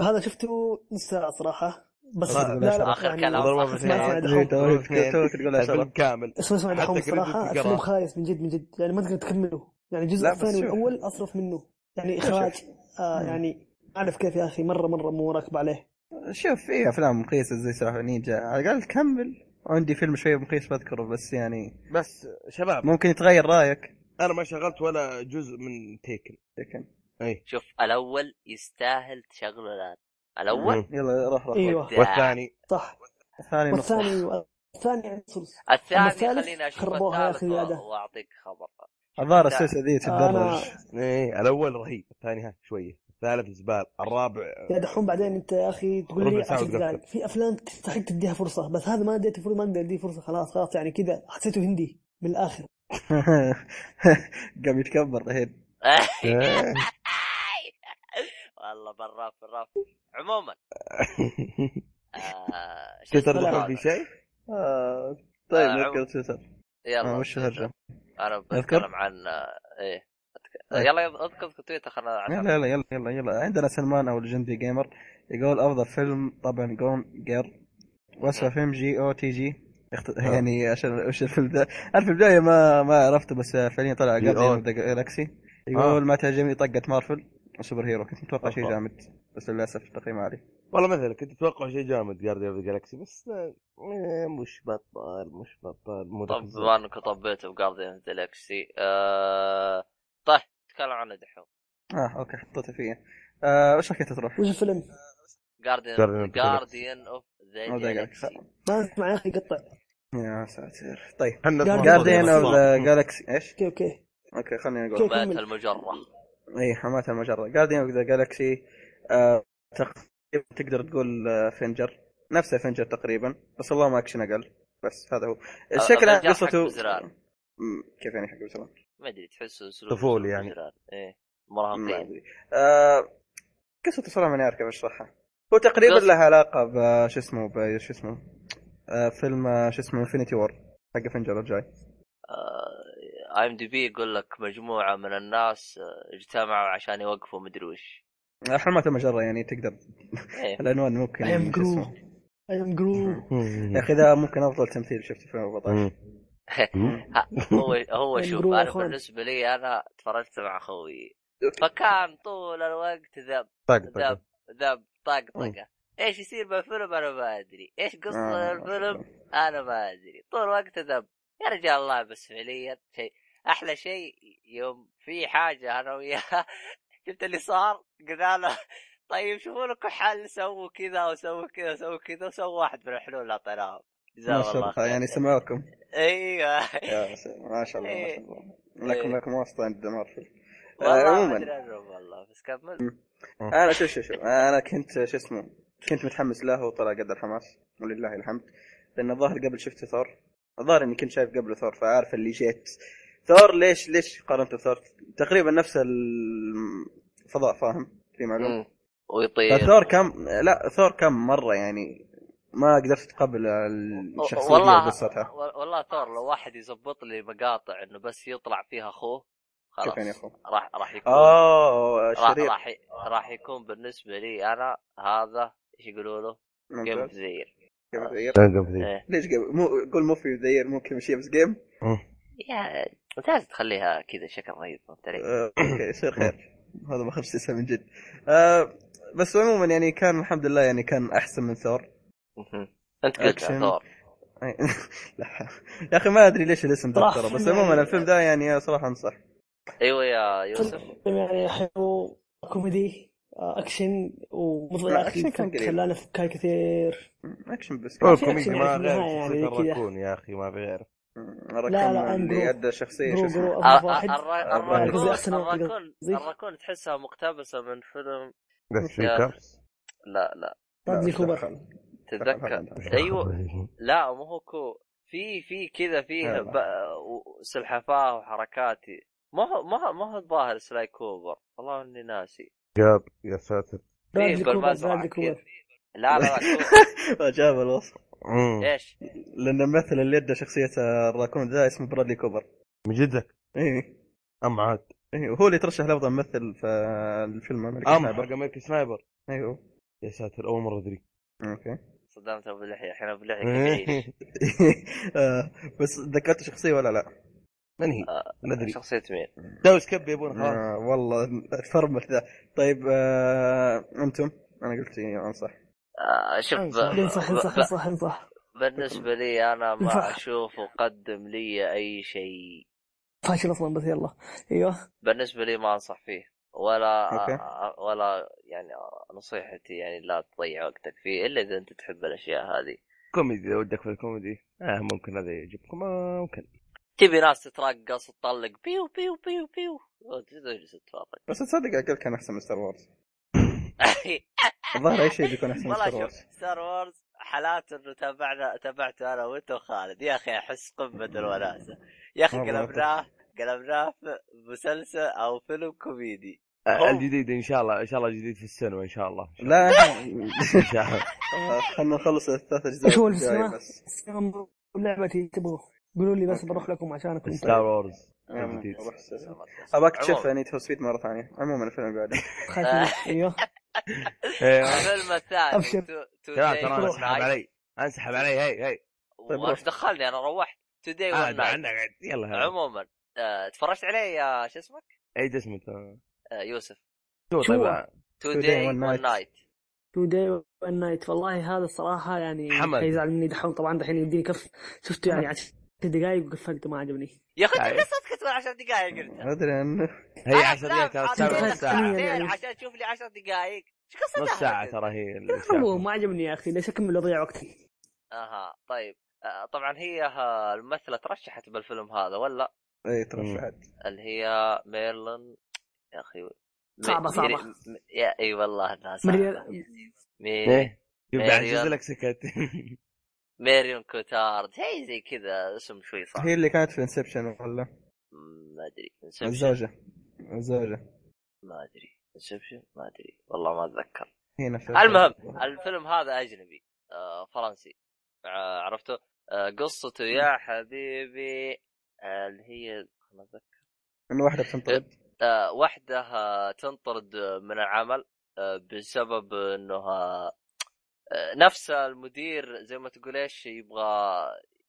S3: هذا شفته نص ساعة صراحة بس
S2: آه،
S3: لا لا
S1: آخر
S3: يعني
S1: كلام.
S2: ضربه في
S1: ما
S2: اثنين.
S3: اسمع
S4: دحوم.
S2: ضربة في اثنين.
S4: توك تقول عشرة.
S2: الفيلم كامل
S3: اسمع اسمع
S2: حتى
S3: دحوم
S2: كريدت
S3: صراحة
S2: تقرأ.
S3: الفيلم خايس من جد من جد يعني ما تقدر تكمله يعني الجزء
S4: لا، بس
S3: الثاني
S4: شوف.
S3: والأول أصرف منه يعني
S4: شوف.
S3: إخراج آه
S4: مم.
S3: يعني أعرف كيف يا أخي مرة مرة مو راكب عليه
S4: شوف في افلام مقيسه زي سلاحف نينجا على الاقل كمل عندي فيلم شويه مقيس بذكره بس يعني
S2: بس شباب
S4: ممكن يتغير رايك
S2: انا ما شغلت ولا جزء من إيه. تيكن
S4: لكن
S2: اي
S1: شوف الاول يستاهل تشغله الان الاول
S4: يلا روح روح
S3: أيوه
S1: إبداع.
S2: والثاني
S3: صح
S4: الثاني نص
S3: والثاني الثاني يعني نص
S1: الثاني
S3: الثالث
S1: خليني اشوف
S3: خربوها يا
S1: الثالث
S3: أخي
S1: وأ-
S3: زيادة.
S1: واعطيك خبر
S4: الظاهر
S1: الثاني.
S4: السلسله ذي
S3: آه، أنا
S4: تتدرج
S2: ايه الاول رهيب إيه، الثاني ها شويه ثالث زبال الرابع
S3: يا دحوم بعدين انت يا اخي تقول
S2: ربع
S3: لي
S2: ساعة
S3: عشان تزعل
S2: وتقفل.
S3: في افلام تستحق تديها فرصه بس هذا ما اديته فرصه ما اقدر اديه فرصه خلاص خلاص يعني كذا حسيته هندي من الاخر
S4: قام يتكبر رهيب
S2: إيه.
S1: والله بالراف بالراف عموما آه، شو اسمه
S2: تتربحون
S1: هذا؟
S2: في شيء؟
S4: آه، طيب
S1: آه، عم-
S4: نذكر شو صار
S1: يلا
S4: آه، وش هرجة
S1: انا
S4: أذكر؟
S1: بتكلم عن آه، ايه أتك-
S4: إيه.
S1: يلا يلا، اذكر اذكر تويتر خلنا نعتمد.
S4: يلا يلا يلا يلا يلا عندنا سلمان او ليجندري جيمر يقول افضل فيلم طبعا جون جير وصفه فيلم جي او تي جي اخت- يعني عشان وش الفيلم ذا انا في البدايه ما ما عرفته بس فعليا طلع
S2: جي أو.
S4: جارديان جالكسي يقول ما تعجبني طقه مارفل وسوبر هيرو كنت متوقع شيء
S2: أوبا.
S4: جامد بس للاسف تقييم عالي
S2: والله مثلا كنت اتوقع شيء جامد جارديان اوف جالكسي بس آه، مش بطال مش بطال مو ذاك
S1: طب
S2: الزود.
S1: بما انك طبيت بجارديان جالكسي آه... طيب تكلم عنه دحوم
S4: اه اوكي حطيته فيه آه، وش رايك انت تروح؟
S3: وش الفيلم؟
S1: جارديان
S2: Guardian of the
S1: جارديان اوف ذا
S4: أو ذا
S1: جالكسي
S4: Galaxy.
S3: ما اسمع يا اخي قطع
S4: يا ساتر طيب
S2: حنا
S3: Guardian
S4: جارديان
S2: طبعاً.
S4: اوف ذا جالكسي ايش؟
S3: اوكي اوكي
S4: اوكي خليني اقول
S3: كيف؟
S1: مات
S3: كمل.
S1: المجرة
S4: اي حماة المجرة جارديان اوف ذا جالكسي تقريبا آه، تقدر تقول آه، فنجر نفس فنجر تقريبا بس اللهم اكشن اقل بس هذا هو الشكل
S1: الرجال
S4: عن
S1: حق
S4: قصته
S1: وزران.
S4: م، كيف يعني حق وزران؟
S1: ما ادري تحسه اسلوب
S2: طفولي
S1: أسلوب
S2: يعني.
S1: جيران. ايه
S4: ما
S1: مراهقين
S4: ادري آه، قصته صراحة ماني عارف كيف اشرحها هو تقريبا
S1: قص-
S4: لها علاقة ب آه، شو اسمه ب شو اسمه آه، فيلم آه، شو اسمه انفنتي وور حق فنجر الجاي
S1: اي ام دي بي يقول لك مجموعة من الناس آه، اجتمعوا عشان يوقفوا مدري وش
S4: آه، حماة المجرة يعني تقدر
S1: ايه
S4: العنوان ممكن
S3: اي ام
S4: يعني شو
S3: جرو
S4: اسمه.
S3: اي ام جرو
S4: يا اخي ذا ممكن افضل تمثيل شفته في 2014
S1: ها، هو هو
S3: يعني
S1: شوف
S3: جروب
S1: انا
S3: أخوان.
S1: بالنسبة لي انا تفرجت مع اخوي فكان طول الوقت ذب
S2: طق طق
S1: ذب ذب طقطقة ايش يصير بالفيلم انا ما ادري ايش قصة
S4: آه.
S1: الفيلم انا ما ادري طول الوقت ذب يا رجال الله بس فعليا شيء احلى شيء يوم في حاجه انا وياه شفت اللي صار قلنا له طيب شوفوا لكم حل سووا كذا وسووا كذا وسووا كذا وسووا واحد من الحلول اللي اعطيناهم
S4: ما
S1: جزاهم
S4: شاء
S1: الله
S4: الله
S1: خير
S4: يعني سمعوكم
S1: ايوه
S4: يا سلام، ما شاء الله ما شاء الله لكم
S1: إيه.
S4: لكم واسطه عند مارفل آه،
S1: والله ما
S4: عموماً.
S1: ادري عنهم والله بس كمل
S4: انا شوف شوف شوف انا كنت شو اسمه كنت متحمس له وطلع قد الحماس ولله الحمد لان الظاهر قبل شفت ثور الظاهر اني كنت شايف قبله ثور فعارف اللي جيت ثور ليش ليش قارنته بثور تقريبا نفس الفضاء فاهم في معلومه
S1: مم. ويطير
S4: فثور كم لا ثور كم مره يعني ما قدرت اتقبل
S1: و-
S4: الشخصيه
S1: والله
S4: وقصتها
S1: و- والله ثور لو واحد يزبط لي مقاطع انه بس يطلع فيها اخوه خلاص
S4: شوف يعني يا آه، اخو
S1: راح راح يكون
S4: اوه
S1: راح
S4: شرير
S1: راح ي- راح يكون بالنسبه لي انا هذا ايش يقولوا له؟ جيم اوف
S4: ممتاز.
S1: ذا يير.
S3: آه.
S4: Game of the
S3: طيب.
S4: Year.
S2: طيب.
S1: إيه.
S4: ليش جيم مو قول مو في ذير مو كيف شيء بس جيم
S1: يا لازم تخليها كذا شكل رهيب فهمت
S3: طيب.
S1: علي؟
S4: آه، اوكي يصير خير هذا ما خرج سلسله من جد آه، بس عموما يعني كان الحمد لله يعني كان احسن من ثور
S1: مهم. انت قلت
S4: أكشن.
S1: ثور
S4: أي- لا يا اخي ما ادري ليش الاسم ذا
S3: صراحة
S4: ترى بس
S3: فيلم
S4: عموما
S3: يعني-
S4: الفيلم ده يعني صراحه انصح
S1: ايوه يا يوسف
S3: يعني حلو كوميدي آه، اكشن ومثل
S4: لا،
S3: الأخير
S4: أكشن كان
S3: فك-
S4: قليل.
S3: خلانا فكاي كثير
S4: اكشن بس
S2: هو
S4: كان
S3: في
S2: طيب، كوميدي
S3: أكشن
S2: ما
S3: يعني في
S2: غير
S3: النهاية يعني
S2: شخصية
S3: كذا.
S2: الراكون يا اخي ما في غير
S3: لا،
S4: الرقم
S3: لا، أنا
S4: اللي
S3: جروب.
S4: ادى شخصيه شو
S3: جرو
S4: اسمه
S3: جرو
S1: الر-
S3: انظف واحد
S4: آه،
S1: الر-
S4: براين
S1: الراكون
S3: قصدي أحسن واحد
S1: الراكون
S3: قصدي.
S1: الراكون تحسها مقتبسه من فيلم
S2: بس في
S1: يا أخي.
S2: كبس
S1: لا لا
S3: رادلي
S4: لا،
S3: كوبر
S4: دخل.
S1: تتذكر ايوه لا مو هو كو في في كذا فيه
S4: يلا.
S1: ب... و- سلحفاه وحركاتي ما هو ما هو ما هو الظاهر سلاي كوبر والله اني ناسي
S2: جاب يا ساتر
S4: إيه،
S3: رادلي
S4: طيب،
S3: كوبر
S4: آه،
S1: بالمزرعة
S3: رادلي
S1: كذا.
S3: كوبر
S1: إيه، لا لا لا كوبر.
S4: جاب الوصف
S2: مم.
S1: ايش
S4: لان الممثل اللي ادى شخصيه الراكون ذا اسمه برادلي كوبر
S2: من جدك
S4: ايه
S2: ام عاد
S4: ايه هو اللي ترشح لافضل ممثل في الفيلم امريكا
S2: ام
S4: سنايبر
S2: حق امريكا سنايبر
S4: ايوه
S2: يا ساتر اول مره ادري
S4: اوكي
S1: صدمت ابو اللحيه الحين ابو اللحيه كيف يعيش؟
S4: آه، بس ذكرت شخصيه ولا لا؟
S2: من هي؟ ما ادري
S1: شخصيه مين؟
S2: داوس كب يبون خلاص
S4: آه والله تفرمت ذا طيب آه انتم انا قلت إيه، انصح
S1: آه شوف ب...
S3: بعدين صح صح
S1: ب...
S3: صح صح
S1: بالنسبه لي انا ما
S3: انفح.
S1: اشوفه قدم لي اي شيء
S3: فاشل اصلا بس يلا ايوه
S1: بالنسبه لي ما انصح فيه ولا
S4: أوكي.
S1: أ- ولا يعني نصيحتي يعني لا تضيع وقتك فيه الا اذا انت تحب الاشياء هذه
S2: كوميدي اذا ودك في الكوميدي آه ممكن هذا يعجبكم آه، ممكن
S1: تبي ناس تترقص وتطلق بيو بيو بيو بيو تجلس تتفرج
S4: بس تصدق اقول كان احسن من ستار وورز الظاهر اي شيء بيكون احسن من
S1: والله
S4: ستار
S1: شوف
S4: وورز
S1: ستار وورز حالات انه تابعنا تابعته انا وانت وخالد يا اخي احس قمه الوناسه يا اخي
S4: والله
S1: قلبناه قلبناه في مسلسل او فيلم كوميدي
S2: آه، الجديد ان شاء الله ان شاء الله جديد في السينما ان شاء الله إن شاء الله.
S4: لا
S2: ان شاء الله
S4: خلنا نخلص الثلاث اجزاء
S3: وش هو
S4: الجاية
S3: الفيلم؟
S4: بس
S3: سلام لعبتي تبغوا قولوا لي بس بروح لكم عشانكم
S2: ستار وورز
S4: أنا
S2: الجديد.
S4: آه، أروح أستأذن. ابغى اكتشف نيد فور سبيد مره ثانيه عموما الفيلم قاعد
S3: خايف
S4: آه.
S3: منك. ايوه
S2: إيه،
S1: الفيلم
S3: أبشر.
S1: الثاني تو- تو
S2: لا
S1: داي
S2: ترى
S1: ون
S2: أنا انسحب
S1: نايت.
S2: علي انسحب علي هي هي
S4: طيب روح.
S1: وش دخلني انا روحت توداي
S2: انا
S1: ون
S2: أدري
S1: نايت
S2: عنك عاد. يلا هلا.
S1: عموما آه، تفرجت عليه يا شو اسمك؟
S2: اي اسمه ترى.
S1: آه، يوسف
S2: شو
S3: شو؟
S2: طيب آه،
S1: توداي
S4: One
S1: ون
S4: Night.
S1: نايت
S3: تو داي نايت والله هذا الصراحه يعني
S2: حمد.
S3: حيزعل مني دحوم طبعا دحين يديني كف شفته يعني عشر دقائق وقفلت ما عجبني
S1: يا اخي
S2: طيب.
S1: انت قصتك تبغى 10 دقائق قلتها
S4: ادري انه
S2: هي
S1: أنا
S2: 10 دقائق
S1: لا،
S2: ترى
S1: أنا
S2: تساوي
S1: جاي
S2: نص
S1: لك
S2: ساعه
S3: ساعة.
S1: بعدين عشان تشوف لي 10 دقائق ايش قصتها
S2: نص ساعه
S1: أنت؟
S2: ترى هي اللي
S3: هو
S2: شافها.
S3: ما عجبني يا اخي ليش اكمل اضيع وقتي
S1: اها طيب آه، طبعا هي آه، الممثله ترشحت بالفيلم هذا ولا
S4: اي ترشحت
S1: اللي هي ميرلين يا اخي
S3: صعبة،
S1: مي-
S3: صعبة.
S1: ميري- م- يا اي والله انها صعبه
S3: مريم-
S1: مي-
S2: ايه شوف
S1: إيه،
S2: بعجز لك سكت
S1: ميريون كوتارد هي زي كذا اسم شوي صعب
S4: هي اللي كانت في انسبشن ولا
S1: م- ما ادري انسبشن
S4: الزوجه الزوجه
S1: ما ادري انسبشن ما ادري والله ما اتذكر
S4: هي نفسها
S1: المهم الفيلم هذا اجنبي آه، فرنسي آه، عرفته آه، قصته يا حبيبي آه، اللي هي ما أتذكر.
S4: انه واحده بتنطرد
S1: آه، واحده آه، تنطرد آه، من العمل آه، بسبب انها آه، نفس المدير زي ما تقول ايش يبغى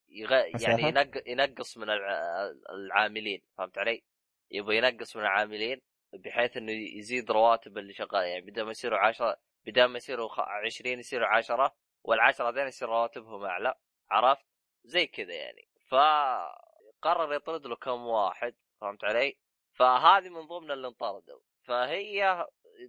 S1: يغ... يعني
S4: مساحة؟
S1: ينق... ينقص من الع... العاملين فهمت علي؟ يبغى ينقص من العاملين بحيث انه يزيد رواتب اللي شغال يعني بدل ما يصيروا 10 بدل ما يصيروا خ... 20 يصيروا 10 والعشرة ذين يصير رواتبهم اعلى عرفت؟ زي كذا يعني فقرر يطرد له كم واحد فهمت علي؟ فهذه من ضمن اللي انطردوا فهي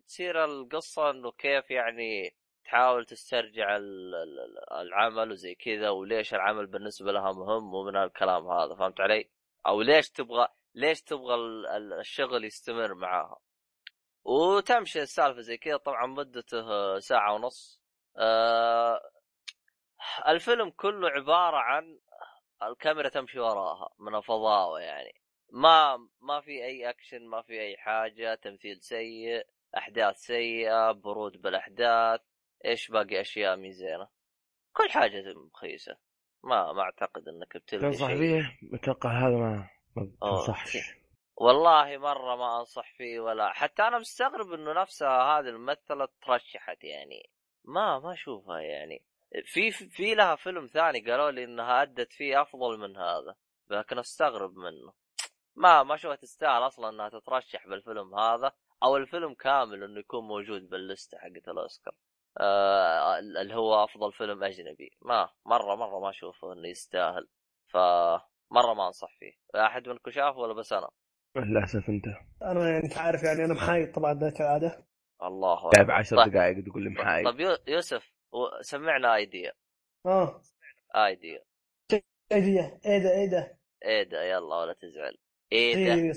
S1: تصير القصه انه كيف يعني تحاول تسترجع ال- ال- ال- العمل وزي كذا وليش العمل بالنسبه لها مهم ومن هالكلام هذا فهمت علي؟ او ليش تبغى ليش تبغى ال- ال- الشغل يستمر معاها وتمشي السالفه زي كذا طبعا مدته ساعه ونص آه، الفيلم كله عباره عن الكاميرا تمشي وراها من الفضاوه يعني ما ما في اي اكشن ما في اي حاجه تمثيل سيء احداث سيئه برود بالاحداث ايش باقي اشياء مي زينه كل حاجه مخيسه ما ما اعتقد انك بتلقى
S2: تنصح
S1: شيء
S2: فيه اتوقع هذا ما ما
S1: أوه.
S2: تنصحش
S1: والله مره ما انصح فيه ولا حتى انا مستغرب انه نفسها هذه الممثله ترشحت يعني ما ما اشوفها يعني في في لها فيلم ثاني قالوا لي انها ادت فيه افضل من هذا لكن استغرب منه ما ما اشوفها تستاهل اصلا انها تترشح بالفيلم هذا او الفيلم كامل انه يكون موجود باللسته حقت الاوسكار آه اللي هو افضل فيلم اجنبي ما مره مره ما اشوفه انه يستاهل فمره ما انصح فيه لا احد منكم شافه ولا بس انا
S2: للاسف انت
S1: طيب،
S3: انا يعني انت عارف يعني انا محايد طبعا ذاك العاده
S1: الله
S2: تعب
S1: أكبر.
S2: 10
S1: طيب-
S2: دقائق تقول لي محايد
S1: طيب يو- يوسف و- سمعنا ايديا
S3: اه
S1: ايديا
S3: ايه ده ايه ده ايه ده
S1: ايدا إيه يلا ولا تزعل إيه ايدا
S3: ايه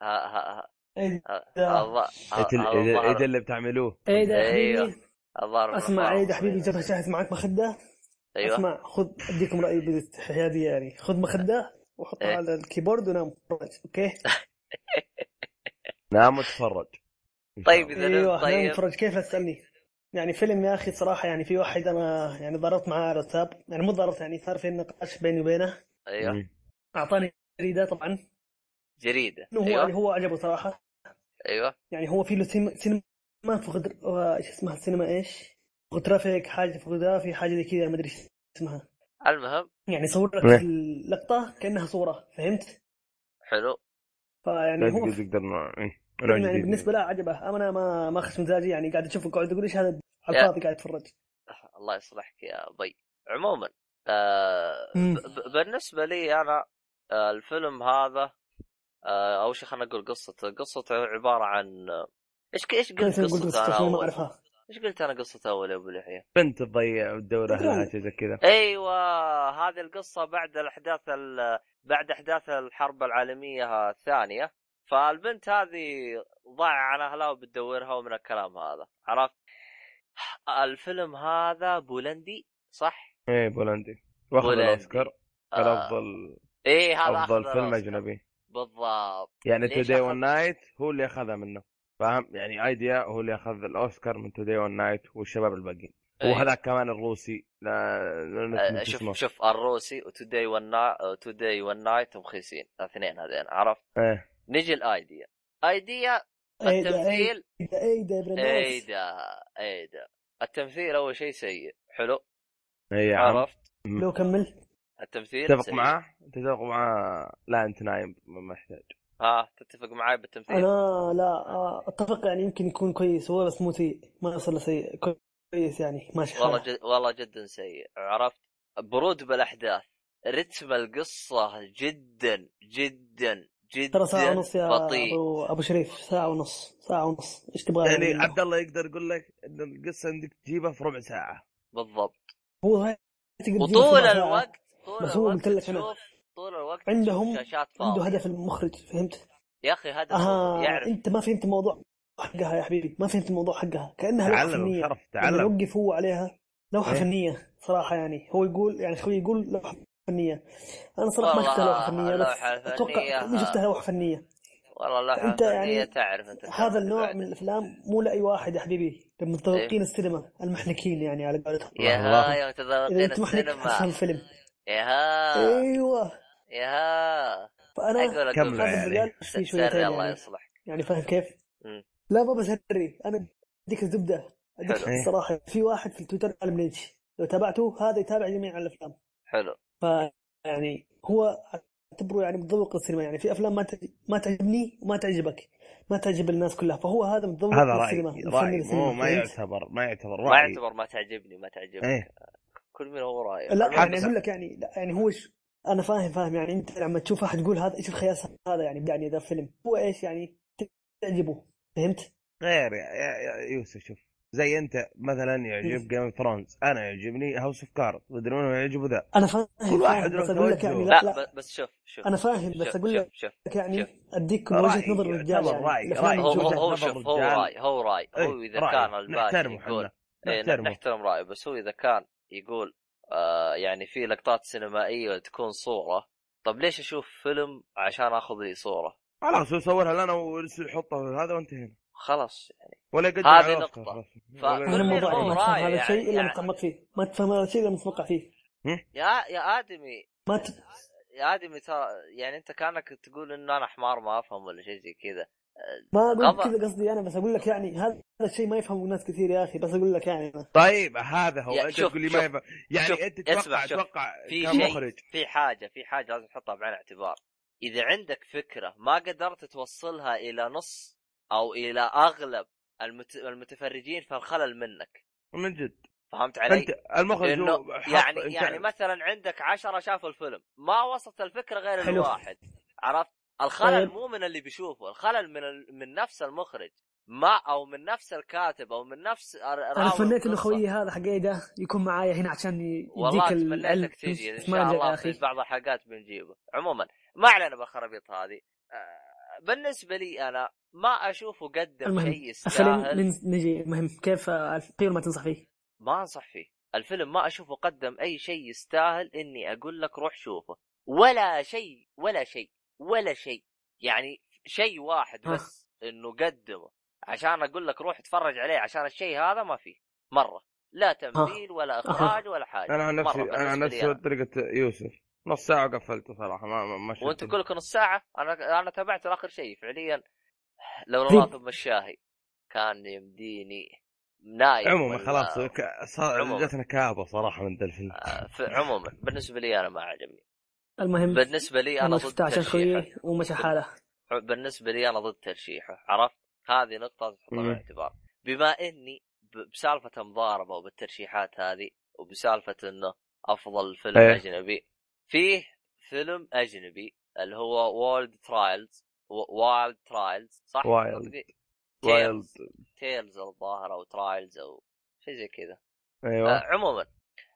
S1: ها ها ها
S3: إيه ده
S1: الظ- ها-
S2: إيه ال- إيه إيه
S1: الظهر
S2: اللي بتعملوه
S3: ايه ده
S1: أيوه.
S3: يا حبيبي
S1: الظهر
S3: اسمع عيد يا
S1: أيوه،
S3: حبيبي جبهه شاهد معك مخده
S1: ايوه
S3: اسمع خذ اديكم رايي بالحياديه يعني خذ مخده
S1: إيه.
S3: وحطها على الكيبورد ونام اتفرج، اوكي
S2: نام وتفرج إن شاء
S1: طيب
S2: الله.
S1: اذا نمت
S3: ايوه نام
S1: طيب
S3: اتفرج كيف تسالني يعني فيلم يا اخي صراحه يعني في واحد انا يعني ضربت معاه على الواتساب يعني مو ضربت يعني صار في نقاش بيني وبينه
S1: ايوه
S2: مم.
S3: اعطاني جريده طبعا
S1: جريده
S3: انه هو
S1: ايوه
S3: اللي هو عجبه صراحه
S1: ايوه
S3: يعني هو في له سينما سينما فوتوغر- آه، ايش اسمها السينما ايش؟ فوتوغرافيك حاجه فوتوغرافي حاجه زي كذا يعني ما ادري ايش اسمها
S1: المهم
S3: يعني صور
S2: إيه.
S3: لك اللقطه كانها صوره فهمت؟
S1: حلو
S3: فيعني هو
S2: تقدر تقدر نوع- إيه. نوع
S3: يعني
S2: جديد.
S3: بالنسبه له عجبه اما انا ما ما اخش مزاجي يعني قاعد اشوفه قاعد اقول ايش هذا على
S1: يا.
S3: الفاضي قاعد اتفرج
S1: الله يصلحك يا بي عموما آه
S3: مم.
S1: ب- ب- بالنسبه لي انا آه الفيلم هذا آه اول شيء خلينا نقول قصته قصته عباره عن آه، ايش ايش
S3: كان
S1: قلت
S3: يقول
S1: قصته انا
S3: قصته ما
S1: اول
S3: اعرفها
S1: ايش قلت انا قصته اول يا ابو لحيه
S2: بنت تضيع الدورة
S3: تدرون.
S2: اهلها شيء زي كذا
S1: ايوه هذه القصه بعد الاحداث ال- بعد احداث الحرب العالميه الثانيه فالبنت هذه ضايعة عن اهلها وبتدورها ومن الكلام هذا عرفت الفيلم هذا بولندي صح؟
S2: ايه بولندي واخذ
S1: بولندي.
S2: الاوسكار الافضل
S1: ايه آه، هذا
S2: افضل
S1: أخذ
S2: فيلم
S1: الأوسكار.
S2: اجنبي
S1: بالضبط
S2: يعني
S1: ليش
S2: توداي
S1: أخذ؟
S2: والنايت هو اللي اخذها منه فاهم يعني ايديا هو اللي اخذ الاوسكار من توداي والنايت والشباب الباقيين
S1: إيه.
S2: وهذاك كمان الروسي لا لا
S1: آه،
S2: نسيت
S1: شوف
S2: اسمه.
S1: شوف الروسي وتوداي والنا توداي والنايت هم خيسين الاثنين هذين عرفت؟
S2: إيه.
S1: نيجي الايديا ايديا
S3: إيه ده،
S1: التمثيل إيه،
S3: ايدا ايدا يا برناس
S1: ايدا ايدا إيه التمثيل اول شيء سيء حلو
S2: اي إيه،
S3: نعم.
S2: عرفت
S1: عرفت
S3: لو
S1: إيه.
S3: كمل
S1: التمثيل
S2: تتفق
S1: سيء.
S2: معاه تتفق معاه لا انت نايم ما محتاج
S1: ها تتفق معاي بالتمثيل
S3: انا لا آه، اتفق يعني يمكن يكون كويس هو بس مو سيء ما يصل لسيء كويس يعني ماشي
S1: والله
S3: حاله.
S1: جد... والله جدا سيء عرفت برود بالاحداث رتم القصه جدا جدا جدا
S3: ترى ساعة ونص يا
S1: بطيء
S3: أبو, ابو شريف ساعة ونص ساعة ونص ايش تبغى
S2: يعني
S3: منه؟
S2: عبد الله يقدر يقول لك ان القصه عندك تجيبها في ربع ساعه
S1: بالضبط
S3: هو هاي تقدر تجيب
S1: وطول
S3: سبع ساعات.
S1: الوقت طول
S3: بس هو
S1: الوقت
S3: قلت لك أنا.
S1: تشوف طول الوقت
S3: عندهم-
S1: تشوف شاشات
S3: عنده
S1: فاضيه
S3: هدف المخرج فهمت؟
S1: يا اخي هدف
S3: اها
S1: يعرف
S3: انت ما فهمت الموضوع حقها يا حبيبي ما فهمت الموضوع حقها كانها لوحه
S2: تعلم
S3: فنيه
S2: شرف
S3: لما
S2: تعلم
S3: يوقف هو عليها لوحه
S2: إيه.
S3: فنيه صراحه يعني هو يقول يعني اخوي يقول لوحه فنيه انا صراحه ما
S1: والله لوحة فنية.
S3: شفتها لوحه فنيه بس اتوقع كل شفتها لوحه فنيه
S1: والله اللوحه
S3: أنت
S1: الفنيه
S3: يعني
S1: تعرف انت
S3: هذا النوع
S1: بعد.
S3: من الافلام مو لاي واحد يا حبيبي
S1: إيه.
S3: للمتذوقين السينما المحنكين يعني على قولتهم
S1: يا
S2: الله.
S1: ها يا
S3: اذا
S1: متذوقين
S3: انت محنك
S1: السينما
S3: افهم فيلم
S1: يا ها
S3: ايوه
S1: يا ها
S3: فانا
S1: اقول اقول
S2: كملوا
S3: هذا
S2: يا عيالي
S3: الرجال يعني في
S1: أيوة. سري
S3: شويتين
S1: الله
S3: يعني
S1: يصلحك
S3: يعني فاهم كيف؟
S1: مم.
S3: لا ما بسري انا اديك الزبده اديك
S2: إيه.
S1: حلو.
S3: الصراحه في واحد في التويتر عالم ليش لو تابعته هذا يتابع جميع الافلام
S1: حلو
S3: ف يعني هو اعتبره يعني متذوق السينما يعني في افلام ما تع- ما تعجبني وما تعجبك ما تعجب الناس كلها فهو هذا متذوق
S2: هذا رايي
S3: للسينما
S2: رايي مو ما
S3: فهمت؟
S2: يعتبر ما يعتبر
S1: ما
S2: رايي
S1: يعتبر ما تعجبني ما تعجبني
S2: ايه
S1: كل من هو رايه
S3: إيه. لا
S1: المهم-
S3: يعني
S2: حتى-
S3: اقول لك يعني لا يعني هو ش... انا فاهم فاهم يعني انت لما تشوف احد يقول هذا ايش الخياس هذا يعني يعني ذا فيلم هو ايش يعني تعجبه فهمت؟
S2: غير يا, يا, يا يوسف شوف زي انت مثلا يعجب جيم اوف ثرونز انا يعجبني هاوس اوف كارد مدري منو يعجبه ذا
S3: انا فاهم
S2: كل واحد
S3: فاهم،
S2: له
S3: بس اقول لك
S2: توجهه.
S3: يعني
S1: لا,
S3: لا لا
S1: ب- بس شوف شوف
S3: انا فاهم بس
S1: شوف-
S3: اقول لك
S1: شوف شوف
S3: يعني
S2: شوف.
S3: اديك
S2: رأي
S3: وجهه نظر الرجال
S2: يعتبر
S3: يعني
S2: رأي،
S3: الافلام
S2: رأي.
S1: هو
S3: الجوده
S1: هو هو
S2: وجهة نظر
S1: شوف هو
S2: رجال.
S1: راي هو راي هو
S2: إيه،
S1: اذا
S2: رأي.
S1: كان الباقي
S2: نحترمه
S1: يقول
S2: احنا
S1: إيه،
S2: نحترمه.
S1: نحترم رايه بس هو اذا كان يقول آه يعني في لقطات سينمائيه تكون صوره طب ليش اشوف فيلم عشان اخذ لي صوره
S2: خلاص هو صورها لنا ويحطها هذا وانتهينا
S1: خلاص يعني
S2: ولا يقدم
S1: هذه
S2: على الأوسكار
S1: نقطة.
S2: خلاص.
S1: ف-
S2: ولا-
S3: انا
S1: كل
S3: الموضوع
S1: منهم
S3: يعني ما
S1: رأي
S3: تفهم هذا الشيء
S1: يعني-
S3: الا
S1: يعني-
S3: متعمق فيه ما تفهم هذا الشيء الا متوقع فيه
S1: يا يا ادمي
S3: ما ت...
S1: يا ادمي ترى يعني انت كانك تقول انه انا حمار ما افهم ولا شيء زي كذا
S3: ما اقول
S1: غضب.
S3: كذا قصدي انا بس اقول لك يعني هذا الشيء ما يفهمه الناس كثير يا اخي بس اقول لك يعني أنا.
S2: طيب هذا هو
S1: يا،
S2: انت
S1: شوف،
S2: تقول لي
S1: شوف،
S2: ما يفهم يعني
S1: شوف،
S2: انت
S1: اسمع،
S2: تتوقع
S1: شوف.
S2: تتوقع
S1: في شيء
S2: كمخرج
S1: في حاجه في حاجه لازم تحطها بعين الاعتبار اذا عندك فكره ما قدرت توصلها الى نص او الى اغلب المت... المتفرجين فالخلل منك
S2: من جد
S1: فهمت علي؟
S2: انت المخرج
S1: لأنه
S2: هو حط-
S1: يعني
S2: إنت-
S1: يعني مثلا عندك عشرة شافوا الفيلم ما وصلت الفكره غير
S3: حلو.
S1: الواحد عرفت الخلل
S3: طيب.
S1: مو من اللي بيشوفه الخلل من ال... من نفس المخرج ما او من نفس الكاتب او من نفس
S3: انا تمنيت انه خويي هذا حق ايدا يكون معايا هنا عشان ي-
S1: والله
S3: يديك العلم
S1: تمنيتك تيجي ان
S3: ما
S1: شاء
S3: رجع
S1: الله
S3: يا
S1: في
S3: اخي
S1: بعض الحلقات بنجيبه عموما ما علينا بالخرابيط هذه آه، بالنسبه لي انا ما اشوفه قدم
S3: المهم،
S1: شيء
S3: خلينا
S1: يستاهل
S3: ننز- نجي المهم كيف آه، القيمه ما تنصح فيه؟
S1: ما انصح فيه الفيلم ما اشوفه قدم اي شيء يستاهل اني اقول لك روح شوفه ولا شيء ولا شيء ولا شيء يعني شيء واحد
S3: ها.
S1: بس انه قدمه عشان اقول لك روح اتفرج عليه عشان الشيء هذا ما فيه مره
S3: آه.
S1: لا تمثيل ولا اخراج ولا حاجه
S2: انا عن نفسي
S1: مرة
S2: انا عن
S1: بالنسبة لي
S2: نفسي طريقه يوسف نص ساعه وقفلته صراحه ما ما, ما
S1: وانت
S2: شدني.
S1: كلكم نص ساعة انا انا تابعت اخر شيء فعليا لو
S3: طيب.
S1: الله ثم الشاهي كان يمديني نايم
S2: عموما
S1: إيه، ولا-
S2: خلاص ك- صار
S1: عموما.
S2: جتنا كابه صراحه من ذا الفيلم
S1: آه، ف- عموما بالنسبة لي انا ما عجبني
S3: المهم
S1: بالنسبة لي انا
S3: والله
S1: ضد
S3: شفتها عشان
S1: ترشيحه
S3: خويي ومشى حاله
S1: بالنسبة لي انا ضد ترشيحه عرفت هذه نقطة تحطها
S2: مم.
S1: بالاعتبار بما اني ب- بسالفة المضاربة وبالترشيحات هذه وبسالفة انه افضل فيلم
S2: إيه.
S1: اجنبي فيه فيلم اجنبي اللي هو وولد ترايلز وايلد ترايلز صح؟
S2: Wild.
S1: نطقي؟
S2: وايلد
S1: تيلز تيلز الظاهر او ترايلز او شيء زي كذا
S2: ايوه
S1: آه عموما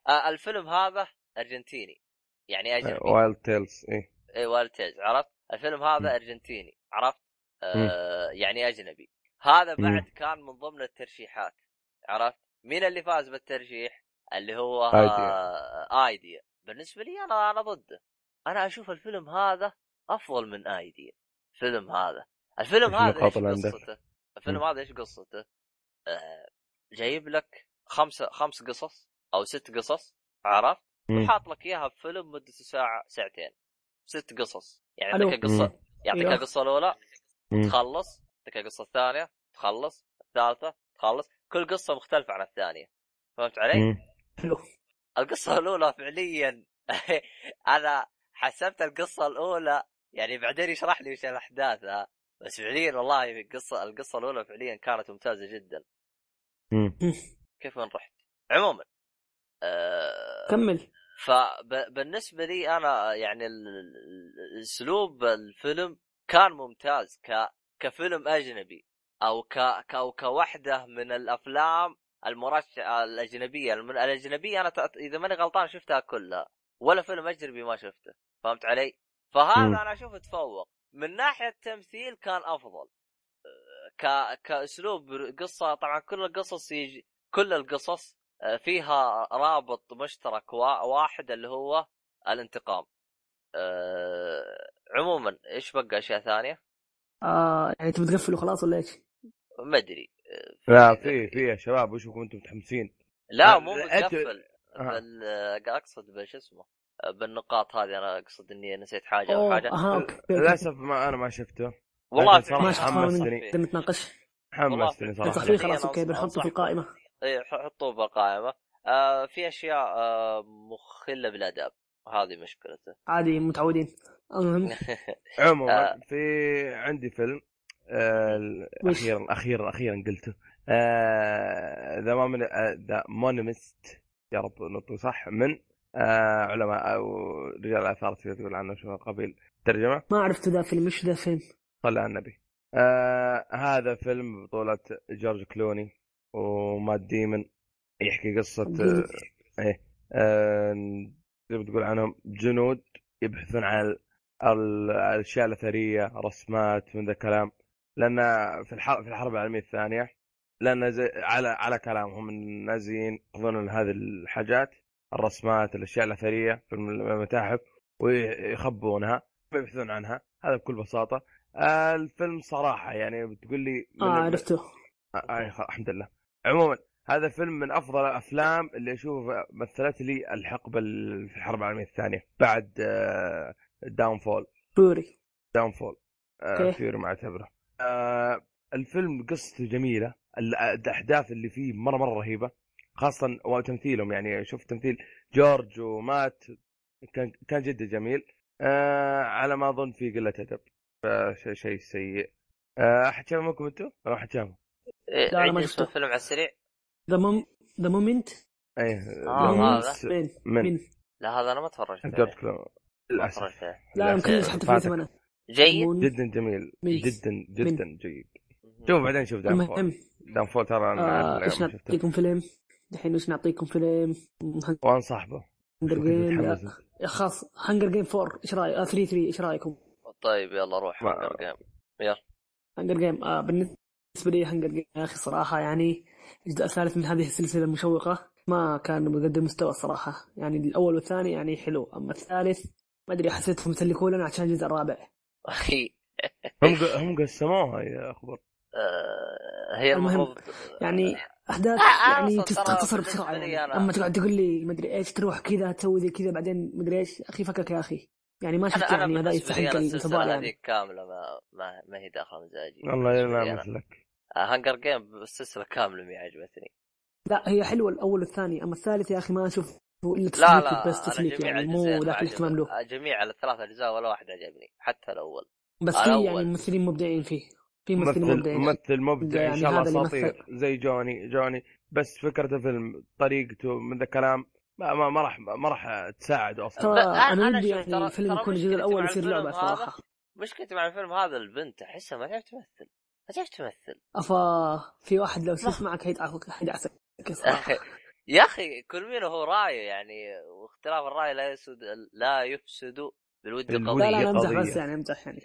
S1: آه الفيلم هذا ارجنتيني يعني اجنبي
S2: وايلد تيلز ايه
S1: اي والتيز إيه، عرفت؟ الفيلم هذا
S2: م.
S1: ارجنتيني عرفت؟ آه يعني اجنبي هذا بعد كان من ضمن الترشيحات عرفت مين اللي فاز بالترشيح اللي هو آه ايديا بالنسبه لي انا انا ضده انا اشوف الفيلم هذا افضل من ايديا الفيلم هذا الفيلم
S2: إيش
S1: هذا
S2: النقاط
S1: ايش
S2: اللي عندك؟
S1: قصته الفيلم
S2: مم.
S1: هذا ايش قصته آه جايب لك خمسه خمس قصص او ست قصص عرفت
S2: مم.
S1: وحاط لك اياها بفيلم مدته ساعه ساعتين ست قصص يعني
S3: حلو.
S1: عندك قصه
S2: مم.
S1: يعطيك
S3: أيوه.
S1: القصه الاولى
S2: مم.
S1: تخلص يعطيك القصه الثانيه تخلص الثالثه تخلص كل قصه مختلفه عن الثانيه فهمت علي؟
S2: مم.
S3: حلو
S1: القصه الاولى فعليا انا حسبت القصه الاولى يعني بعدين يشرح لي وش الاحداث ها. بس فعليا والله القصه القصه الاولى فعليا كانت ممتازه جدا
S2: مم.
S1: كيف وين رحت؟ عموما آه
S3: كمل
S1: فبالنسبه لي انا يعني ال- ال- اسلوب الفيلم كان ممتاز ك كفيلم اجنبي او ك او كوحده من الافلام المرشحه الاجنبيه الم- الاجنبيه انا تأت... اذا ماني غلطان شفتها كلها ولا فيلم اجنبي ما شفته فهمت علي؟ فهذا
S2: مم.
S1: انا اشوفه تفوق من ناحيه التمثيل كان افضل أه، ك... كاسلوب قصه طبعا كل القصص يجي كل القصص آه، فيها رابط مشترك وا- واحد اللي هو الانتقام أه عموما ايش بقى اشياء ثانيه
S3: آه يعني انت بتقفله خلاص ولا ايش؟
S1: ما ادري آه،
S2: لا في في يا شباب وشكم انتم متحمسين
S1: لا مو
S2: أنت-
S1: مقفل
S2: آه.
S1: بال آه، اقصد بش اسمه آه، بالنقاط هذه انا اقصد اني نسيت حاجه او
S3: أوه،
S1: حاجه
S3: اها اوكي آه، أوكي.
S2: للاسف ما انا ما شفته
S1: والله
S2: لكن
S1: فعلياً
S2: صراحة
S3: ما شفت
S1: أنا
S3: فاهم
S1: أنصح
S2: إني-
S1: فيه.
S3: بدنا نتناقش
S1: والله
S2: حمستني
S1: فعلاً.
S3: تنصح
S2: صراحه
S1: فعلاً.
S3: فيه خلاص اوكي
S1: أنصح-
S3: بنحطه في
S1: أنصح
S3: القائمه
S1: إيه، ح- حطوه بالقائمه آه، في اشياء آه، مخله بالاداب وهذه مشكلته إيه،
S3: عادي متعودين
S1: نعم.
S3: المهم
S2: عموما
S1: آه.
S2: في عندي فيلم آه، ال-
S3: وش؟
S2: اخيرا اخيرا اخيرا قلته آه، ذا ذا مونمست يا رب نطق صح من آه، علماء او رجال اثار تقدر تقول عنه شو قبيل ترجمه
S3: ما عرفت ذا فيلم وش ذا فيلم
S2: صلى على النبي آه هذا فيلم بطولة جورج كلوني ومات ديمن يحكي قصة
S3: ديمن.
S2: آه ايه آه زي ما تقول عنهم جنود يبحثون عن ال- ال- الأشياء الأثرية رسمات من ذا الكلام لأن في الحرب في الحرب العالمية الثانية لأن زي على على كلامهم النازيين يأخذون هذه الحاجات الرسمات الأشياء الأثرية في الم- المتاحف ويخبونها يبحثون عنها هذا بكل بساطة آه، الفيلم صراحة يعني بتقول لي من
S3: اه عرفته
S2: آه، آه، خ- الحمد لله عموما هذا فيلم من افضل الافلام اللي اشوف مثلت لي الحقبه ال- في الحرب العالميه الثانيه بعد آه، داون فول
S3: فوري
S2: داون فول
S3: أوكي.
S2: فيوري مع تبره آه، الفيلم قصته جميله ال- الاحداث اللي فيه مره مره رهيبه خاصه وتمثيلهم يعني شفت تمثيل جورج ومات كان كان جدا جميل آه، على ما اظن في قله ادب فشيء شيء سيء آه، احد شافه منكم انتم؟ ولا احد شافه؟
S1: إيه،
S3: لا، أنا ما
S1: عندي اسم
S3: شفته.
S1: الفيلم على السريع
S3: ذا مم ذا مومنت
S2: ايه
S1: آه،
S2: لما
S1: هذا.
S2: س-
S3: مين
S2: من
S3: مين
S1: لا هذا انا ما تفرجت
S2: جورج
S1: عليه
S2: كلوني
S1: ما
S2: للاسف
S1: تفرجت عليه
S3: لا انا مكمل حتى في
S2: فاتك.
S3: الاسم انا
S1: جيد
S3: مون-
S2: جدا جميل
S3: من.
S2: جدا جدا جيد شوف بعدين شوف دام فول
S3: المهم
S2: دام فول ترى
S3: آه،
S2: انا
S3: ايش
S2: ما شفته
S3: نعطيكم فيلم؟ الحين ايش نعطيكم فيلم؟
S2: وان صاحبه
S3: هانجر
S2: شوف كيف
S3: جيم
S2: متحمس أنت.
S3: خلاص هانجر جيم 4 ايش رايك؟ آه 3 3 ايش رايكم؟
S1: طيب يلا روح
S2: ما-
S1: هانجر جيم
S3: هانجر جيم آه بالنسبه لي هانجر جيم يا اخي صراحه يعني الجزء الثالث من هذه السلسله المشوقه ما كان بقدر المستوى الصراحه يعني الاول والثاني يعني حلو اما الثالث ما ادري حسيتهم يسلكوا لنا عشان الجزء الرابع
S1: اخي
S2: هم ق- هم قسموها يا اخبار
S1: آه، هي
S3: المهم،
S1: المفروض
S3: يعني احداث
S1: آه، آه،
S3: يعني
S1: أصلاً ترى
S3: تختصر
S1: بالنسبة
S3: بسرعه
S1: لي
S3: يعني
S1: أنا-
S3: اما تقعد تقول لي مدري ايش تروح كذا تسوي زي كذا بعدين مدري ايش اخي فكك يا اخي يعني ما شفت
S1: انا انا
S3: يعني هذا
S1: بالنسبه
S3: يستحق
S1: لي انا
S3: الانطباع
S1: السلسله
S3: يعني
S1: هذيك كامله ما ما, ما هي داخله مزاجي
S2: والله
S1: بالنسبة لي
S2: لا
S1: أنا.
S2: مثلك
S1: آه، هانجر جيم السلسله كامله ما عجبتني
S3: لا هي حلوه الاول والثاني اما الثالث يا اخي ما اشوف الا
S1: لا
S3: تسليك
S1: لا
S3: بس
S1: انا
S3: تسليك
S1: جميع
S3: يعني
S1: الجزئين
S3: مو
S1: ما
S3: ذاك
S1: عجب
S3: الاهتمام له
S1: جميع الثلاث اجزاء ولا واحد عجبني حتى الاول
S3: بس في يعني
S1: الاول
S3: ممثلين مبدعين فيه في ممثلين
S2: ممثل
S3: مبدعين
S2: ممثل مبدع ان
S3: يعني
S2: شاء الله
S3: هذا اللي مثل.
S2: اساطير زي جوني جوني بس فكره الفيلم طريقته من ذا الكلام ما ما, ما راح ما راح تساعده اصلا
S3: ترى
S1: لا، أنا-
S3: انا
S1: أنا
S3: ودي
S1: شوف،
S3: يعني
S1: ترى-
S3: الفيلم
S1: ترى
S3: يكون الجزء
S1: مشكلتي
S3: الاول
S1: مع
S3: يصير
S1: الفيلم
S3: لعبه
S1: هذا
S3: صراحه
S1: مشكلتي مع الفيلم هذا البنت احسها ما تعرف تمثل ما تعرف تمثل
S3: افا في واحد لو
S1: ما-
S3: شفت معك حيدعسك حيدعسك صراحه
S1: يا اخي كل مين هو رايه يعني واختلاف الراي لا يسود لا يفسد بالود
S2: الود.
S3: لا
S1: قضيه
S3: لا انا امزح
S2: قضية.
S3: بس يعني امزح يعني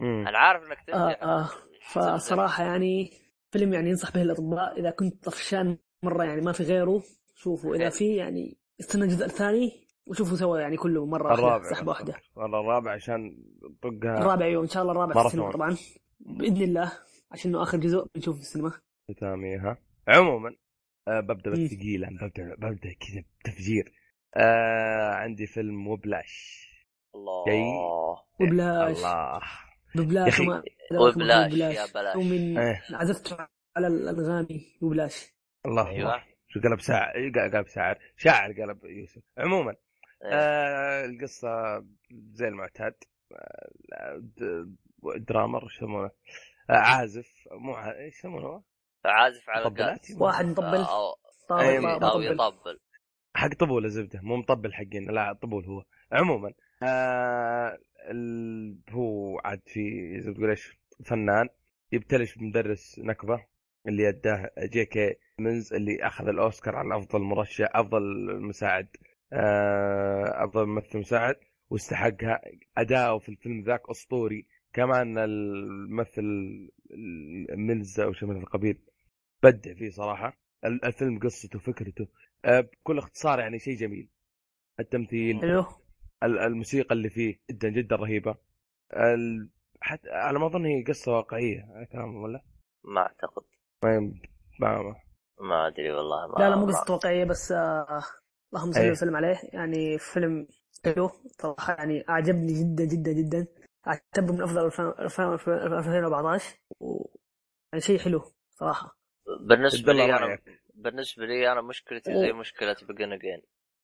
S2: مم.
S1: انا عارف انك تبدع
S3: آه آه
S1: تبدع.
S3: فصراحة يعني فيلم يعني ينصح به الأطباء إذا كنت طفشان مرة يعني ما في غيره شوفوا إذا
S1: حلو.
S3: في يعني استنى الجزء الثاني وشوفوا سوا يعني كله مرة واحدة
S2: الرابع
S3: سحبة واحدة
S2: والله الرابع عشان طقها
S3: الرابع أيوه إن شاء الله الرابع في
S2: ماراثون.
S3: السينما طبعا بإذن الله عشان إنه آخر جزء بنشوفه في السينما
S2: ختاميها عموما آه ببدا
S3: مم.
S2: بالثقيل انا ببدا ببدا كذا بتفجير آه عندي فيلم مبلش
S1: الله
S2: جاي.
S3: وبلاش
S2: الله
S3: ببلاش
S2: يا أخي،
S3: وما
S1: وبلاش يا بلاش.
S3: ومن
S2: إيه.
S3: عزفت على الأنغامي وبلاش
S2: الله
S1: أيوة.
S2: الله. شو قلب ساعة إيه، قلب ساعة شاعر قلب يوسف عموما
S1: إيه.
S2: آه القصة زي المعتاد آه، د- درامر إيش يسمونه آه عازف مو ع- ايش يسمونه
S1: عازف على
S2: مطبلات؟
S1: القاس
S3: واحد مطبل
S1: أو-
S2: أي
S3: طاول
S2: مطبل.
S1: او
S3: طاول طاول
S1: يطبل
S2: حق طبول زبده مو مطبل حقنا لا طبول هو عموما آه ال... هو عاد في زي ما تقول ايش فنان يبتلش بمدرس نكبه اللي اداه جي كي منز اللي اخذ الاوسكار على افضل مرشح افضل مساعد آه افضل ممثل مساعد واستحقها اداؤه في الفيلم ذاك اسطوري كمان الممثل ميلز او شيء من هذا القبيل بدع فيه صراحه ال- الفيلم قصته فكرته آه، بكل اختصار يعني شيء جميل التمثيل
S3: حلو
S2: ال- الموسيقى اللي فيه جدا جدا رهيبه ال... حتى على ما اظن هي قصه واقعيه كلام ولا
S1: ما اعتقد
S2: ما ما- ما-
S1: ما ادري والله ما
S3: لا لا مو
S1: ما-
S3: قصة واقعية بس آه اللهم صل
S2: إيه.
S3: وسلم عليه يعني فيلم حلو صراحة يعني أعجبني جدا جدا جدا أعتبره من أفضل الأفلام أفلام 2014 و يعني شيء حلو صراحة
S2: عبد
S1: بالنسبه
S2: الله
S1: لي انا
S2: رايك
S1: بالنسبه لي انا مشكلتي زي مشكله بيجن اجين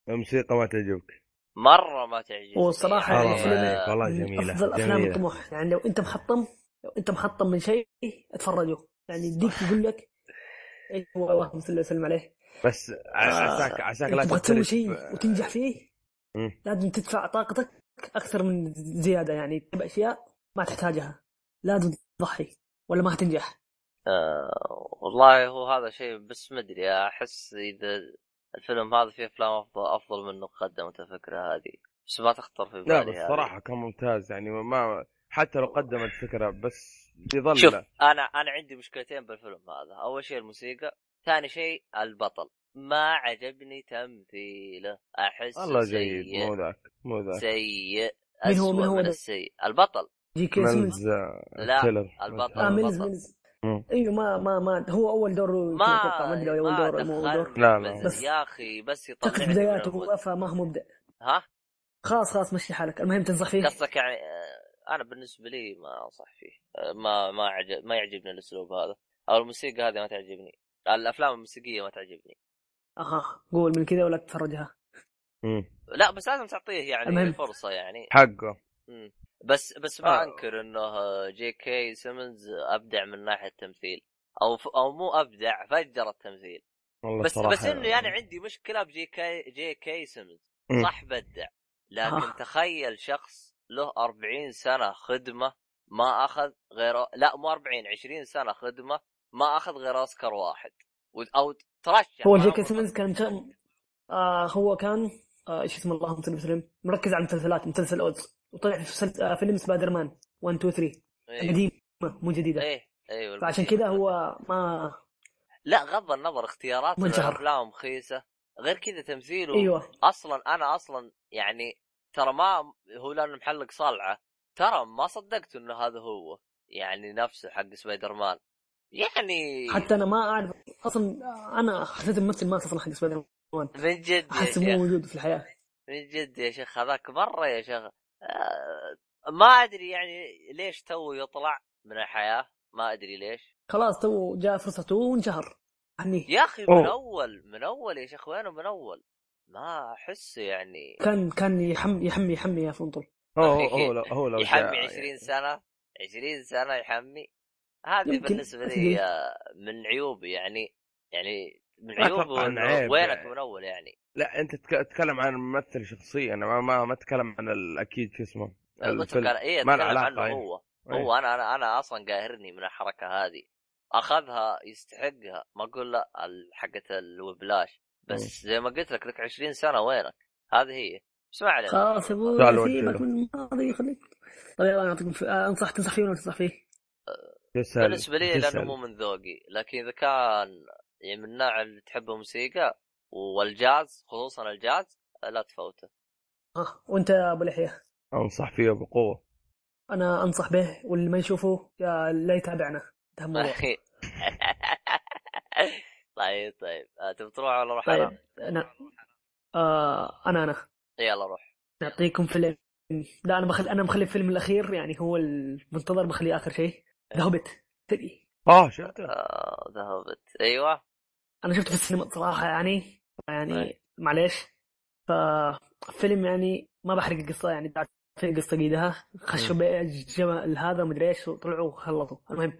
S2: الموسيقى ما تعجبك
S1: مره ما تعجبني
S3: والصراحة
S2: حرام
S3: يعني
S1: يعني
S3: الفيلم-
S2: عليك
S1: آه،
S2: والله
S3: من
S2: جميله
S3: أفضل أفلام
S2: جميله
S3: الطموح يعني لو أنت محطم لو أنت محطم من شيء اتفرجه يعني يديك يقول لك إيه هو اللهم صل وسلم عليه
S2: بس ع-
S3: آه،
S2: عساك عساك لا
S3: تبغى تسوي
S2: تختلف
S3: شيء وتنجح فيه
S2: مم.
S3: لازم تدفع طاقتك اكثر من زياده يعني تجيب اشياء ما تحتاجها لازم تضحي ولا ما حتنجح
S1: آه، والله هو هذا شيء بس ما ادري احس اذا الفيلم هذا فيه افلام افضل افضل منه قدمت الفكره هذه بس ما تخطر في
S2: لا
S1: بالي
S2: بس
S1: هذه.
S2: صراحه كان ممتاز يعني ما حتى لو قدمت فكره بس يظل
S1: شوف انا انا عندي مشكلتين بالفيلم هذا اول شيء الموسيقى ثاني شيء البطل ما عجبني تمثيله احس
S2: والله جيد
S1: سيء
S2: مو ذاك مو ذاك
S1: سيء
S3: من هو-
S1: أسوأ
S3: من هو
S1: من
S3: ده؟
S1: السيء البطل
S3: جي كي سيمنز
S2: ملز آه،
S1: لا،
S2: تيلر
S1: البطل.
S3: آه ميلز
S1: بطل.
S3: ميلز
S2: مم.
S3: ايوه ما ما ما هو اول دور يمكن
S1: ما
S3: اتوقع ما ادري اول
S1: ما
S3: دور مو اول دور
S1: دخلني
S2: لا، لا.
S1: بس
S3: بس-
S1: يا اخي بس
S3: شكل
S1: يطلعني من
S3: بداياته
S1: المود
S3: هو ما هو مبدع
S1: ها
S3: خلاص خلاص مشي حالك المهم تنصح فيه
S1: قصدك يعني آه، انا بالنسبه لي ما انصح فيه آه، ما ما عجب ما يعجبني الاسلوب هذا او الموسيقى هذه ما تعجبني الافلام الموسيقيه ما تعجبني
S3: اها قول من كذا ولا تتفرجها
S2: مم.
S1: لا بس لازم تعطيه يعني
S3: المهم.
S1: فرصه يعني
S2: حقه
S1: مم. بس بس ما
S2: آه.
S1: انكر انه جي كي سيمنز ابدع من ناحيه التمثيل او ف... او مو ابدع فجر التمثيل
S2: والله
S1: بس
S2: صراحة
S1: بس انه يعني عندي مشكله بجي كي جي كي سيمنز
S2: مم.
S1: صح بدع لكن
S3: آه.
S1: تخيل شخص له 40 سنه خدمه ما اخذ غير لا مو 40 20 سنه خدمه ما اخذ غير اوسكار واحد و... او ترشح
S3: هو
S1: ما
S3: جي كي
S1: عمره-
S3: سيمنز كان مت- آه هو كان آه ايش اسمه اللهم صل وسلم مركز على المسلسلات مسلسل اوز وطلع في مسلسل- آه فيلم سبايدر مان 1 2 3
S1: ايه
S3: قديمه مو جديده
S1: ايه ايوه
S3: فعشان
S1: القديم.
S3: كذا هو ما
S1: لا غض النظر اختياراته
S3: من شهر.
S1: للافلام خيسه غير كذا تمثيله
S3: ايوه
S1: اصلا انا اصلا يعني ترى ما هو لانه محلق صلعه ترى ما صدقت انه هذا هو يعني نفسه حق سبايدر مان يعني
S3: حتى انا ما اعرف اصلا انا حسيت الممثل ما اصلا حق سبايدر مان
S1: من جد يا
S3: احسه مو
S1: شيخ
S3: موجود في الحياه
S1: من جد يا شيخ هذاك برا يا شيخ آه، ما ادري يعني ليش تو يطلع من الحياه ما ادري ليش
S3: خلاص تو جاء فرصته وانشهر يعني عني
S1: يا اخي من
S2: أوه.
S1: اول من اول يا شيخ وينه من اول ما احسه يعني
S3: كان كان يحمي يحمي يحمي يا فنطل
S2: هو هو هو لو, هو لو يعني.
S1: يحمي
S2: جاء-
S1: 20 سنه 20 سنه يحمي هذه
S3: يمكن.
S1: بالنسبه لي آه، من عيوبي يعني يعني من
S2: ما أتوقع
S1: عيوبه إنه
S2: إنه عيب
S1: وينك
S2: يعني.
S1: من اول يعني
S2: لا انت تك- تتكلم عن ممثل شخصيا انا ما ما, ما اتكلم عن ال- اكيد شو اسمه
S1: بتكلم
S2: الفيلم
S1: ايه
S2: ما له
S1: اتكلم
S2: علاقة،
S1: عنه
S2: إيه.
S1: هو
S2: إيه.
S1: هو انا انا انا اصلا قاهرني من الحركه هذه اخذها يستحقها ما اقول لا ال- حقت الوبلاش
S2: إيه. يعني
S1: بس زي ما قلت لك لك 20 سنه وينك هذه هي بس ما علينا
S3: خلاص يا
S2: تعال
S3: ابوي
S2: ودي
S3: سيبك
S2: له.
S3: من الماضي خليك طيب يلا انا اعطيكم في... آه، انصح تنصح فيه ولا ما تنصح فيه؟
S2: تسأل
S1: بالنسبه لي لانه
S2: تسأل.
S1: مو من ذوقي لكن اذا كان يعني من النوع اللي تحب الموسيقى والجاز خصوصا الجاز لا تفوته
S3: اه وانت يا ابو لحيه
S2: انصح فيها بقوه
S3: انا انصح به واللي ما يشوفه يا لا يتابعنا انتهى الموضوع
S1: طيب طيب آه، تبي تروح ولا اروح
S3: طيب
S1: انا؟
S3: انا آه انا انا
S1: يلا روح
S3: نعطيكم فيلم لا انا بخلي انا مخلي الفيلم الاخير يعني هو المنتظر بخليه اخر شيء ذا هوبيت ثري
S2: اه شفته
S1: آه، ذهبت ايوه
S3: انا شفته في السينما صراحه يعني يعني معليش ففيلم يعني ما بحرق القصه يعني بعد في قصه قيدها خشوا بالجمل هذا مدري ايش وطلعوا وخلصوا المهم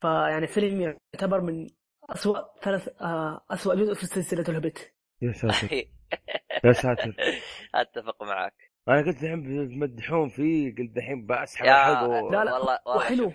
S3: فيعني فيلم يعتبر من أسوأ ثلاث آه، أسوأ جزء في سلسله الهوبيت
S2: يا ساتر يا ساتر
S1: اتفق معك
S2: انا قلت الحين بتمدحون فيه قلت دحين بسحب
S1: يا
S2: الحلقه
S3: لا، لا،
S1: والله والله
S3: وحلو
S1: شوف،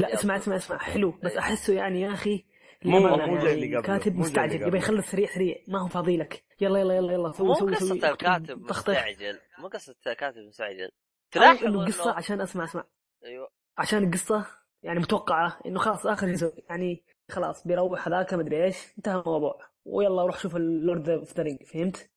S3: لا
S1: يا
S3: اسمع
S1: أبو.
S3: اسمع اسمع حلو بس
S1: إيه.
S3: احسه يعني يا اخي
S2: مو-
S3: للأمانة
S1: مو زي
S3: يعني
S2: اللي قبله،
S3: الكاتب
S2: مو زي اللي
S3: مستعجل يبي
S2: قبله.
S3: يخلص سريع سريع ما هو فاضي لك يلا يلا يلا يلا
S1: مو
S3: سوي سوي سوي
S1: قصة الكاتب يعني
S3: تخطيط.
S1: مستعجل مو قصة الكاتب مستعجل
S3: أو
S1: تلاحظ
S3: انه قصه
S1: انه
S3: عشان اسمع اسمع
S1: ايوه
S3: عشان القصه يعني متوقعه انه خلاص اخر جزء يعني خلاص بيروح هذاك مدري ايش انتهى الموضوع ويلا روح شوف اللورد اوف ذا رينج فهمت؟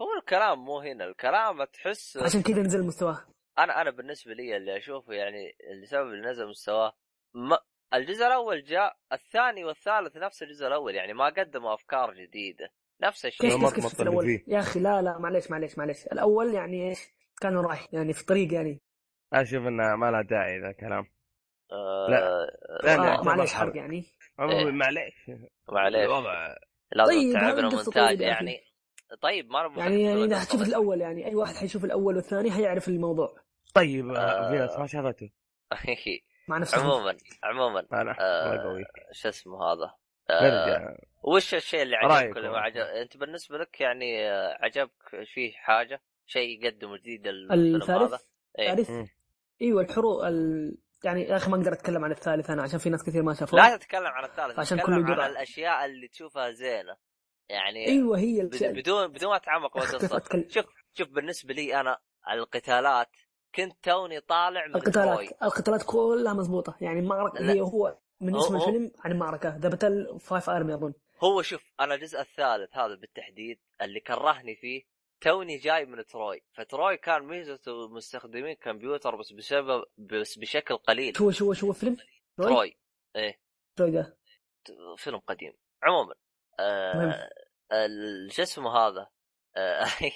S1: هو الكلام مو هنا الكلام تحس
S3: عشان كذا نزل مستواه
S1: انا انا بالنسبه لي اللي اشوفه يعني السبب اللي نزل مستواه ما الجزء الاول جاء الثاني والثالث نفس الجزء الاول يعني ما قدموا افكار جديده نفس
S3: كيف
S1: الشيء
S2: ما
S3: كيف كيف
S2: تمطل
S3: في الاول؟
S2: فيه.
S3: يا اخي لا لا معليش معليش معليش الاول يعني ايش؟ كانوا رايح يعني في طريق يعني
S2: اشوف انها ما لها داعي ذا الكلام
S1: آه،
S2: لا. لا
S3: آه،
S2: لا يعتبر
S3: معليش
S2: حرق.
S3: حرق يعني
S1: إيه.
S2: عموما معليش
S1: معليش
S2: الوضع
S1: لازم
S3: طيب، هذه
S1: تعبنا
S3: القصة
S1: مونتاج
S3: طيب يا أخي.
S1: يعني طيب ما أنا
S3: يعني يعني
S1: بفكر
S3: اذا حتشوف
S1: بالقصة.
S3: الاول يعني اي واحد حيشوف الاول والثاني حيعرف الموضوع
S2: طيب
S1: آه.
S2: آه، في ناس ما شافته
S3: مع نفسه
S1: عموما عموما
S2: انا
S1: آه.
S2: الله يقويك
S1: شو اسمه هذا آه،
S2: نرجع
S1: وش الشيء اللي
S2: رأيك
S1: عجبك ولا ما
S2: والله.
S1: عجب انت بالنسبه لك يعني آه، عجبك فيه حاجه شيء يقدمه جديد الفيلم هذا
S3: الثالث
S1: إيه.
S3: الثالث
S2: مم.
S3: ايوه الحروب ال... يعني يا اخي ما اقدر اتكلم عن الثالث انا عشان في ناس كثير ما شافوه
S1: لا تتكلم عن الثالث
S3: طيب. عشان
S1: تتكلم
S3: كله
S1: عن
S3: يدور على-
S1: الاشياء اللي تشوفها زينه يعني
S3: ايوه هي
S1: بد-
S3: الشيء
S1: بدون بدون ما اتعمق
S3: يا أخي كيف
S1: بالقصه
S3: اتكلم
S1: شوف شوف بالنسبه لي انا القتالات كنت توني طالع من الهوي
S3: القتالات القتالات كلها مضبوطه يعني معركه
S1: لا.
S3: هي هو من اسم
S1: هو- هو-
S3: الفيلم عن معركه ذا باتل فايف ارمي اظن
S1: هو شوف انا الجزء الثالث هذا بالتحديد اللي كرهني فيه توني جاي من تروي فتروي كان ميزته مستخدمين كمبيوتر بس بسبب بس بشكل قليل
S3: شو شو شو فيلم روي؟
S1: تروي
S3: روي ده
S1: ت- فيلم قديم عموما آه
S3: مهم.
S1: ال- شو اسمه هذا آه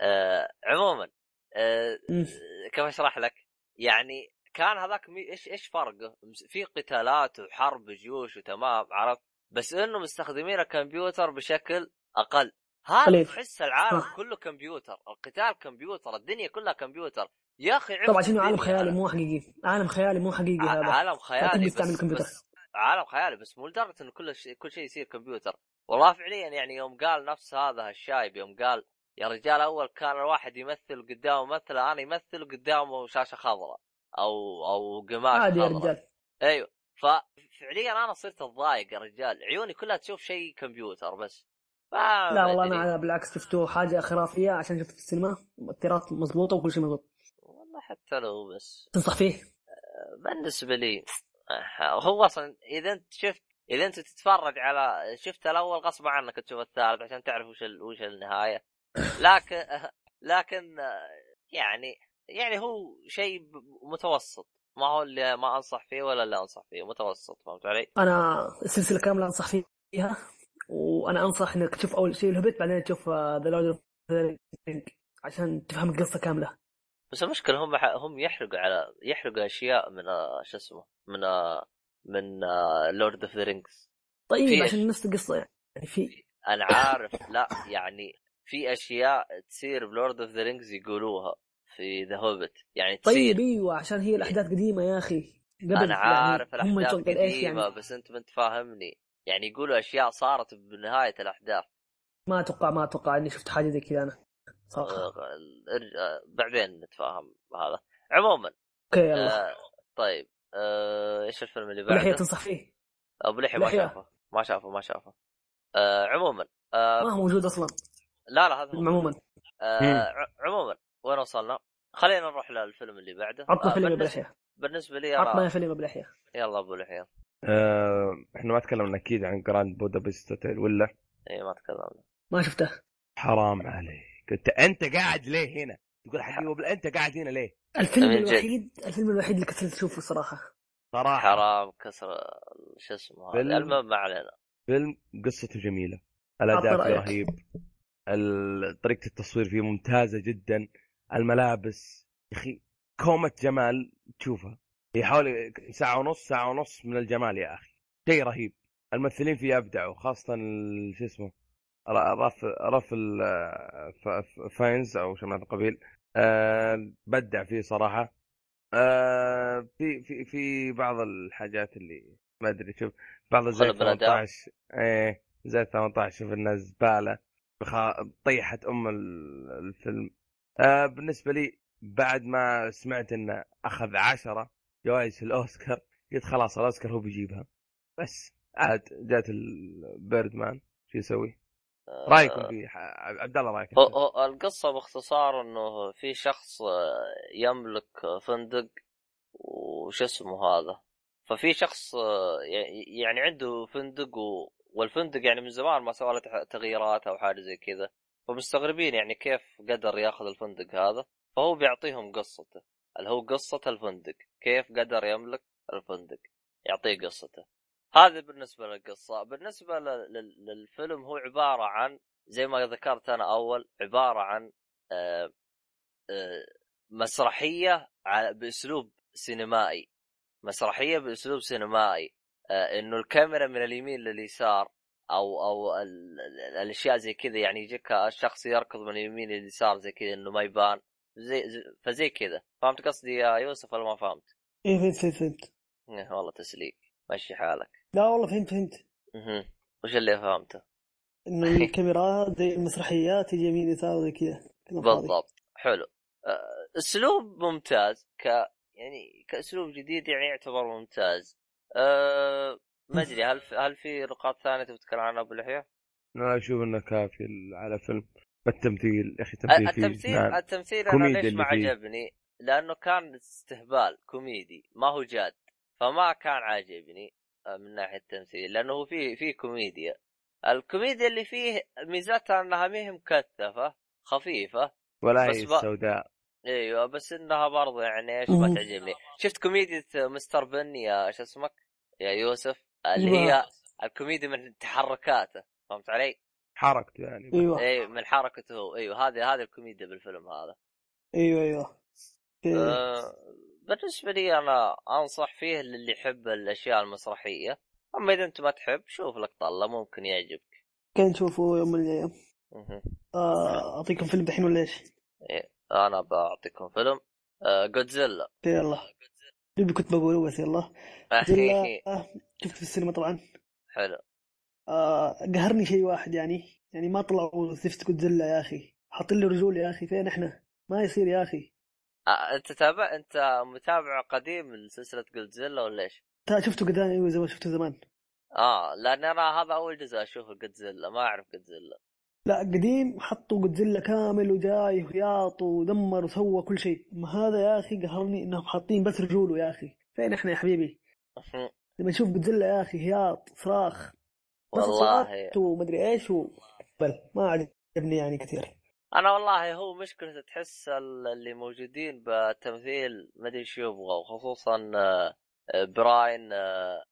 S1: آه عموما آه
S3: مم.
S1: كيف اشرح لك يعني كان هذاك مي- ايش ايش فرقه مس- في قتالات وحرب جيوش وتمام عرفت بس انه مستخدمين الكمبيوتر بشكل اقل هذا
S3: قليل. آه.
S1: تحس العالم
S3: صح.
S1: كله كمبيوتر القتال كمبيوتر الدنيا كلها كمبيوتر يا اخي عبث
S3: طبعا شنو عالم
S1: الدنيا
S3: خيالي
S1: هذا.
S3: مو حقيقي عالم خيالي مو حقيقي
S1: ع-
S3: هذا
S1: عالم خيالي
S3: لكن
S1: بس,
S3: بيستعمل الكمبيوتر.
S1: بس عالم خيالي بس مو لدرجه انه كل شيء كل شيء يصير كمبيوتر والله فعليا يعني يوم قال نفس هذا الشايب يوم قال يا رجال اول كان الواحد يمثل قدامه مثله انا يمثل قدامه شاشه خضراء او او قماش
S3: عادي يا
S1: خضراء
S3: رجال
S1: ايوه ففعليا انا صرت اتضايق يا رجال عيوني كلها تشوف شيء كمبيوتر بس ما
S3: لا والله
S1: أدري.
S3: انا بالعكس شفته حاجه خرافيه عشان شفته في السينما مؤثرات مضبوطه وكل شيء مضبوط
S1: والله حتى لو بس
S3: تنصح فيه
S1: بالنسبه لي آه، هو اصلا اذا انت شفت اذا انت تتفرج على شفت الاول غصب عنك تشوف الثالث عشان تعرف وش ال... وش النهايه لكن لكن آه، يعني يعني هو شيء ب- متوسط ما هو اللي ما انصح فيه ولا اللي انصح فيه متوسط فهمت علي؟
S3: انا السلسله كامله انصح فيها وانا انصح انك تشوف اول شيء الهبت بعدين تشوف آه، ذا لورد اوف عشان تفهم القصه كامله
S1: بس المشكله هم هم يحرقوا على يحرقوا اشياء من آه، شو اسمه من آه، من آه، لورد اوف ذا رينجز
S3: طيب
S1: في-
S3: عشان نفس القصه يعني في
S1: انا عارف لا يعني في اشياء تصير بلورد اوف ذا رينجز يقولوها في ذا هوبت يعني تصير
S3: طيب ايوه عشان هي الاحداث قديمه يا اخي قبل
S1: انا عارف
S3: يعني هم
S1: الاحداث
S3: يتوقعون
S1: قديمه
S3: ايش يعني
S1: بس انت ما تفهمني يعني يقولوا اشياء صارت بنهايه الاحداث
S3: ما اتوقع ما اتوقع اني شفت حاجه زي كذا انا صراحه
S1: آه، ارجع- بعدين نتفاهم هذا عموما
S3: اوكي يلا
S1: آه طيب آه، ايش الفيلم اللي
S3: لحيه
S1: بعده؟
S3: تنصح فيه
S1: ابو لحية ما
S3: لحية.
S1: شافه ما شافه ما شافه آه عموما
S3: آه. ما هو موجود اصلا
S1: لا لا هذا هو.
S3: عموما
S1: آه
S2: مم.
S1: ع- عموما وين وصلنا؟ خلينا نروح للفيلم اللي بعده
S3: عطنا
S1: آه،
S3: فيلم ابو
S1: بالنسبة,
S3: لحيه
S1: بالنسبه لي
S3: عطنا
S1: انا
S3: فيلم ابو لحيه
S1: يلا ابو لحيه
S2: آه، احنا ما تكلمنا اكيد عن جراند بودابست هوتيل ولا
S1: اي إيه، ما تكلمنا
S3: ما شفته
S2: حرام عليك انت انت قاعد ليه هنا؟ تقول حقي وبل انت قاعد هنا ليه؟
S3: الفيلم
S1: من جد.
S3: الوحيد الفيلم الوحيد اللي كسلت اشوفه صراحه
S2: صراحه
S1: حرام كسر ال- شو اسمه هذا
S2: فيلم.
S1: المهم ما علينا
S2: فيلم قصته جميله
S3: أعطنا
S2: الاداء فيه
S3: رأيك.
S2: رهيب ال- طريقه التصوير فيه ممتازه جدا الملابس يا اخي كومه جمال تشوفها هي حوالي ساعه ونص ساعه ونص من الجمال يا اخي شيء رهيب الممثلين فيه ابدعوا خاصه ال- شو اسمه ر- رف رف ال- آه، ف- ف- فاينز او شيء من هذا القبيل آه، بدع فيه صراحه آه، في في في بعض الحاجات اللي ما ادري شوف بعض الزي
S1: خلل بالأداء.
S2: 18 ايه زي 18 شوف انها زباله بخ- طيحت ام ال- الفيلم آه بالنسبه لي بعد ما سمعت انه اخذ عشرة جوائز في الاوسكار قلت خلاص الاوسكار هو بيجيبها بس عاد جات البيردمان شو يسوي؟
S1: آه،
S2: رايكم في ح- عبد الله رايك
S1: هو- هو القصة باختصار انه في شخص آه، يملك آه، فندق وش اسمه هذا ففي شخص آه، ي- يعني عنده فندق و... والفندق يعني من زمان ما سوى له تح- تغييرات او حاجة زي كذا فمستغربين يعني كيف قدر ياخذ الفندق هذا فهو بيعطيهم قصته اللي هو قصة الفندق كيف قدر يملك الفندق يعطيه قصته هذا بالنسبة للقصة بالنسبة لل- لل- للفيلم هو عبارة عن زي ما ذكرت انا اول عباره عن آه، آه، مسرحيه على- باسلوب سينمائي مسرحيه باسلوب سينمائي آه، انه الكاميرا من اليمين لليسار او او ال- ال- الاشياء زي كذا يعني يجيك الشخص يركض من اليمين لليسار زي كذا انه ما يبان زي زي- فزي كذا فهمت قصدي يا يوسف ولا ما فهمت؟
S3: ايه فهمت فهمت فهمت
S1: إيه، والله تسليك مشي حالك
S3: لا والله فهمت فهمت
S1: مهم. وش اللي فهمته؟
S3: انه الكاميرا زي المسرحيات يجي يمين يسار زي كذا كلام فاضي.
S1: بالضبط حلو آه، اسلوب ممتاز ك يعني كاسلوب جديد يعني يعتبر ممتاز أه... ما ادري هل في... هل في نقاط ثانيه تبي تتكلم عنها آه، ابو لحيه؟
S2: انا اشوف انه كافي على فيلم التمثيل يا اخي تمثيل فيه
S1: التمثيل
S2: جنان.
S1: التمثيل انا
S2: كوميديا
S1: ليش
S2: نعم.
S1: ما
S2: اللي فيه.
S1: عجبني؟ لانه كان استهبال كوميدي ما هو جاد فما كان عاجبني آه، من ناحيه التمثيل لانه هو فيه فيه كوميديا الكوميديا اللي فيه ميزتها انها ما هي مكثفه خفيفه
S2: ولا
S1: بس
S2: هي
S1: بقى-
S2: السوداء
S1: ايوه بس انها برضه يعني ايش ما
S3: مم.
S1: تعجبني شفت كوميديا مستر بن يا شو اسمك يا يوسف اللي
S3: أيوة.
S1: هي الكوميديا من تحركاته فهمت علي؟
S2: حركته يعني
S3: ايوه
S1: اي من حركته هو ايوه هذه هذه الكوميديا بالفيلم هذا
S3: ايوه ايوه إيه.
S1: أه بالنسبه لي انا انصح فيه للي يحب الاشياء المسرحيه اما اذا انت ما تحب شوف لك طله ممكن يعجبك
S3: كان نشوفه يوم من الايام
S1: مهم.
S3: آه، اعطيكم فيلم دحين ولا ايش؟
S1: انا بعطيكم فيلم أه جودزيلا
S3: إيه، يلا اللي كنت بقوله بس يلا جودزيلا. آه، شفت في السينما طبعا
S1: حلو
S3: آه، قهرني شيء واحد يعني يعني ما طلعوا زفت جودزيلا يا اخي حاطين لي رجول يا اخي فين احنا؟ ما يصير يا اخي
S1: أه انت تابع انت متابع قديم لسلسله جودزيلا ولا ايش؟
S3: تا شفته قدام ايوه زي ما شفته زمان
S1: اه لان انا هذا اول جزء اشوفه جودزيلا ما اعرف جودزيلا
S3: لا قديم حطوا جودزيلا كامل وجاي وياط ودمر وسوى كل شيء ما هذا يا اخي قهرني انهم حاطين بس رجوله يا اخي فين احنا يا حبيبي لما نشوف جودزيلا يا اخي هياط صراخ بس
S1: والله
S3: أصوات ومدري ايش و... بل ما عجبني يعني كثير
S1: انا والله هو مشكلة تحس ال- اللي موجودين بالتمثيل ما ادري شو يبغوا خصوصا آه، آه، براين آه،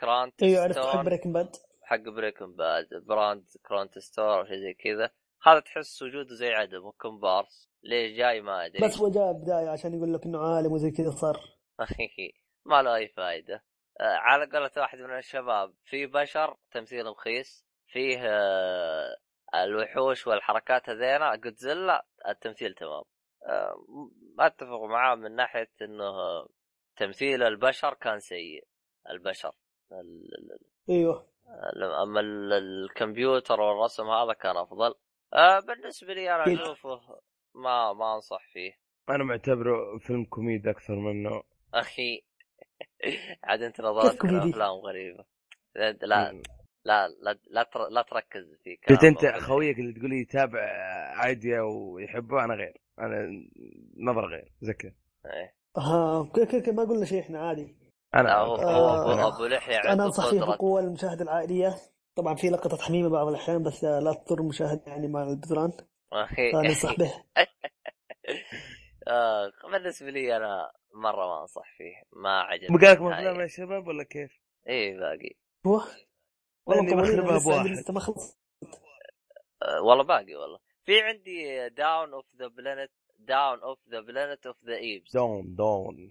S1: كرانت
S3: ايوه عرفت حق
S1: ستون
S3: بريكن باد
S1: حق بريكن باد براند كرانت ستون او شيء زي كذا هذا تحس وجوده زي عدمه كومبارس ليه جاي ما ادري
S3: بس هو جاء بدايه عشان يقول لك انه عالم وزي كذا صار
S1: ما له اي فائده آه، على قولة واحد من الشباب في بشر تمثيل رخيص فيه آه، الوحوش والحركات هذينا جودزيلا التمثيل تمام آه، م- اتفق معاه من ناحيه انه آه، تمثيل البشر كان سيء البشر ال- ال-
S3: ايوه
S1: ال- اما ال- الكمبيوتر والرسم هذا كان افضل آه، بالنسبه لي انا
S3: أكيد.
S1: اشوفه ما ما انصح فيه
S2: انا معتبره فيلم كوميدي اكثر منه
S1: اخي عاد انت نظرتك
S3: كوميدي؟
S1: للافلام غريبه لا لا لا لا, لا, تر... لا تركز في
S2: قلت
S1: كلام
S2: انت
S1: أبو لحية.
S2: آه، خويك اللي تقول لي يتابع عادية ويحبه انا غير انا نظره غير زي كذا
S1: إيه.
S3: ها اوكي اوكي اوكي ما قلنا شيء احنا عادي
S2: انا
S1: لا، هو هو ابو
S3: آه.
S1: ابو لحيه
S3: انا
S1: عنده
S3: انصح فيه
S1: قدره
S3: بقوه للمشاهده العائليه طبعا في لقطه حميمه بعض الاحيان بس آه، لا تضر المشاهد يعني مع البذران
S1: اخي
S3: فانا انصح به
S1: آه، بالنسبه لي انا مره ما انصح فيه ما عجبني
S2: بقى لكم
S1: نهائياً.
S2: افلام يا شباب ولا كيف؟
S1: ايه باقي
S3: هو
S2: والله
S3: لأني
S2: ممكن
S3: وليد،
S2: اخربها
S3: أنا لسه عندي
S2: بواحد
S3: لسه ما خلص
S1: آه، والله باقي والله في عندي داون اوف ذا بلانت داون اوف ذا بلانت اوف ذا ايبس
S2: دون دون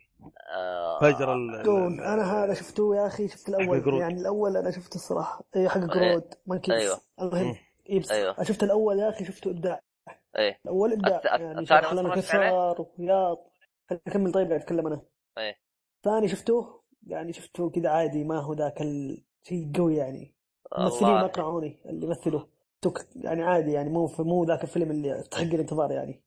S1: آه،
S2: فجر ال-
S3: دون انا آه، هذا شفته يا اخي شفت
S2: حق
S3: الاول
S2: جرود. أيوه.
S3: يعني الاول انا شفته الصراحه اي حق جرود مانكيز
S1: أيوة.
S3: المهم
S2: مم. أيوه.
S3: ايبس
S1: أيوة.
S3: انا شفت الاول يا اخي شفته ابداع
S1: ايه
S3: الاول ابداع
S1: الث-
S3: يعني
S1: الثاني
S3: شرح
S1: ما
S3: لنا كيف
S1: اتفرجت عليه؟
S3: صار وياط خليني اكمل طيب قاعد اتكلم انا
S1: إيه.
S3: ثاني شفته يعني شفته كذا عادي ما هو ذاك الشيء قوي يعني الممثلين ما
S1: والله
S3: اقنعوني اللي يمثلوا توك- يعني عادي يعني مو مو ذاك الفيلم اللي تحق الانتظار يعني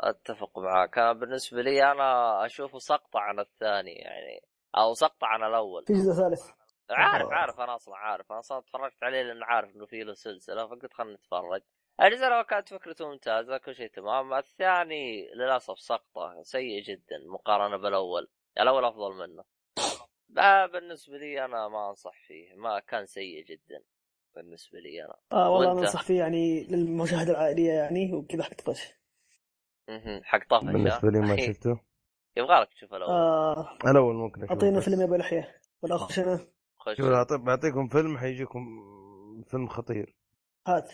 S1: اتفق معك انا بالنسبه لي انا اشوفه سقطه عن الثاني يعني او سقطه عن الاول
S3: في جزء ثالث
S1: عارف
S3: آه.
S1: عارف انا اصلا عارف انا اصلا اتفرجت عليه لانه عارف انه فيه له سلسله فقلت خلنا نتفرج الجزء الاول كانت فكرته ممتازه كل شيء تمام الثاني للاسف سقطه سيء جدا مقارنه بالاول الاول افضل منه لا بالنسبه لي انا ما انصح فيه ما كان سيء جدا بالنسبه لي انا
S3: اه والله
S1: وأنت؟
S3: انا انصح فيه يعني للمشاهده العائليه يعني وكذا حق طش
S1: مهم. حق طفش ها؟
S2: بالنسبه لي ما
S1: أخي،
S2: شفته
S1: يبغالك تشوف الاول
S3: آه
S2: انا اول ممكن اشوفه
S3: اعطينا
S2: بس.
S3: فيلم يا ابو لحيه ولا اخش انا
S1: خش
S2: شوف أعطي- بعطيكم فيلم حيجيكم فيلم خطير
S3: هات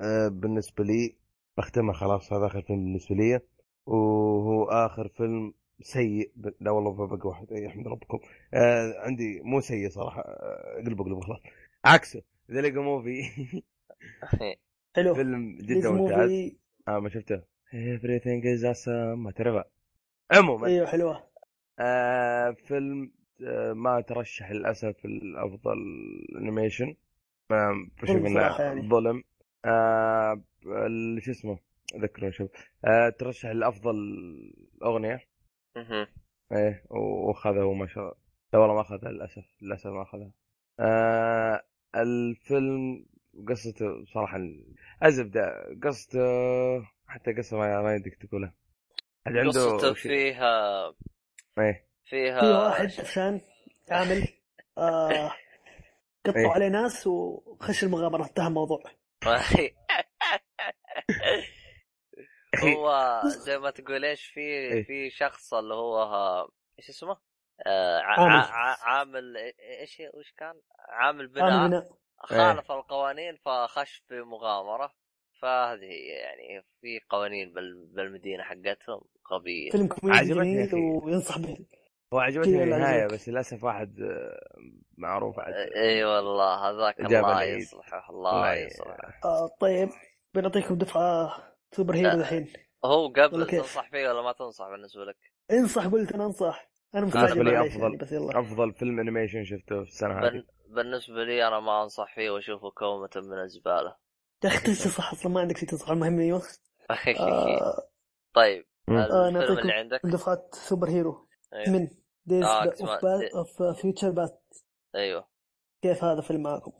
S2: آه، بالنسبه لي بختمها خلاص هذا اخر فيلم بالنسبه لي وهو اخر فيلم سيء ب- لا والله ما بقى واحد اي احمد ربكم آه عندي مو سيء صراحه آه، قلب قلب خلاص عكسه ذا ليجو موفي
S3: حلو
S2: فيلم
S3: ليز
S2: جدا ممتاز
S3: موفي
S2: اه ما شفته everything is awesome ما تعرفه عموما
S3: ايوه حلوه
S2: آه فيلم آه ما ترشح للاسف الافضل انيميشن ما بشوف
S3: ظلم
S2: انه
S3: صراحة يعني.
S2: ظلم آه ال- شو اسمه اذكره شوف آه ترشح لافضل اغنيه
S1: مهم.
S2: ايه و- واخذها وما شاء الله لا والله ما اخذها للاسف للاسف ما اخذها آه الفيلم قصته صراحه الزبده قصته حتى قصه ما ما يدك تقولها اللي عنده
S1: قصته
S2: شيء-
S1: فيها
S2: ايه
S1: فيها
S3: في واحد عشان عامل آه
S2: إيه.
S3: قطعوا عليه ناس وخش المغامره انتهى الموضوع
S1: هو زي ما تقول ايش في
S2: إيه.
S1: في شخص اللي هو ها- ايش اسمه؟ آه، ع-
S3: عامل.
S1: ع- ع- عامل ايش وش كان؟ عامل
S3: عامل
S1: بناء
S3: بناء
S2: إيه.
S1: خالف القوانين فخش في مغامره فهذه هي يعني في قوانين بال- بالمدينه حقتهم غبيه
S3: فيلم كوميدي
S2: عجبتني يا
S3: جميل
S2: أخي.
S3: وينصح به
S2: هو عجبتني
S3: كذا اللي
S2: النهايه
S3: عجبك.
S2: بس للاسف واحد آه، معروف عاد
S1: اي إيه، والله هذاك
S2: جاب
S1: الله
S2: العيد.
S1: يصلحه الله
S2: الله ي-
S1: يصلحه
S3: آه طيب بنعطيكم دفعه سوبر هيرو الحين
S1: هو
S3: والله
S1: قبل
S3: كيف.
S1: تنصح فيه ولا ما تنصح بالنسبه لك؟
S3: انصح قلت انا انصح انا مستعجل
S2: بالنسبة لي
S3: معليش
S2: أفضل.
S3: يعني بس يلا
S2: افضل فيلم انيميشن شفته في السنه هذه
S1: بن... بالنسبه لي انا ما انصح فيه واشوفه كومه من الزباله
S3: يا اخي كل شيء صح اصلا ما عندك شيء تصح المهم ايوه آه
S1: طيب
S2: مم.
S3: آه
S1: الفيلم
S3: نعطيكم
S1: اللي عندك
S3: دفعات سوبر هيرو
S1: أيوه.
S3: من ديز
S1: آه،
S3: اوف
S1: اسمع، دي-
S3: اوف فيوتشر بات
S1: ايوه
S3: uh, كيف هذا فيلم معاكم؟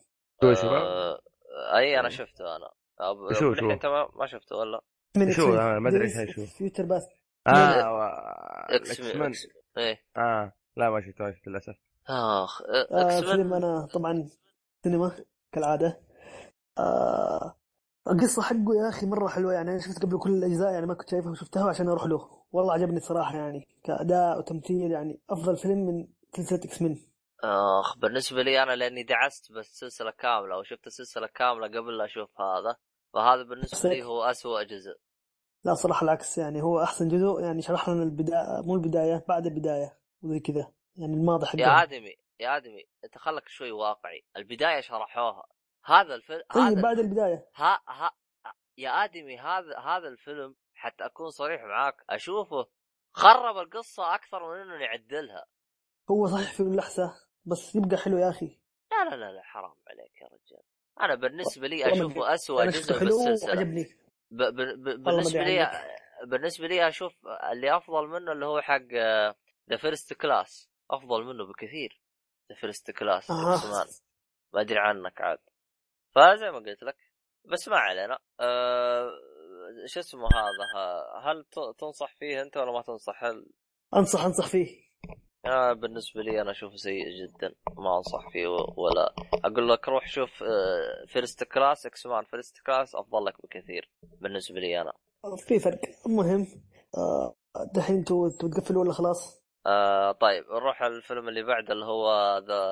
S2: شو يا شباب؟
S1: آه، اي انا
S2: شو-
S1: شفته انا أبو
S2: شو-
S1: أبو لحية
S2: شو؟
S1: انت ما, ما شفته ولا
S3: من
S2: شو أنا ما أدري إيش هشوف.
S3: فيوتشر بات
S2: اه
S1: اكس
S2: اكس مان
S1: إكس- ايه
S2: اه لا ما شفته ما شفته للاسف
S1: اخ
S3: آه
S1: اكس
S3: فيلم
S1: من
S3: انا طبعا سينما كالعاده آه القصه حقه يا اخي مره حلوه يعني انا شفت قبل كل الاجزاء يعني ما كنت شايفها وشفتها عشان اروح له والله عجبني صراحه يعني كاداء وتمثيل يعني افضل فيلم من سلسله اكس من
S1: اخ بالنسبه لي انا لاني دعست بالسلسله كامله وشفت السلسله كامله قبل لا اشوف هذا فهذا بالنسبه لي هو أسوأ جزء
S3: لا صراحة العكس يعني هو أحسن جزء يعني شرح لنا البداية مو البداية بعد البداية وزي كذا يعني الماضي
S1: يا
S3: حقه
S1: ادمي يا ادمي انت خلك شوي واقعي البدايه شرحوها هذا الفيلم
S3: طيب
S1: هذا
S3: بعد البداية
S1: ها ها يا ادمي هذا هذا الفيلم حتى اكون صريح معاك اشوفه خرب القصه اكثر من انه يعدلها
S3: هو صحيح في اللحسة بس يبقى حلو يا أخي
S1: لا لا لا, لا حرام عليك يا رجال انا بالنسبه لي
S3: والله
S1: اشوفه أسوأ
S3: أنا
S1: جزء
S3: شفته حلو
S1: بالسلسله
S3: وعجبني
S1: ب... ب... ب...
S3: والله ما أدري يعني.
S1: بالنسبه لي
S3: عنك.
S1: بالنسبه لي اشوف اللي افضل منه اللي هو حق آه، ذا فيرست كلاس افضل منه بكثير ذا فيرست كلاس
S3: أها
S1: اقسم ما ادري عنك عاد فزي ما قلت لك بس ما علينا آه، شو اسمه هذا ها- هل ت- تنصح فيه انت ولا ما تنصح هل
S3: انصح انصح فيه
S1: آه بالنسبه لي انا اشوفه سيء جدا ما انصح فيه و- ولا اقول لك روح شوف آه، فيرست كلاس اكس مان فيرست كلاس افضل لك بكثير بالنسبه لي انا
S3: في فرق المهم آه، دحين انتوا انتوا تقفلوا ولا خلاص؟
S1: آه طيب نروح على الفيلم اللي بعده اللي هو ذا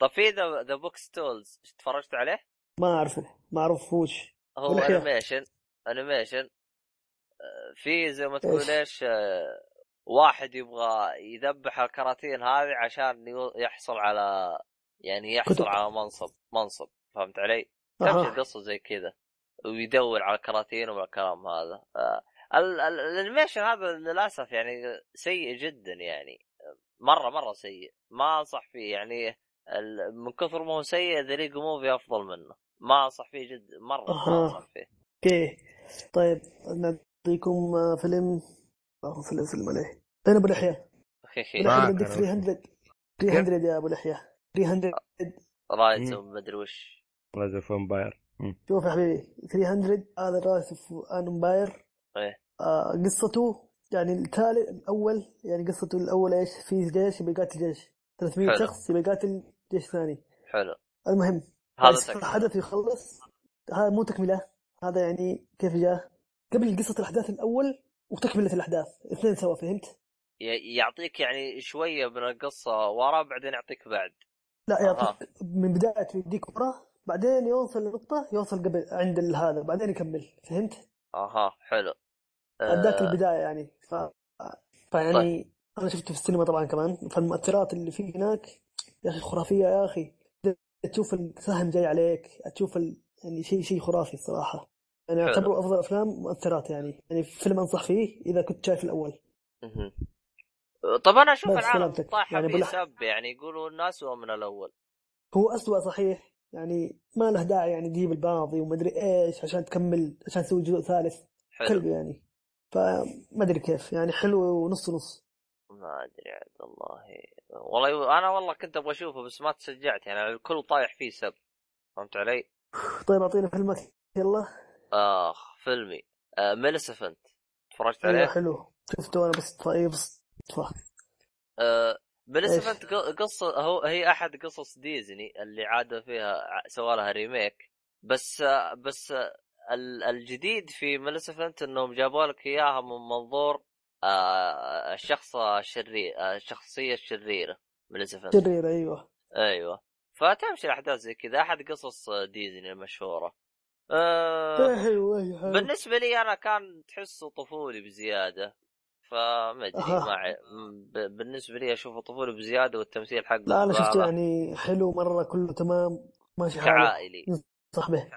S1: طب في ذا ذا بوكس تولز تفرجت عليه؟
S3: ما اعرفه ما اعرفوش
S1: هو
S3: والأحياء.
S1: انيميشن انيميشن آه، في زي ما تقول
S3: إيش؟
S1: ايش آه، واحد يبغى يذبح الكراتين هذه عشان يو- يحصل على يعني يحصل
S3: كتب.
S1: على منصب منصب فهمت علي؟ تمشي
S3: أها.
S1: القصه زي كذا ويدور على الكراتين والكلام هذا آه، ال- ال- الانيميشن هذا للاسف يعني سيء جدا يعني مره مره سيء ما انصح فيه يعني ال- من كثر ما هو سيء ذا ليج موفي افضل منه ما انصح فيه جد مره ما
S3: أها.
S1: انصح فيه
S3: اوكي طيب نعطيكم آه، فيلم آه، فيلم فيلم عليه انا ابو الاحياء
S1: إيه.
S3: ابو
S2: معك
S3: الأحياء
S2: أنا
S3: بدك 300 300 يا ابو الاحياء 300
S1: رايت
S2: مم.
S1: ومدري وش
S2: رايز اوف امباير
S3: شوف يا حبيبي 300 هذا رايس اوف ان امباير
S1: إيه.
S3: آه قصته يعني الثالث الاول يعني قصته الاول ايش؟ في جيش يبي يقاتل جيش 300
S1: حلو.
S3: شخص يبي يقاتل جيش ثاني
S1: حلو
S3: المهم
S1: هذا
S3: بس
S1: تكمل.
S3: الحدث يخلص هذا مو تكمله هذا يعني كيف جاء قبل قصه الاحداث الاول وتكمله الاحداث اثنين سوا فهمت؟
S1: ي- يعطيك يعني شويه من القصه ورا بعدين يعطيك بعد
S3: لا
S1: أها.
S3: يعطيك من بدايه يديك ورا بعدين يوصل لنقطه يوصل قبل عند ال- هذا بعدين يكمل فهمت؟
S1: اها حلو
S3: اداك
S1: آه طيب.
S3: البدايه يعني ف... فيعني انا شفته في السينما طبعا كمان فالمؤثرات اللي فيه هناك يا اخي خرافيه يا اخي تشوف السهم جاي عليك تشوف ال... يعني شيء شيء خرافي الصراحه يعني
S1: حلو.
S3: اعتبره افضل افلام مؤثرات يعني يعني فيلم انصح فيه اذا كنت شايف الاول
S1: مهم. طب انا اشوف
S3: بس
S1: العالم
S3: سلامتك.
S1: طايحه
S3: يعني
S1: يعني
S3: بلا-
S1: سب يعني يقولوا الناس هو من الاول
S3: هو أسوأ صحيح يعني ما له داعي يعني تجيب الباضي ومدري ايش عشان تكمل عشان تسوي جزء ثالث
S1: حلو
S3: كلب يعني فما ادري كيف يعني حلو ونص نص
S1: ما ادري عاد والله والله يو... انا والله كنت ابغى اشوفه بس ما تشجعت يعني الكل طايح فيه سب فهمت علي؟
S3: طيب اعطينا فيلمك يلا
S1: اخ فيلمي آه ميلسفنت تفرجت
S3: ايوه
S1: عليه؟
S3: حلو شفته انا بس طيب بس
S1: آه ميلسفنت ق- قصه هو هي احد قصص ديزني اللي عاد فيها ع- سوى لها ريميك بس آه بس آه ال- الجديد في ميلسفنت انهم جابوا لك اياها من منظور آه الشخص الشرير آه الشخصيه الشريره ميلسفنت
S3: شرير ايوه
S1: ايوه فتمشي الاحداث زي كذا احد قصص ديزني المشهوره أه
S3: حلو أيوة، حلو
S1: بالنسبه لي انا كان تحسه طفولي بزياده فما ادري
S3: أها.
S1: ما ع- ب- بالنسبه لي اشوفه طفولي بزياده والتمثيل حقه
S3: لا انا شفته
S1: زبالة.
S3: يعني حلو مره كله تمام ماشي حاله
S1: كعائلي
S3: صح به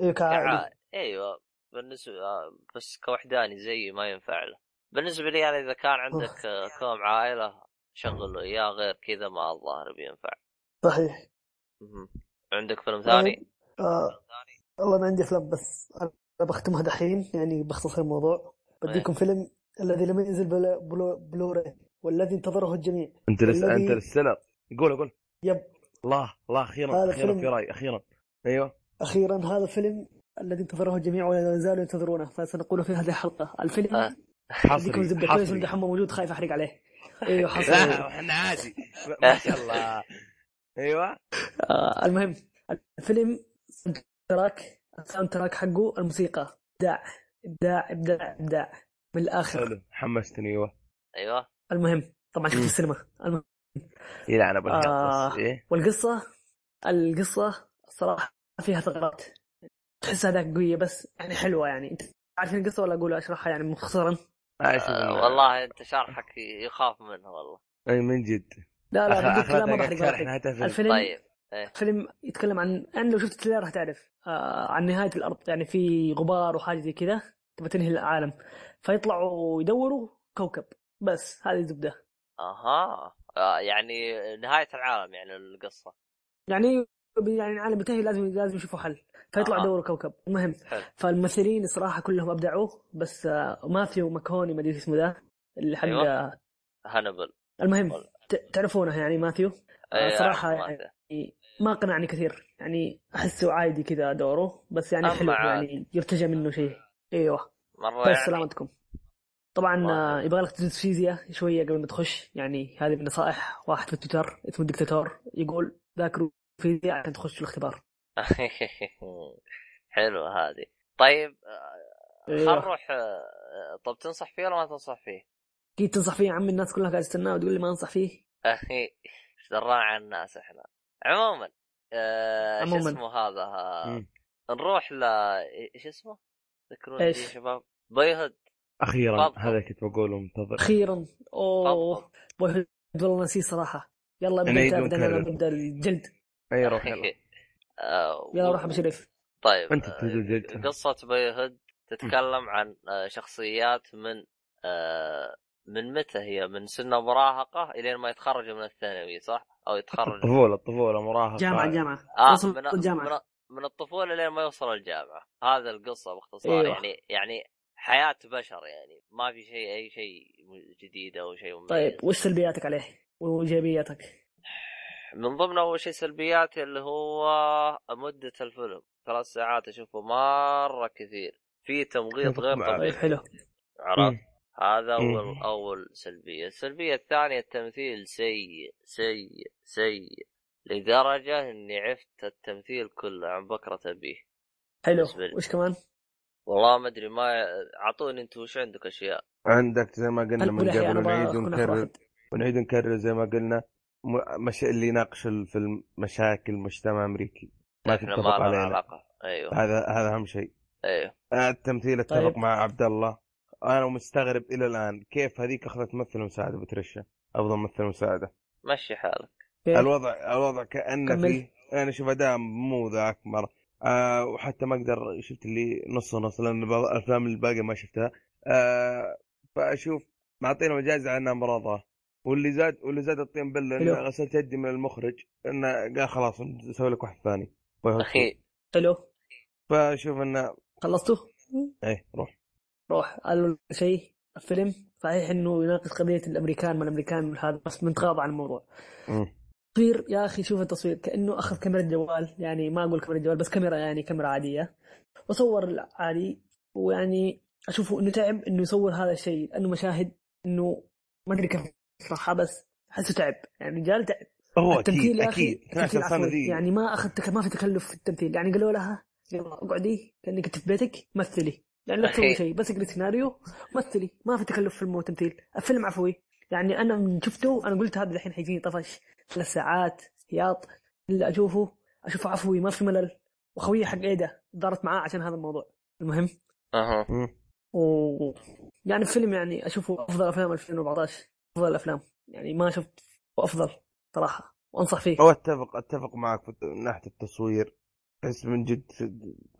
S3: ايوه كعائلي
S1: كعائلي ايوه بالنسبه آه، بس كوحداني زيي ما ينفع له بالنسبه لي انا اذا كان عندك آه، كوم عائله شغل له اياه غير كذا ما الظاهر بينفع
S3: صحيح
S1: مهم. عندك فيلم ثاني؟
S3: آه. والله انا عندي افلام بس انا بختمها دحين يعني بختصر الموضوع بديكم فيلم الذي لم ينزل بلا- بلو بلوري والذي انتظره الجميع
S2: انت لس...
S3: والذي-
S2: انت السلر قول قول
S3: يب
S2: الله الله
S3: هذا
S2: اخيرا اخيرا
S3: فيلم.
S2: في راي اخيرا ايوه
S3: اخيرا هذا الفيلم الذي انتظره الجميع ولا زالوا ينتظرونه فسنقول في هذه الحلقه الفيلم
S1: آه.
S2: حصري
S3: بديكم زبده كويس
S2: حصري
S3: ولد حمى موجود خايف احرق عليه ايوه حصل
S2: لا احنا عادي ما شاء الله ايوه
S3: آه، المهم الفيلم ساوند تراك الساوند تراك حقه الموسيقى ابداع ابداع ابداع ابداع من الاخر
S2: حلو حمستني ايوه
S1: ايوه
S3: المهم طبعا شفت
S2: مم.
S3: السينما المهم
S2: يلعن ابو الحق
S3: آه.
S2: بس ايه
S3: والقصه القصه صراحه فيها ثغرات تحسها ذاك قويه بس يعني حلوه يعني انت عارفين القصه ولا اقول اشرحها يعني مختصرا
S2: ما اشوف
S1: آه
S2: إنه-
S1: والله انت شرحك يخاف منه والله
S2: اي من جد
S3: لا لا
S2: اخر
S3: بقول
S2: اخر
S3: كلام ما بحرق
S2: دقيقة شرح
S3: عليك.
S2: نهاية الفيلم
S3: الفيلم
S1: طيب
S3: فيلم يتكلم عن يعني لو شفت التريلر راح تعرف آه عن نهايه الارض يعني في غبار وحاجه زي كذا تبى تنهي العالم فيطلعوا يدوروا كوكب بس هذه الزبده
S1: اها آه يعني نهايه العالم يعني القصه
S3: يعني يعني العالم بينتهي لازم لازم يشوفوا حل فيطلعوا
S1: آه.
S3: يدوروا كوكب المهم
S1: حلو.
S3: فالممثلين الصراحه كلهم ابدعوا بس آه ماثيو ماكهوني ما ادري اسمه ذا اللي حق
S1: أيوة. هانبل
S3: المهم
S1: والله.
S3: ت- تعرفونه يعني ماثيو
S1: أي
S3: آه صراحه
S1: أعرف ما
S3: يعني
S1: أدري.
S3: ما قنعني كثير يعني احسه عادي كذا دوره بس يعني
S1: أما
S3: حلو
S1: عاد.
S3: يعني يرتجى منه شيء ايوه
S1: مره
S3: بس
S1: يعني
S3: سلامتكم طبعا
S1: الله.
S3: آه، يبغى لك تدرس فيزياء شويه قبل ما تخش يعني هذه من نصائح واحد في تويتر اسمه الدكتاتور يقول ذاكروا فيزياء عشان تخشوا الاختبار
S1: حلو هذه طيب
S3: إيوه.
S1: خل نروح آه، طب تنصح فيه ولا ما تنصح فيه؟
S3: اكيد تنصح فيه يا عمي الناس كلها قاعده تستناه وتقول لي ما انصح فيه
S1: اخي ايش درانا عن الناس احنا عموما آه شو
S3: عموماً.
S1: اسمه هذا آه،
S2: مم.
S1: نروح ل ايش اسمه؟ ذكروني
S3: إيش؟
S1: إيش؟ يا شباب بايهود
S2: اخيرا
S1: تفضل.
S2: هذا كنت بقوله منتظر
S3: اخيرا اوه
S1: تفضل.
S3: بوي هود والله نسيه صراحه يلا
S2: أنا
S3: ابدا
S2: عيد
S3: انت ابدا انا
S2: مكرر.
S3: ابدا الجلد
S2: اي روح يلا
S1: آه،
S3: يلا
S1: و-
S3: روح ابو شريف
S1: طيب
S2: انت
S1: آه،
S2: تزوجت
S1: قصة بايهود تتكلم عن آه، شخصيات من آه، من متى هي؟ من سن مراهقة إلين ما يتخرجوا من الثانوي صح؟ أو يتخرجوا
S2: الطفوله الطفوله مراهقه
S3: جامعه جامعه
S1: آه،
S3: وصل
S1: من-
S3: الجامعه
S1: من, من الطفولة لين ما يوصل الجامعة هذا القصة باختصار
S3: أيوة.
S1: يعني يعني حياة بشر يعني ما في شيء أي شيء جديد أو شيء مميز
S3: طيب وش سلبياتك عليه وايجابياتك؟
S1: من ضمن اول شيء سلبياتي اللي هو مده الفيلم ثلاث ساعات اشوفه مره كثير في تمغيط غير
S2: أتفق معك.
S1: طبيعي
S3: طيب حلو
S1: عرفت هذا
S2: مم.
S1: اول اول سلبيه السلبيه الثانيه التمثيل سيء سيء سيء لدرجه اني عفت التمثيل كله عن بكره ابيه
S3: حلو
S1: بالنسبة لي.
S3: وش كمان؟
S1: والله ما ادري ما اعطوني انتم وش عندك اشياء
S2: عندك زي ما
S3: خليك
S2: قلنا من
S3: تقول يا أخي
S2: قبل
S3: أنا
S2: ونعيد
S3: أكون آخر
S2: ونكرر
S3: واحد.
S2: ونعيد ونكرر زي ما قلنا م- مش اللي يناقش الفيلم مشاكل المجتمع الامريكي ما
S1: احنا
S2: تتفق
S1: ما لنا
S2: علينا
S1: علاقه ايوه
S2: هذا هذا اهم شيء
S1: ايوه
S2: آه، التمثيل اتفق
S3: طيب.
S2: مع عبد الله انا مستغرب الى الان كيف هذيك اخذت ممثله مساعده بترشا افضل ممثله مساعده
S1: مشي حالك
S3: أوكي.
S2: الوضع الوضع كانه
S3: إيه. كمل.
S2: فيه انا شوف اداء مو ذاك مره آه وحتى ما اقدر شفت اللي نص نص لان بعض الافلام الباقيه ما شفتها آه فاشوف معطينا جائزه على انها مرضى واللي زاد واللي زاد الطين بله انه
S3: حلو.
S2: غسلت يدي من المخرج انه قال خلاص نسوي لك واحد ثاني
S1: اخي
S3: حلو
S2: فاشوف انه
S3: خلصتوا؟
S2: ايه روح
S3: روح قالوا شيء الفيلم صحيح انه يناقش قضيه الامريكان ما الامريكان والهذا بس بنتغاضى عن الموضوع
S2: مم.
S3: تصوير يا اخي شوف التصوير كانه اخذ كاميرا جوال يعني ما اقول كاميرا جوال بس كاميرا يعني كاميرا عاديه وصور عادي ويعني اشوفه انه تعب انه يصور هذا الشيء لانه مشاهد انه ما ادري كيف اشرحها بس احسه تعب يعني الرجال تعب
S2: هو اكيد
S3: التمثيل يا اخي
S2: اكيد 12
S3: التمثيل
S2: سنه
S3: عفوي
S2: ذي
S3: يعني ما اخذ تك... ما في تكلف في التمثيل يعني قالوا لها يلا اقعدي كانك انت في بيتك مثلي يعني لا
S1: أخي.
S3: تسوي شيء بس اقري سيناريو مثلي ما في تكلف في المو- التمثيل الفيلم عفوي يعني انا من شفته انا قلت هذا الحين حيجيني طفش ثلاث ساعات هياط اللي اشوفه اشوفه عفوي ما في ملل وخويه حق ايدا دارت معاه عشان هذا الموضوع المهم
S1: اها
S2: مم.
S3: و يعني الفيلم يعني اشوفه افضل افلام 2014 افضل الافلام يعني ما شفت وافضل صراحه وانصح فيه
S2: هو اتفق اتفق معك في- من ناحيه التصوير بس من جد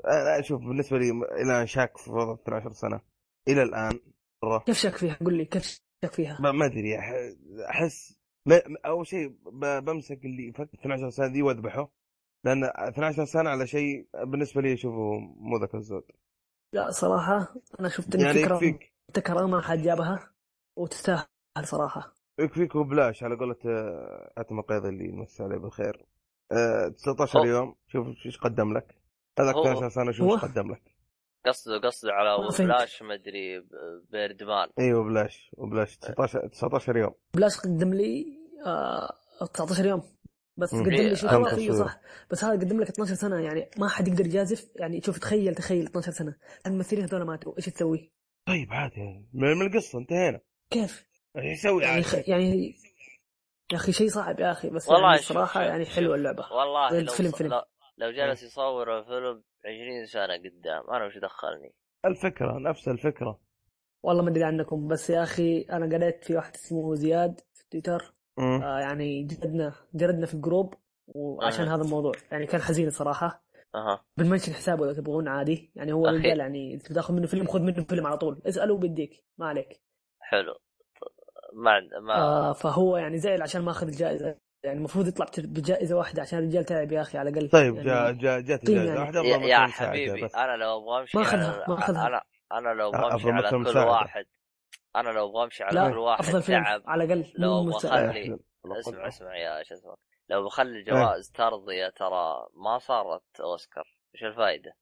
S2: انا اشوف بالنسبه لي الى أن شاك في وضع 12 سنه الى الان مره
S3: كيف شك فيها قول لي كيف شك فيها
S2: ما ما ادري أح- احس ما اول شيء ب- بمسك اللي فك 12 سنه ذي واذبحه لان 12 سنه على شيء بالنسبه لي اشوفه مو ذاك الزود
S3: لا صراحه انا شفت ان
S2: يعني
S3: الفكره
S2: يكفيك
S3: ابتكرها ما حد جابها وتستاهل صراحه
S2: يكفيك وبلاش على قولة آه، عتمة قيض اللي يمسي عليه بالخير آه، 19
S1: هو-
S2: يوم شوف ايش قدم لك هذاك
S1: هو-
S2: 12 سنه شوف
S3: هو-
S2: ايش قدم لك
S1: قصده قصده على
S3: ما فهمت.
S1: بلاش مدري ب- بيردمان
S2: ايوه بلاش وبلاش 19 19 يوم
S3: بلاش قدم لي آه 19 يوم بس
S2: مم.
S3: قدم لي شيء
S1: إيه،
S3: خلاص
S2: أنا
S3: ايوه
S2: أتصور.
S3: صح بس هذا قدم لك 12 سنه يعني ما حد يقدر يجازف يعني شوف تخيل تخيل 12 سنه الممثلين هذول ماتوا ايش تسوي؟
S2: طيب عادي يعني. من من القصه انتهينا
S3: كيف؟
S2: ايش يسوي
S3: يعني
S2: عادي
S3: خ... يعني يا اخي شيء صعب يا اخي بس
S1: والله
S3: يعني
S1: شوف-
S3: الصراحه
S1: شوف-
S3: يعني
S1: شوف.
S3: حلوه اللعبه
S1: والله
S3: غير
S1: لو
S3: فيلم-
S1: ص-
S3: فيلم.
S1: لو, لو
S2: إيه.
S1: جالس يصور فيلم 20 سنه قدام انا وش دخلني؟
S2: الفكره نفس الفكره
S3: والله ما ادري عنكم بس يا اخي انا قريت في واحد اسمه زياد في تويتر
S2: مم.
S3: آه يعني جردنا جردنا في الجروب وعشان
S1: أها.
S3: هذا الموضوع يعني كان حزين صراحه
S1: اها
S3: بنمنشن حسابه لو تبغون عادي يعني هو
S1: أخي.
S3: رجال يعني إذا بتاخذ منه فيلم خذ منه فيلم على طول اساله بيديك ما عليك
S1: حلو ط- ما عند- ما
S3: آه فهو يعني زعل عشان ما اخذ الجائزه يعني المفروض يطلع بت- بجائزه واحده عشان الرجال تعب يا اخي على الاقل
S2: طيب
S3: يعني
S2: جاء جاء جت
S3: طيب
S2: جائزه
S3: يعني.
S2: واحده
S1: يا,
S2: افضل
S1: يا
S2: ممثل مساعد
S1: حبيبي
S2: بس
S1: انا لو ابغى امشي
S3: ما
S1: على-
S3: أخذها، ما أخذها.
S1: انا انا لو
S2: أفضل
S1: ابغى امشي على
S2: مثل
S1: كل
S2: مساعد.
S1: واحد انا لو ابغى امشي على
S3: لا
S1: كل واحد
S3: افضل فيلم
S1: تعب
S3: على الاقل
S1: لو
S3: مو
S1: بخلي-
S3: مستعد
S2: أحلى. والله
S1: اسمع
S2: قدرة.
S1: اسمع يا شو اسمه لو بخلي الجوائز ترضية ترى ما صارت اوسكار ايش الفائده؟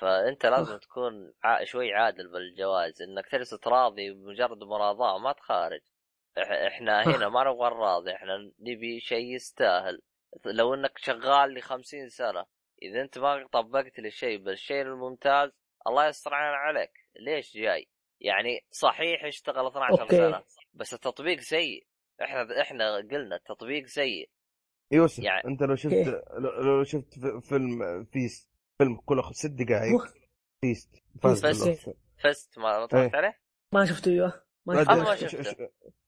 S1: فانت لازم تكون ع... شوي عادل بالجوائز انك تجلس راضي بمجرد مراضاه ما تخارج إح- احنا هنا ما نبغى الراضي احنا نبي شيء يستاهل لو انك شغال لي 50 سنه اذا انت ما طبقت لي شيء بالشيء الممتاز الله يستر عليك ليش جاي يعني صحيح اشتغل 12
S3: أوكي.
S1: سنه بس التطبيق سيء احنا احنا قلنا التطبيق سيء
S2: يوسف
S1: يعني-
S2: انت لو شفت
S3: إيه.
S2: لو- لو شفت ف- فيلم فيست فيلم كله ست دقائق
S3: مو-
S2: فيست فاز
S1: بس-
S2: بالأوسكار.
S1: فزت ما ما تفرجت
S2: إيه.
S1: عليه؟
S3: ما شفته ايوه ما
S1: أنا ما
S2: ش-
S1: شفته.
S2: ش- ش-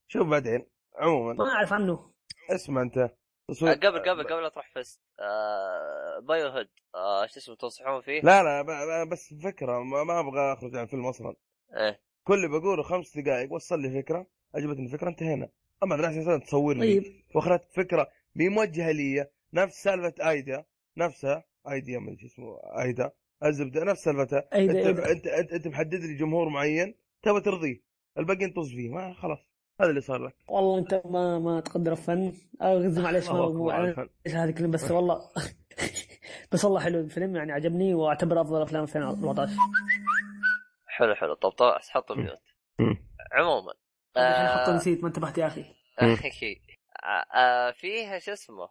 S2: شوف بعدين عموما
S3: ما اعرف عنه
S2: اسمع انت
S3: طيب.
S1: آه، قبل قبل قبل لا تروح فزت آه بايو هيد آه شو اسمه تنصحون فيه؟
S2: لا لا ب- ب- بس فكره ما, ما ابغى اخرج عن الفيلم اصلا
S1: إيه.
S2: كل اللي بقوله خمس دقائق وصل لي فكره عجبتني الفكره انتهينا اما 12 سنه تصور لي
S3: طيب
S2: واخذت فكره مي موجهه لي نفس سالفه ايدا نفسها ايديا ما ادري شو اسمه ايدا الزبده نفس سالفتها
S3: أيدا-
S2: انت,
S3: أيدا.
S2: انت انت انت محدد لي جمهور معين تبى ترضيه الباقي ينطز فيه ما خلاص هذا اللي صار لك
S3: والله انت ما ما تقدر الفن اغز معليش ما
S2: الله أكبر
S3: مو
S2: على
S3: معليش
S2: الفن.
S3: هذه الكلمه بس والله بس والله حلو الفيلم يعني عجبني واعتبره افضل افلام 2014
S1: حلو حلو طب طب حطه ميوت عموما
S3: الحين حطه
S1: آه
S3: نسيت ما انتبهت يا اخي
S2: مم.
S1: آه، آه فيه شو اسمه؟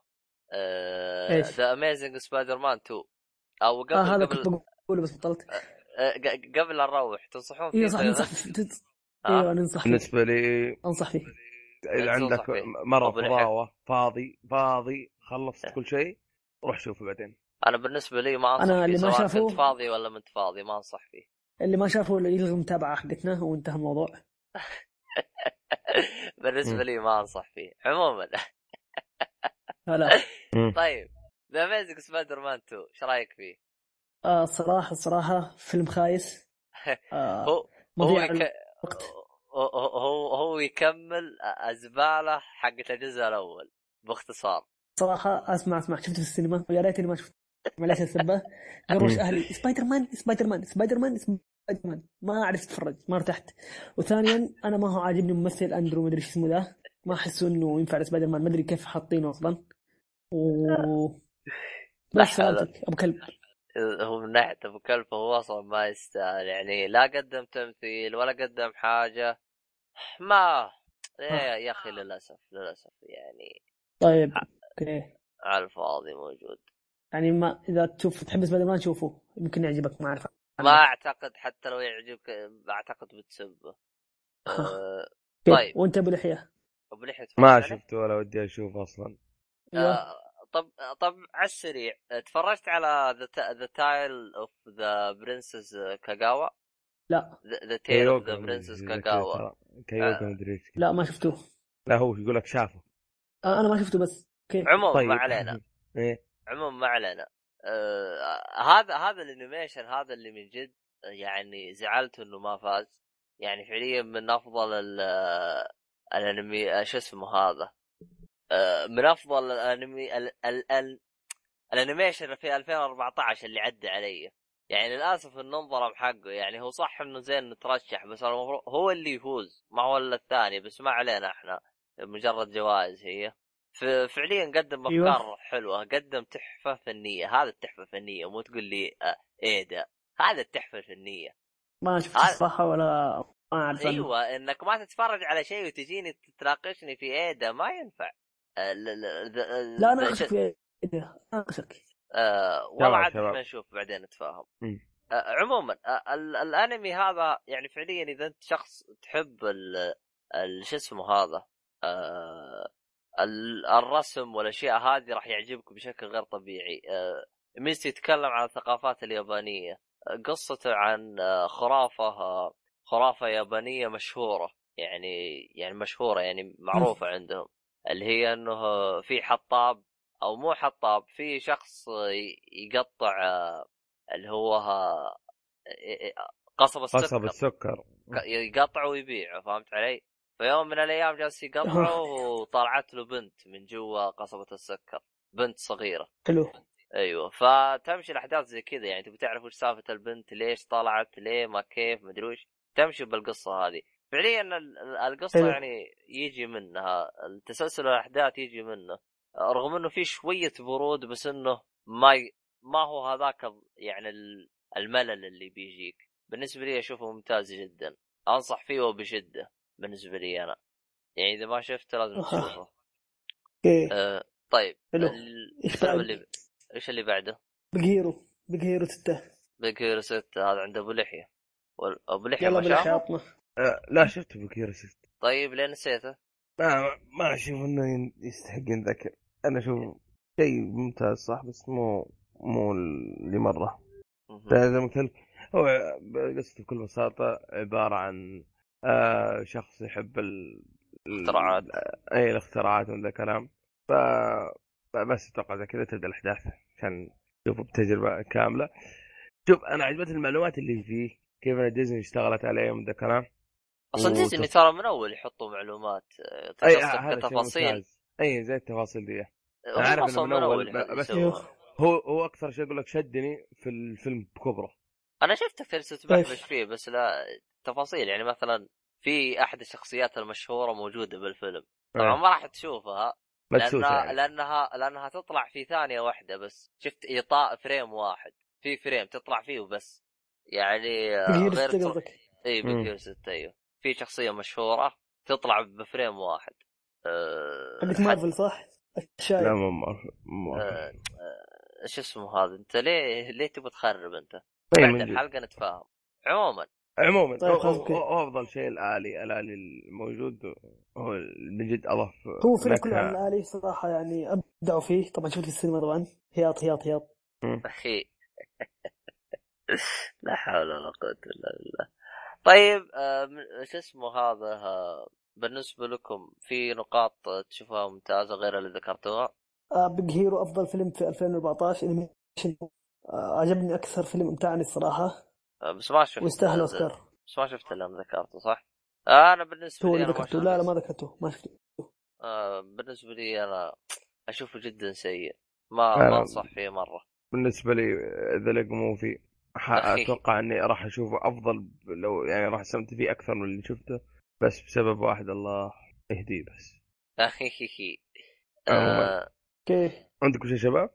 S1: آه،
S3: إيش؟
S1: ذا اميزنج سبايدر مان 2 او قبل
S3: آه هذا
S1: قبل
S3: كنت بقوله بس بطلت
S1: آه، ق- قبل نروح تنصحون فيه آه.
S3: ايوه صح
S1: طيب؟
S3: ننصح فيه.
S1: ها؟
S3: ايوه ننصح فيه
S2: بالنسبه لي
S3: انصح فيه
S2: اذا
S1: تنصح
S2: عندك
S1: فيه.
S2: مره
S1: أبو لحية.
S2: فضاوه فاضي فاضي خلصت كل شيء روح شوفه بعدين
S1: انا بالنسبه لي ما انصح
S3: أنا
S1: فيه
S3: اللي ما
S1: سواء
S3: شافوه-
S1: كنت فاضي ولا ما انت فاضي ما انصح فيه
S3: اللي ما شافه اللي يلغي المتابعه حقتنا وانتهى الموضوع
S1: بالنسبه
S2: مم.
S1: لي ما انصح فيه عموما
S3: لا
S1: طيب ذا اميزنج سبايدر مان 2 ايش رايك فيه؟
S3: آه الصراحه الصراحه فيلم خايس آه
S1: هو هو
S3: مضيع
S1: يك...
S3: الوقت
S1: هو- هو هو يكمل الزباله حقت الجزء الاول باختصار
S3: صراحة اسمع اسمع شفته في السينما ويا ريتني ما شفته معليش السبة قروش اهلي سبايدر مان سبايدر مان سبايدر مان سبايدر مان ما عرفت اتفرج ما ارتحت وثانيا انا ما هو عاجبني ممثل اندرو مدري ايش اسمه ذا ما احسه انه ينفع لسبايدر مان ما ادري كيف حاطينه اصلا و بس
S1: لا حول.
S3: سلامتك ابو كلب
S1: هو من ناحيه ابو كلب هو اصلا ما يستاهل يعني لا قدم تمثيل ولا قدم حاجه
S3: آه.
S1: ما يا يا اخي للاسف للاسف يعني
S3: طيب اوكي
S1: على الفاضي موجود
S3: يعني ما اذا تشوف تحب سبايدر مان شوفه يمكن يعجبك ما اعرف
S1: ما اعتقد حتى لو يعجبك اعتقد بتسبه أه، طيب.
S3: وانت ابو لحيه
S1: ابو لحيه تفرجت
S2: ما
S1: عليه؟
S2: شفته ولا ودي اشوفه اصلا
S3: ايوه
S1: آه، طب طب على السريع تفرجت على ذا ذا تايل اوف ذا برنسز كاغاوا
S3: لا
S1: ذا تيل اوف ذا
S2: كيوكو مدري
S1: برنسز
S2: إيش كذا
S1: كاغاوا
S2: ترى. كيوكو مدري إيش كذا.
S3: لا ما شفته
S2: لا هو يقول لك شافه
S3: آه، انا ما شفته بس اوكي
S1: عموما
S2: طيب
S1: ما علينا
S2: إيه.
S1: عموما ما علينا آه هذا هذا الانيميشن هذا اللي من جد يعني زعلت انه ما فاز يعني فعليا من افضل ال الانمي شو اسمه هذا آه من افضل الانمي ال ال ال الانيميشن في 2014 اللي عدى علي يعني للاسف انه انظلم حقه يعني هو صح انه زين نترشح بس المفروض هو اللي يفوز ما هو الا الثاني بس ما علينا احنا مجرد جوائز هي ف- فعليا قدم
S3: أيوة.
S1: افكار حلوه قدم تحفه فنيه هذا التحفه الفنيه مو تقول لي آه، ايه ده هذا التحفه الفنيه
S3: ما شفت
S1: هذا-
S3: الصراحه ولا ما اعرف عنه.
S1: ايوه انك ما تتفرج على شيء وتجيني تناقشني في ايه ده ما ينفع آه، ل- ل- ل-
S3: لا
S1: ذا-
S3: إيه، انا
S1: شو-
S3: اخشك في أنا اخشك
S1: آه والله
S2: شباب،
S1: عاد
S2: شباب.
S1: ما نشوف بعدين نتفاهم
S2: مم.
S1: آه عموما آه ال- الانمي هذا يعني فعليا اذا انت شخص تحب ال- ال- شو اسمه هذا آه ال- الرسم والاشياء هذه راح يعجبك بشكل غير طبيعي آه ميزته يتكلم عن الثقافات اليابانيه آه، قصته عن آه، خرافه آه، خرافه يابانيه مشهوره يعني يعني مشهوره يعني معروفه عندهم اللي هي انه آه، في حطاب او مو حطاب في شخص آه، ي- يقطع آه، اللي هو آه، قصب
S2: قصب
S1: السكر
S2: السكر
S1: ك- يقطعه ويبيعه فهمت علي؟ فيوم من الايام جالس يقطعه وطلعت له بنت من جوا قصبة السكر بنت صغيرة
S3: حلو
S1: ايوه فتمشي الاحداث زي كذا يعني تبي تعرف وش سالفة البنت ليش طلعت ليه ما كيف مدري وش تمشي بالقصة هذه فعليا ال- ال- القصة
S3: حلو.
S1: يعني يجي منها التسلسل الاحداث يجي منه رغم انه في شوية برود بس انه ما ي... ما هو هذاك ال- يعني ال... الملل اللي بيجيك بالنسبه لي اشوفه ممتاز جدا انصح فيه وبشده بالنسبه لي انا يعني اذا ما شفته لازم
S3: أها.
S1: تشوفه
S3: اوكي
S1: أه طيب
S3: حلو.
S1: ال-
S3: إيش
S1: الفيلم
S3: بعد؟
S1: اللي ايش اللي بعده؟
S3: بقيرو بقيرو ستة
S1: بيج هيرو 6 هذا عند ابو لحيه وال- ابو لحيه
S3: يلا
S1: ما
S3: بلاش
S1: شافه
S3: عطنا
S2: آه لا شفته بكير شفت
S1: طيب ليه نسيته؟
S2: ما ما اشوف انه ين- يستحق ينذكر انا اشوف شيء ممتاز صح بس مو مو اللي مره
S1: مهم.
S2: زي ما قلت لك، هو قصته بكل بساطه عباره عن آه شخص يحب ال- ال-
S1: اختراعات.
S2: اي الاختراعات وذا الكلام ف بس اتوقع زي كذا تبدا الاحداث عشان تشوفه بتجربه كامله شوف انا عجبتني المعلومات اللي فيه كيف إن ديزني اشتغلت عليه من ذا الكلام
S1: اصلا
S2: وتف-
S1: ديزني ترى من اول يحطوا معلومات آه،
S2: اي
S1: قصدك
S2: آه، هذا شيء
S1: كتفاصيل
S2: ممتاز اي زي التفاصيل دي
S1: هم
S2: عارف إنه
S1: أصلاً
S2: من أول،
S1: يح-
S2: بس-
S1: يسووا.
S3: أيوه.
S2: هو هو اكثر شيء اقول لك شدني في الفيلم بكبره
S1: انا شفت كثير تتبحبش فيه بس لا تفاصيل يعني مثلا في احد الشخصيات المشهوره موجوده بالفيلم طبعا
S2: آه،
S1: ما راح تشوفها
S2: مدسوسه
S1: لانها
S2: يعني
S1: لانها لانها تطلع في ثانيه واحده بس شفت ايطاء فريم واحد في فريم تطلع فيه وبس يعني آه،
S3: بقيرو
S1: غير
S3: ستة
S1: تر-
S3: قصدك
S1: اي
S2: مم.
S1: بيكير ستة ايوه في شخصيه مشهوره تطلع بفريم واحد أه
S3: حقت
S1: حتى-
S3: مارفل صح؟
S2: لا
S3: الشايب
S2: مو مره مو
S1: آه،
S2: مره
S1: آه، ايش اسمه هذا انت ليه ليه تبغى تخرب انت
S2: إي، من
S1: بعد
S2: جد.
S1: الحلقه نتفاهم عموما
S2: عموما
S3: طيب
S2: هو-
S3: خلاص
S2: هو-
S3: كده.
S2: هو افضل شيء الالي الالي الموجود هو من جد اضاف
S3: هو فيلم كله
S2: نكهة.
S3: عن الآلي صراحة يعني أبدعوا فيه طبعا شفت في السينما طبعا هياط هياط هياط
S1: اخي لا حول ولا قوه الا بالله طيب آه، من- شو اسمه هذا آه، بالنسبه لكم في نقاط آه، تشوفها ممتازه غير اللي ذكرتوها
S3: بيج هيرو آه، أفضل فيلم في 2014 انيميشن آه، عجبني أكثر فيلم امتعني الصراحة
S1: آه، بس ما شفت
S3: ويستاهل
S1: آه،
S3: أوسكار
S1: بس ما شفت اللي انا ذكرته صح؟ آه، انا بالنسبه
S3: هو
S1: لي
S3: اللي
S1: انا ما شفت
S3: ذكرته لا لا ما ذكرته ما شفته
S1: آه، بالنسبه لي انا اشوفه جدا سيء ما
S2: أنا-
S1: ما انصح فيه مره
S2: بالنسبه لي ذا ليج موفي ح-
S1: أخي.
S2: اتوقع اني راح اشوفه افضل لو يعني راح استمتع فيه اكثر من اللي شفته بس بسبب واحد الله يهديه بس
S1: اخي
S2: عموماً.
S1: آه
S3: اوكي
S2: عندكم شيء يا شباب؟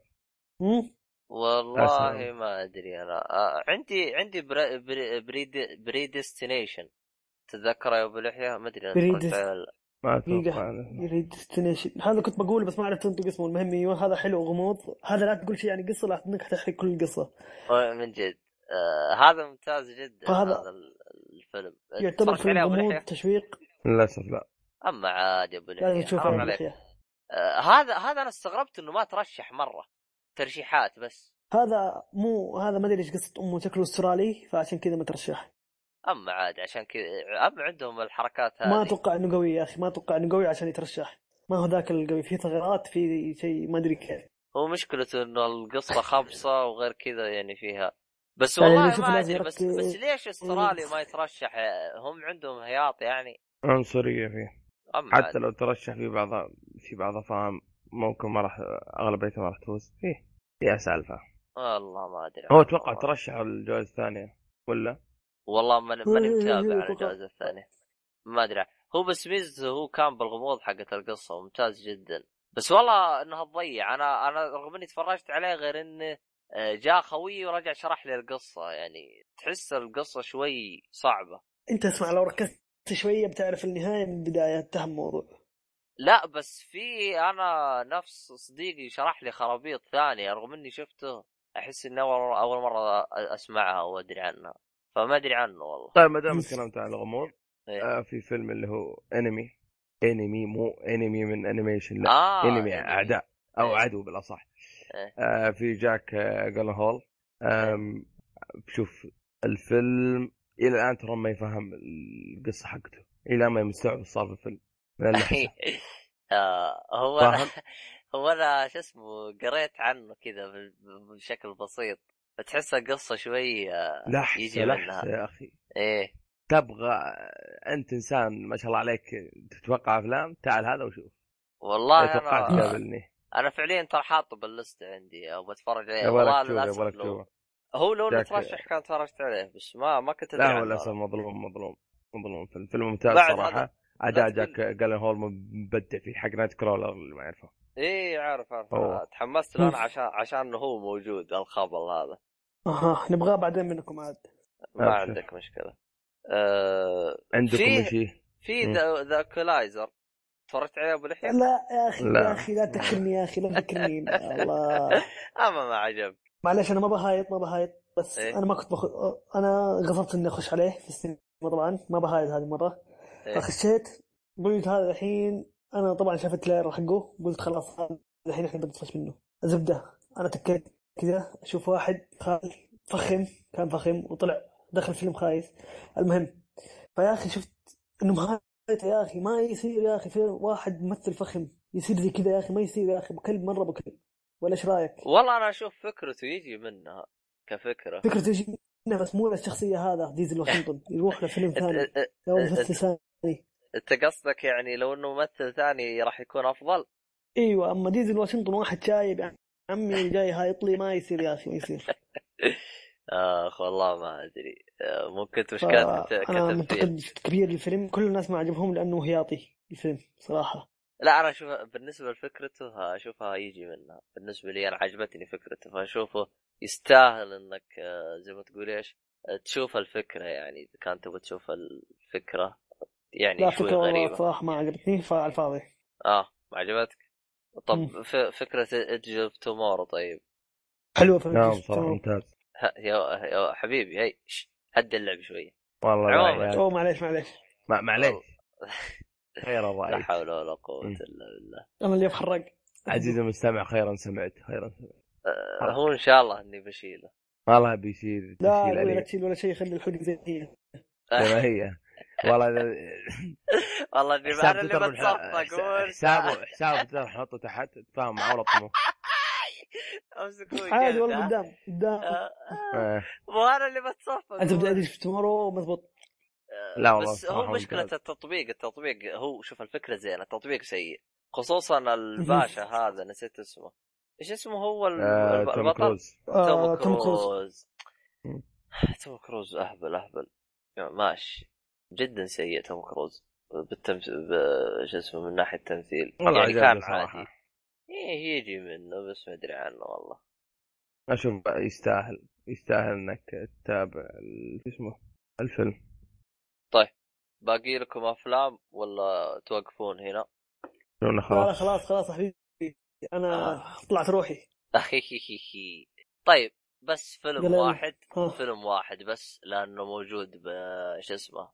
S3: مم.
S1: والله
S2: أسلم.
S1: ما ادري انا آه عندي عندي بري بري بري, بري ديستنيشن تتذكره يا ابو لحيه ما ادري
S3: بري
S1: أنا قلت
S3: ديست-
S1: عليه ولا لا.
S2: ما
S3: دقيقة.
S2: اتوقع أنا.
S3: يريد ديستنيشن هذا كنت بقوله بس ما عرفت انطق اسمه المهم ايوه هذا حلو غموض هذا لا تقول شيء عن القصة لا انك حتحرق كل القصة
S1: آه، من جد آه هذا ممتاز جدا
S3: وهذا-
S1: هذا ال- الفيلم
S3: يعتبر
S1: تفرجت
S3: فيلم
S1: عليه يا ابو
S3: غموض
S1: لحيه
S3: تشويق
S2: للاسف لا
S1: اما عاد يا ابو لحيه
S3: لازم
S1: إيه،
S3: تشوفه
S1: حرام
S3: يا أبو
S1: عليك
S3: يحيى.
S1: آه هذا هذا انا استغربت انه ما ترشح مره ترشيحات بس
S3: هذا مو هذا ما ادري ايش قصة امه شكله استرالي فعشان كذا ما ترشح
S1: اما عاد عشان كذا اما عندهم الحركات هذه
S3: ما اتوقع انه قوي يا اخي ما اتوقع انه قوي عشان يترشح ما هو ذاك القوي في ثغرات في شيء ما ادري كيف
S1: هو مشكلته انه القصه خبصه وغير كذا يعني فيها بس
S3: يعني
S1: والله
S3: اللي يشوف
S1: ما
S3: لازم
S1: ادري بس
S3: يركز.
S1: بس ليش استراليا ما يترشح هم عندهم هياط يعني
S2: عنصريه فيه
S1: اما
S2: حتى
S1: عاد.
S2: لو ترشح في بعض في بعض فاهم ممكن ما راح اغلبيته ما راح تفوز فيه يا سالفه
S1: والله ما ادري
S2: هو اتوقع
S1: والله.
S2: ترشح الجوائز الثانيه ولا؟
S1: والله ماني ماني متابع على
S3: أتوقع.
S1: الجائزه الثانيه ما ادري هو بس ميزته هو كان بالغموض حقت القصه ممتاز جدا بس والله انها تضيع انا انا رغم اني تفرجت عليه غير انه آه، جاء خويي ورجع شرح لي القصه يعني تحس القصه شوي صعبه
S3: انت اسمع لو ركزت شوية بتعرف النهاية من البداية انتهى الموضوع
S1: لا بس في انا نفس صديقي شرح لي خرابيط ثانيه رغم اني شفته احس اني اول اول مره أ- اسمعها وادري عنها فما ادري عنه والله
S2: طيب ما دام
S3: بس-
S2: تكلمت عن الغموض
S1: إيه.
S2: آه في فيلم اللي هو انمي انمي مو انمي من انيميشن لا
S1: اه
S2: انمي اعداء او
S1: إيه.
S2: عدو بالاصح
S1: إيه.
S2: آه في جاك آه جل هول آم، شوف الفيلم الى الان ترى ما يفهم القصه حقته الى الآن ما مستوعب إيش صار في الفيلم من اللحسة.
S1: آه هو
S2: فاهم؟
S1: أنا هو انا شو اسمه قريت عنه كذا ب- بشكل بسيط فتحس القصه شوي آه،
S2: لحسه
S1: يجي
S2: لحسه
S1: منها.
S2: يا اخي
S1: ايه
S2: تبغى انت انسان ما شاء الله عليك تتوقع افلام تعال هذا وشوف ما
S1: والله
S2: إيه، توقعت
S1: انا
S2: تقابلني
S1: انا فعليا ترى حاطه باللسته عندي او بتفرج عليه
S2: يبغى
S1: إيه، والله
S2: لك تشوف
S1: للاسف
S2: يبغى لك
S1: لو-
S2: تشوف
S1: هو لو انه
S2: جاك-
S1: ترشح كان تفرجت عليه بس ما ما كنت ادري
S2: لا هو
S1: عنه
S2: للاسف
S1: أنا.
S2: مظلوم مظلوم مظلوم فيلم فيلم ممتاز
S1: بعد هذا-
S2: صراحه اداء
S1: لا
S2: جاك جالن هول مبدع فيه حق نايت كرولر اللي ما يعرفه
S1: ايه عارف عارف
S2: أوه.
S1: تحمست له انا
S3: أوف.
S1: عشان عشان هو موجود الخبل هذا
S3: اها نبغاه بعدين منكم عاد
S1: ما
S2: أبشر.
S1: عندك مشكله آه
S2: عندكم
S1: فيه-
S2: شيء
S1: في
S2: مم.
S1: ذا ذا كولايزر تفرجت عليه ابو لحيه
S3: لا يا اخي
S2: لا.
S3: يا اخي لا تذكرني يا اخي لا تذكرني الله
S1: اما آه، ما عجب
S3: معلش انا ما بهايط ما بهايط بس
S1: إيه.
S3: انا ما كنت بخ... انا غصبت اني اخش عليه في السينما طبعا ما بهايط هذه المره
S1: إيه.
S3: فخشيت قلت هذا الحين انا طبعا شايف التريلر حقه قلت خلاص هذا الحين احنا بنطفش منه زبده انا تكيت كذا اشوف واحد خايف فخم كان فخم وطلع دخل فيلم خايف المهم فيا اخي شفت انه مهايط يا اخي ما يصير يا اخي في واحد ممثل فخم يصير زي كذا يا اخي ما يصير يا اخي بكلب مره بكلب ولا ايش رايك؟
S1: والله انا اشوف فكرته يجي منها كفكره
S3: فكرة تجي منه بس مو الشخصية هذا ديزل واشنطن يروح لفيلم ثاني
S1: أنت- أنت-
S3: لو ممثل ثاني
S1: انت قصدك يعني لو انه ممثل ثاني راح يكون افضل
S3: ايوه اما ديزل واشنطن واحد شايب يعني عمي جاي هايط لي ما يصير يا اخي ما يصير
S1: اخ آه، والله ما ادري آه، ممكن
S3: ف-
S1: مشكلة
S3: انا
S1: كتب فيه
S3: منتقد كبير للفيلم كل الناس ما عجبهم لانه هياطي الفيلم صراحة
S1: لا انا اشوف بالنسبه لفكرته اشوفها يجي منها بالنسبه لي انا عجبتني فكرته فاشوفه يستاهل انك آه، زي ما تقول ايش آه، تشوف الفكره يعني اذا كان تبغى تشوف الفكره
S3: لا
S1: يعني شوي
S3: فكرة والله
S1: غريبه
S3: صراحة ما عجبتني فعلى الفاضي
S1: اه ما عجبتك؟ طب
S3: مم.
S1: ف- فكره ادج اوف تومورو طيب
S3: حلوة فكرة
S2: نعم صراحه ممتاز
S1: ها- يا يا حبيبي هي ش- هدي اللعب شويه
S2: والله
S1: عموماً.
S2: الرأي.
S3: اوه معليش معليش
S2: ما- معليش خير
S3: طيب.
S1: لا
S2: الراي
S1: حول ولا قوه
S2: مم.
S1: الا بالله
S3: انا اللي بحرق
S2: عزيزي المستمع خيرا سمعت خيرا سمعت
S1: آه، هو ان شاء الله اني بشيله
S2: والله بيشيل
S3: لا
S2: بيشيل
S3: أبوي لا
S2: عليك
S3: تشيل ولا شيء خلي الحلقة زي ما هي
S2: زي ما هي والله إذا-
S1: والله اني
S2: حساب
S1: انا اللي
S2: تويتر بنح-
S1: بتصفق
S2: حس-
S1: قول.
S2: حسابه حساب تويتر نحطه تحت تفاهم معه ولا طمو
S1: امسكوني
S3: عادي
S1: كذا.
S3: والله قدام قدام
S1: آه، آه، مو انا اللي بتصفق
S3: انت
S1: قول.
S3: بدي ادري في تومورو مضبوط
S1: آه،
S2: لا والله
S1: بس
S2: صراحة
S1: هو مشكله
S2: ممتاز.
S1: التطبيق التطبيق هو شوف الفكره زينه التطبيق سيء خصوصا الباشا هذا نسيت اسمه ايش اسمه هو الب-
S2: آه،
S1: الب-
S2: توم
S1: البطل
S2: كروز
S1: توم
S3: آه، توم كروز
S1: كروز
S2: مم.
S1: توم كروز اهبل اهبل ماشي جدا سيء توم كروز بالتمس ب- شو اسمه من ناحيه التمثيل
S2: والله
S1: يعني
S2: عجبني
S1: كان
S2: صراحة.
S1: عادي إيه يجي منه بس ما ادري عنه والله
S2: اشوف يستاهل يستاهل انك تتابع ال- شو اسمه الفيلم
S1: باقي لكم افلام ولا توقفون هنا؟
S2: شلون
S3: لا لا
S2: خلاص
S3: خلاص خلاص حبيبي انا
S1: آه.
S3: طلعت روحي
S1: طيب بس فيلم
S3: يلا يلا.
S1: واحد
S3: ها
S1: فيلم واحد بس لانه موجود ب شو اسمه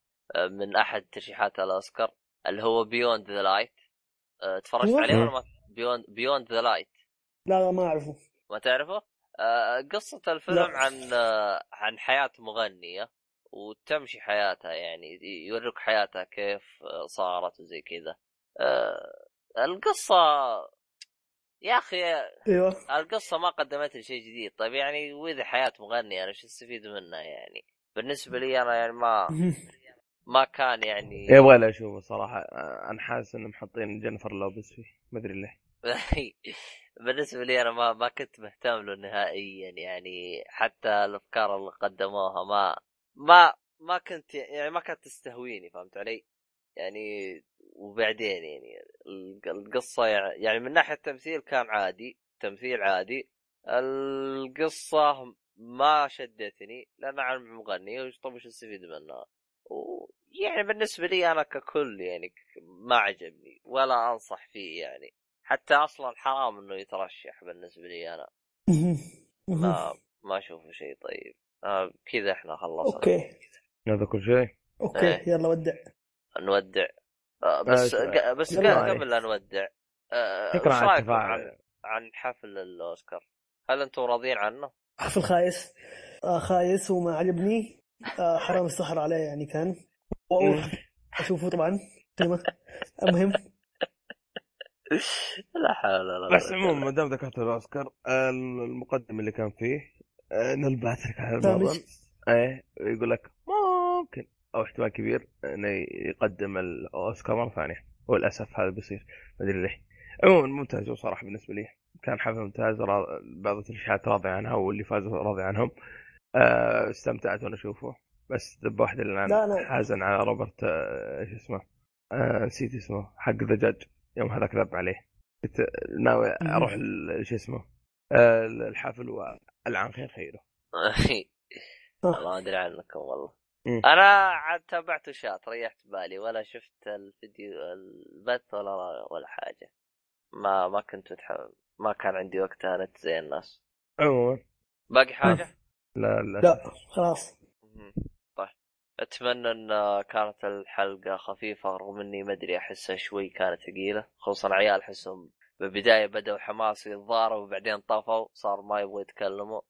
S1: من احد ترشيحات الاوسكار اللي هو بيوند ذا لايت أه، تفرجت
S3: أيوة.
S1: عليه ولا ما بيوند بيوند ذا لايت
S3: لا لا ما اعرفه
S1: ما تعرفه؟ آه، قصة الفيلم
S3: لا.
S1: عن آه، عن حياة مغنية وتمشي حياتها يعني يوريك حياتها كيف آه، صارت وزي كذا. آه، القصة يا اخي
S3: ايوه
S1: القصه ما قدمت لي شيء جديد طيب يعني واذا حياه مغني انا شو استفيد منها يعني بالنسبه لي انا يعني ما ما كان يعني
S2: يبغى لي اشوفه صراحه آه، انا حاسس انهم محطين جينيفر لوبس فيه ما ادري ليه
S1: بالنسبه لي انا ما ما كنت مهتم له نهائيا يعني حتى الافكار اللي قدموها ما ما ما كنت يعني ما كانت تستهويني فهمت علي؟ يعني وبعدين يعني الق- القصه يع- يعني من ناحيه التمثيل كان عادي تمثيل عادي القصه ما شدتني لان عن مغني وش- طب وش استفيد منها؟ ويعني بالنسبه لي انا ككل يعني ك- ما عجبني ولا انصح فيه يعني حتى اصلا حرام انه يترشح بالنسبه لي انا ما ما اشوفه شيء طيب آه كذا احنا خلصنا
S3: اوكي
S2: هذا كل شيء
S1: إيه.
S3: اوكي يلا ودع
S1: نودع آه بس
S2: آه،
S1: آه بس
S2: شكراً
S1: قا-
S2: عليك.
S1: قبل لا نودع آه
S2: شكراً
S1: وش
S2: على
S1: رايكم
S2: التفاعل.
S1: عن عن حفل الاوسكار؟ هل انتم راضيين عنه؟
S3: حفل خايس آه خايس وما عجبني آه حرام السحر عليه يعني كان واول
S1: إيه.
S3: اشوفه طبعا قيمه المهم
S1: لا حول ولا قوه
S2: بس عموما ما دام ذكرت الاوسكار آه، المقدم اللي كان فيه آه، نلبس لك على
S3: سامج.
S2: البعض ايه يقول لك ممكن او احتمال كبير انه يقدم الاوسكار مره ثانيه وللاسف هذا بيصير ما ادري ليه عموما ممتاز هو صراحه بالنسبه لي كان حفل ممتاز را- بعض الترشيحات راضي عنها واللي فازوا راضي عنهم آه، استمتعت وانا اشوفه بس ذبه واحده اللي
S3: لا،
S2: انا
S3: أنا-
S2: حازن على روبرت آه، ايش اسمه آه، نسيت اسمه حق ذا جاج يوم هذاك ذب عليه كنت ناوي اروح ال- شو اسمه آه، الحفل والعن خير خيره
S3: آه.
S1: الله ما ادري عنكم والله
S2: مم.
S1: انا عاد تابعت شات ريحت بالي ولا شفت الفيديو البث ولا ولا حاجه ما ما كنت متحمل ما كان عندي وقتها نت زي الناس
S2: عموما
S1: باقي حاجه
S2: لا لا
S3: لا خلاص
S1: مهم. طيب اتمنى ان كانت الحلقه خفيفه رغم اني ما ادري احسها شوي كانت ثقيله خصوصا عيال احسهم بالبدايه بدأوا حماس يتضاربوا وبعدين طفوا صار ما يبغوا يتكلموا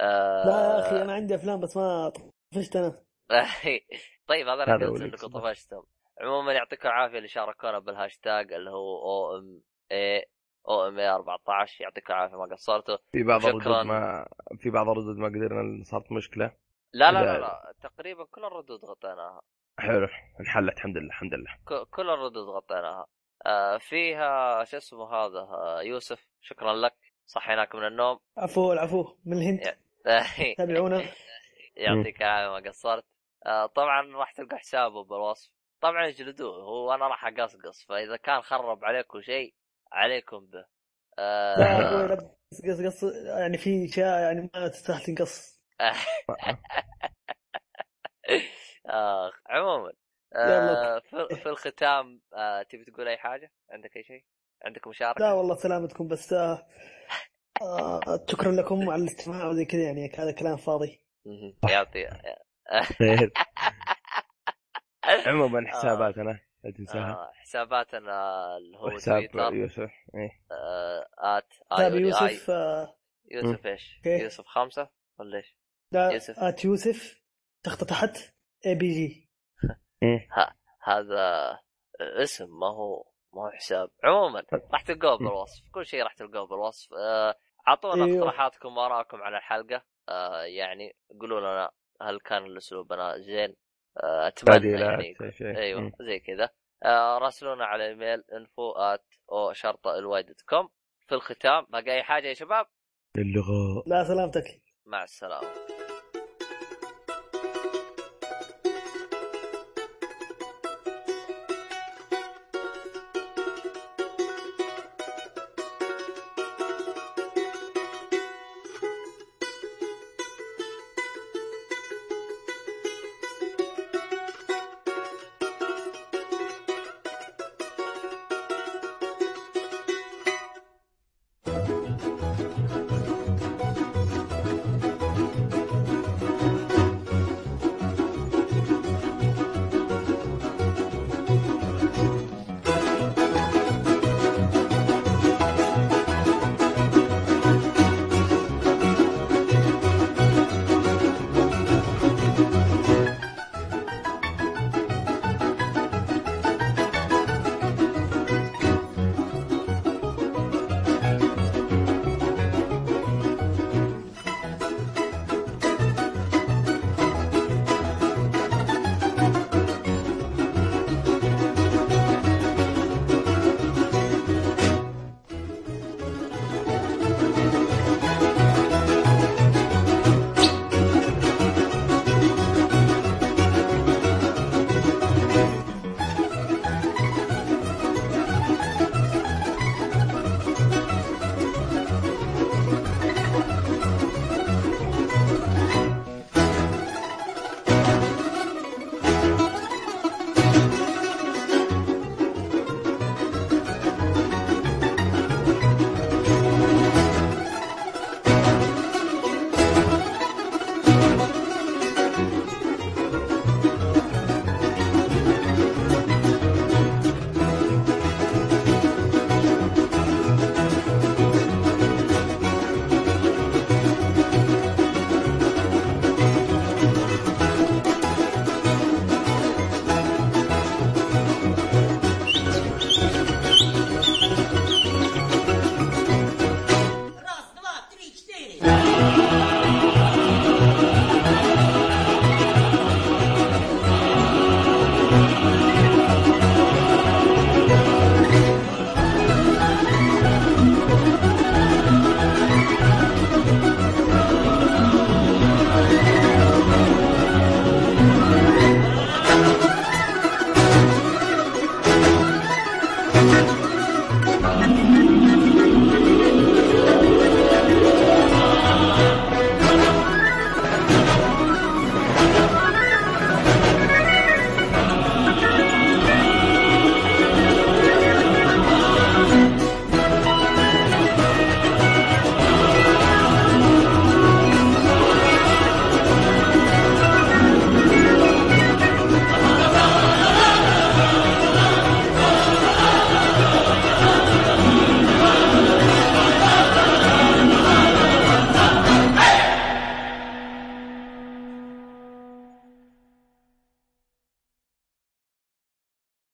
S1: آه...
S3: لا يا اخي انا عندي افلام بس ما طفشت انا
S1: طيب هذا انا
S2: هذا
S1: قلت
S2: هو
S1: انكم
S2: الإكسبرت.
S1: طفشتم عموما يعطيكم العافيه اللي شاركونا بالهاشتاج اللي هو او ام اي او ام اي 14 يعطيكم العافيه ما قصرتوا
S2: في بعض
S1: شكراً.
S2: الردود ما في بعض الردود ما قدرنا صارت مشكله
S1: لا لا لا,
S2: لا.
S1: لا. تقريبا كل الردود غطيناها
S2: حلو انحلت الحمد لله الحمد لله
S1: ك- كل الردود غطيناها آه، فيها شو اسمه هذا آه، يوسف شكرا لك صحيناك من النوم
S3: عفو العفو من
S1: يعني
S3: الهند تابعونا
S1: آه. يعطيك العافيه ما قصرت آه، طبعا راح تلقى حسابه بالوصف طبعا اجلدوه هو انا راح اقصقص فاذا كان خرب عليكم شيء عليكم به آه،
S3: لا يا اخوي لا قص قص قص يعني في اشياء يعني ما تستاهل تنقص
S1: اخ عموما آه، في في الختام آه، تبي تقول اي حاجه عندك اي شيء عندك مشاركه
S3: لا والله سلامتكم بس آه آه، شكرا لكم على الاستماع وزي كذا يعني هذا كلام فاضي
S1: مهم. يعطي
S2: خير عموما حساباتنا لا تنساها
S1: آه، حساباتنا اللي هو
S2: وحساب
S1: آه، تويتر
S2: يوسف إيه.
S1: آت آه،
S3: تابع
S1: آي
S3: طيب، يوسف آه،
S1: يوسف ايش؟
S3: أوكي.
S1: يوسف خمسة ولا ايش؟
S3: لا
S1: يوسف.
S3: ات يوسف تحت تحت اي بي جي
S2: إيه.
S1: هذا اسم ما هو ما هو حساب عموما
S3: طيب.
S1: راح تلقوه بالوصف كل شيء راح تلقوه بالوصف آه، اعطونا
S3: أيوه.
S1: اقتراحاتكم وارائكم على الحلقة آه، يعني قولوا لنا هل كان الاسلوب انا زين؟ آه، اتمنى يعني
S2: تعديلات
S1: يكون-
S2: شيء
S1: ايوه
S2: إيه.
S1: زي كذا آه، راسلونا على الايميل انفو ات او شرطه الواي دوت كوم في الختام باقي اي حاجه يا شباب
S2: اللغة
S3: لا سلامتك
S1: مع السلامه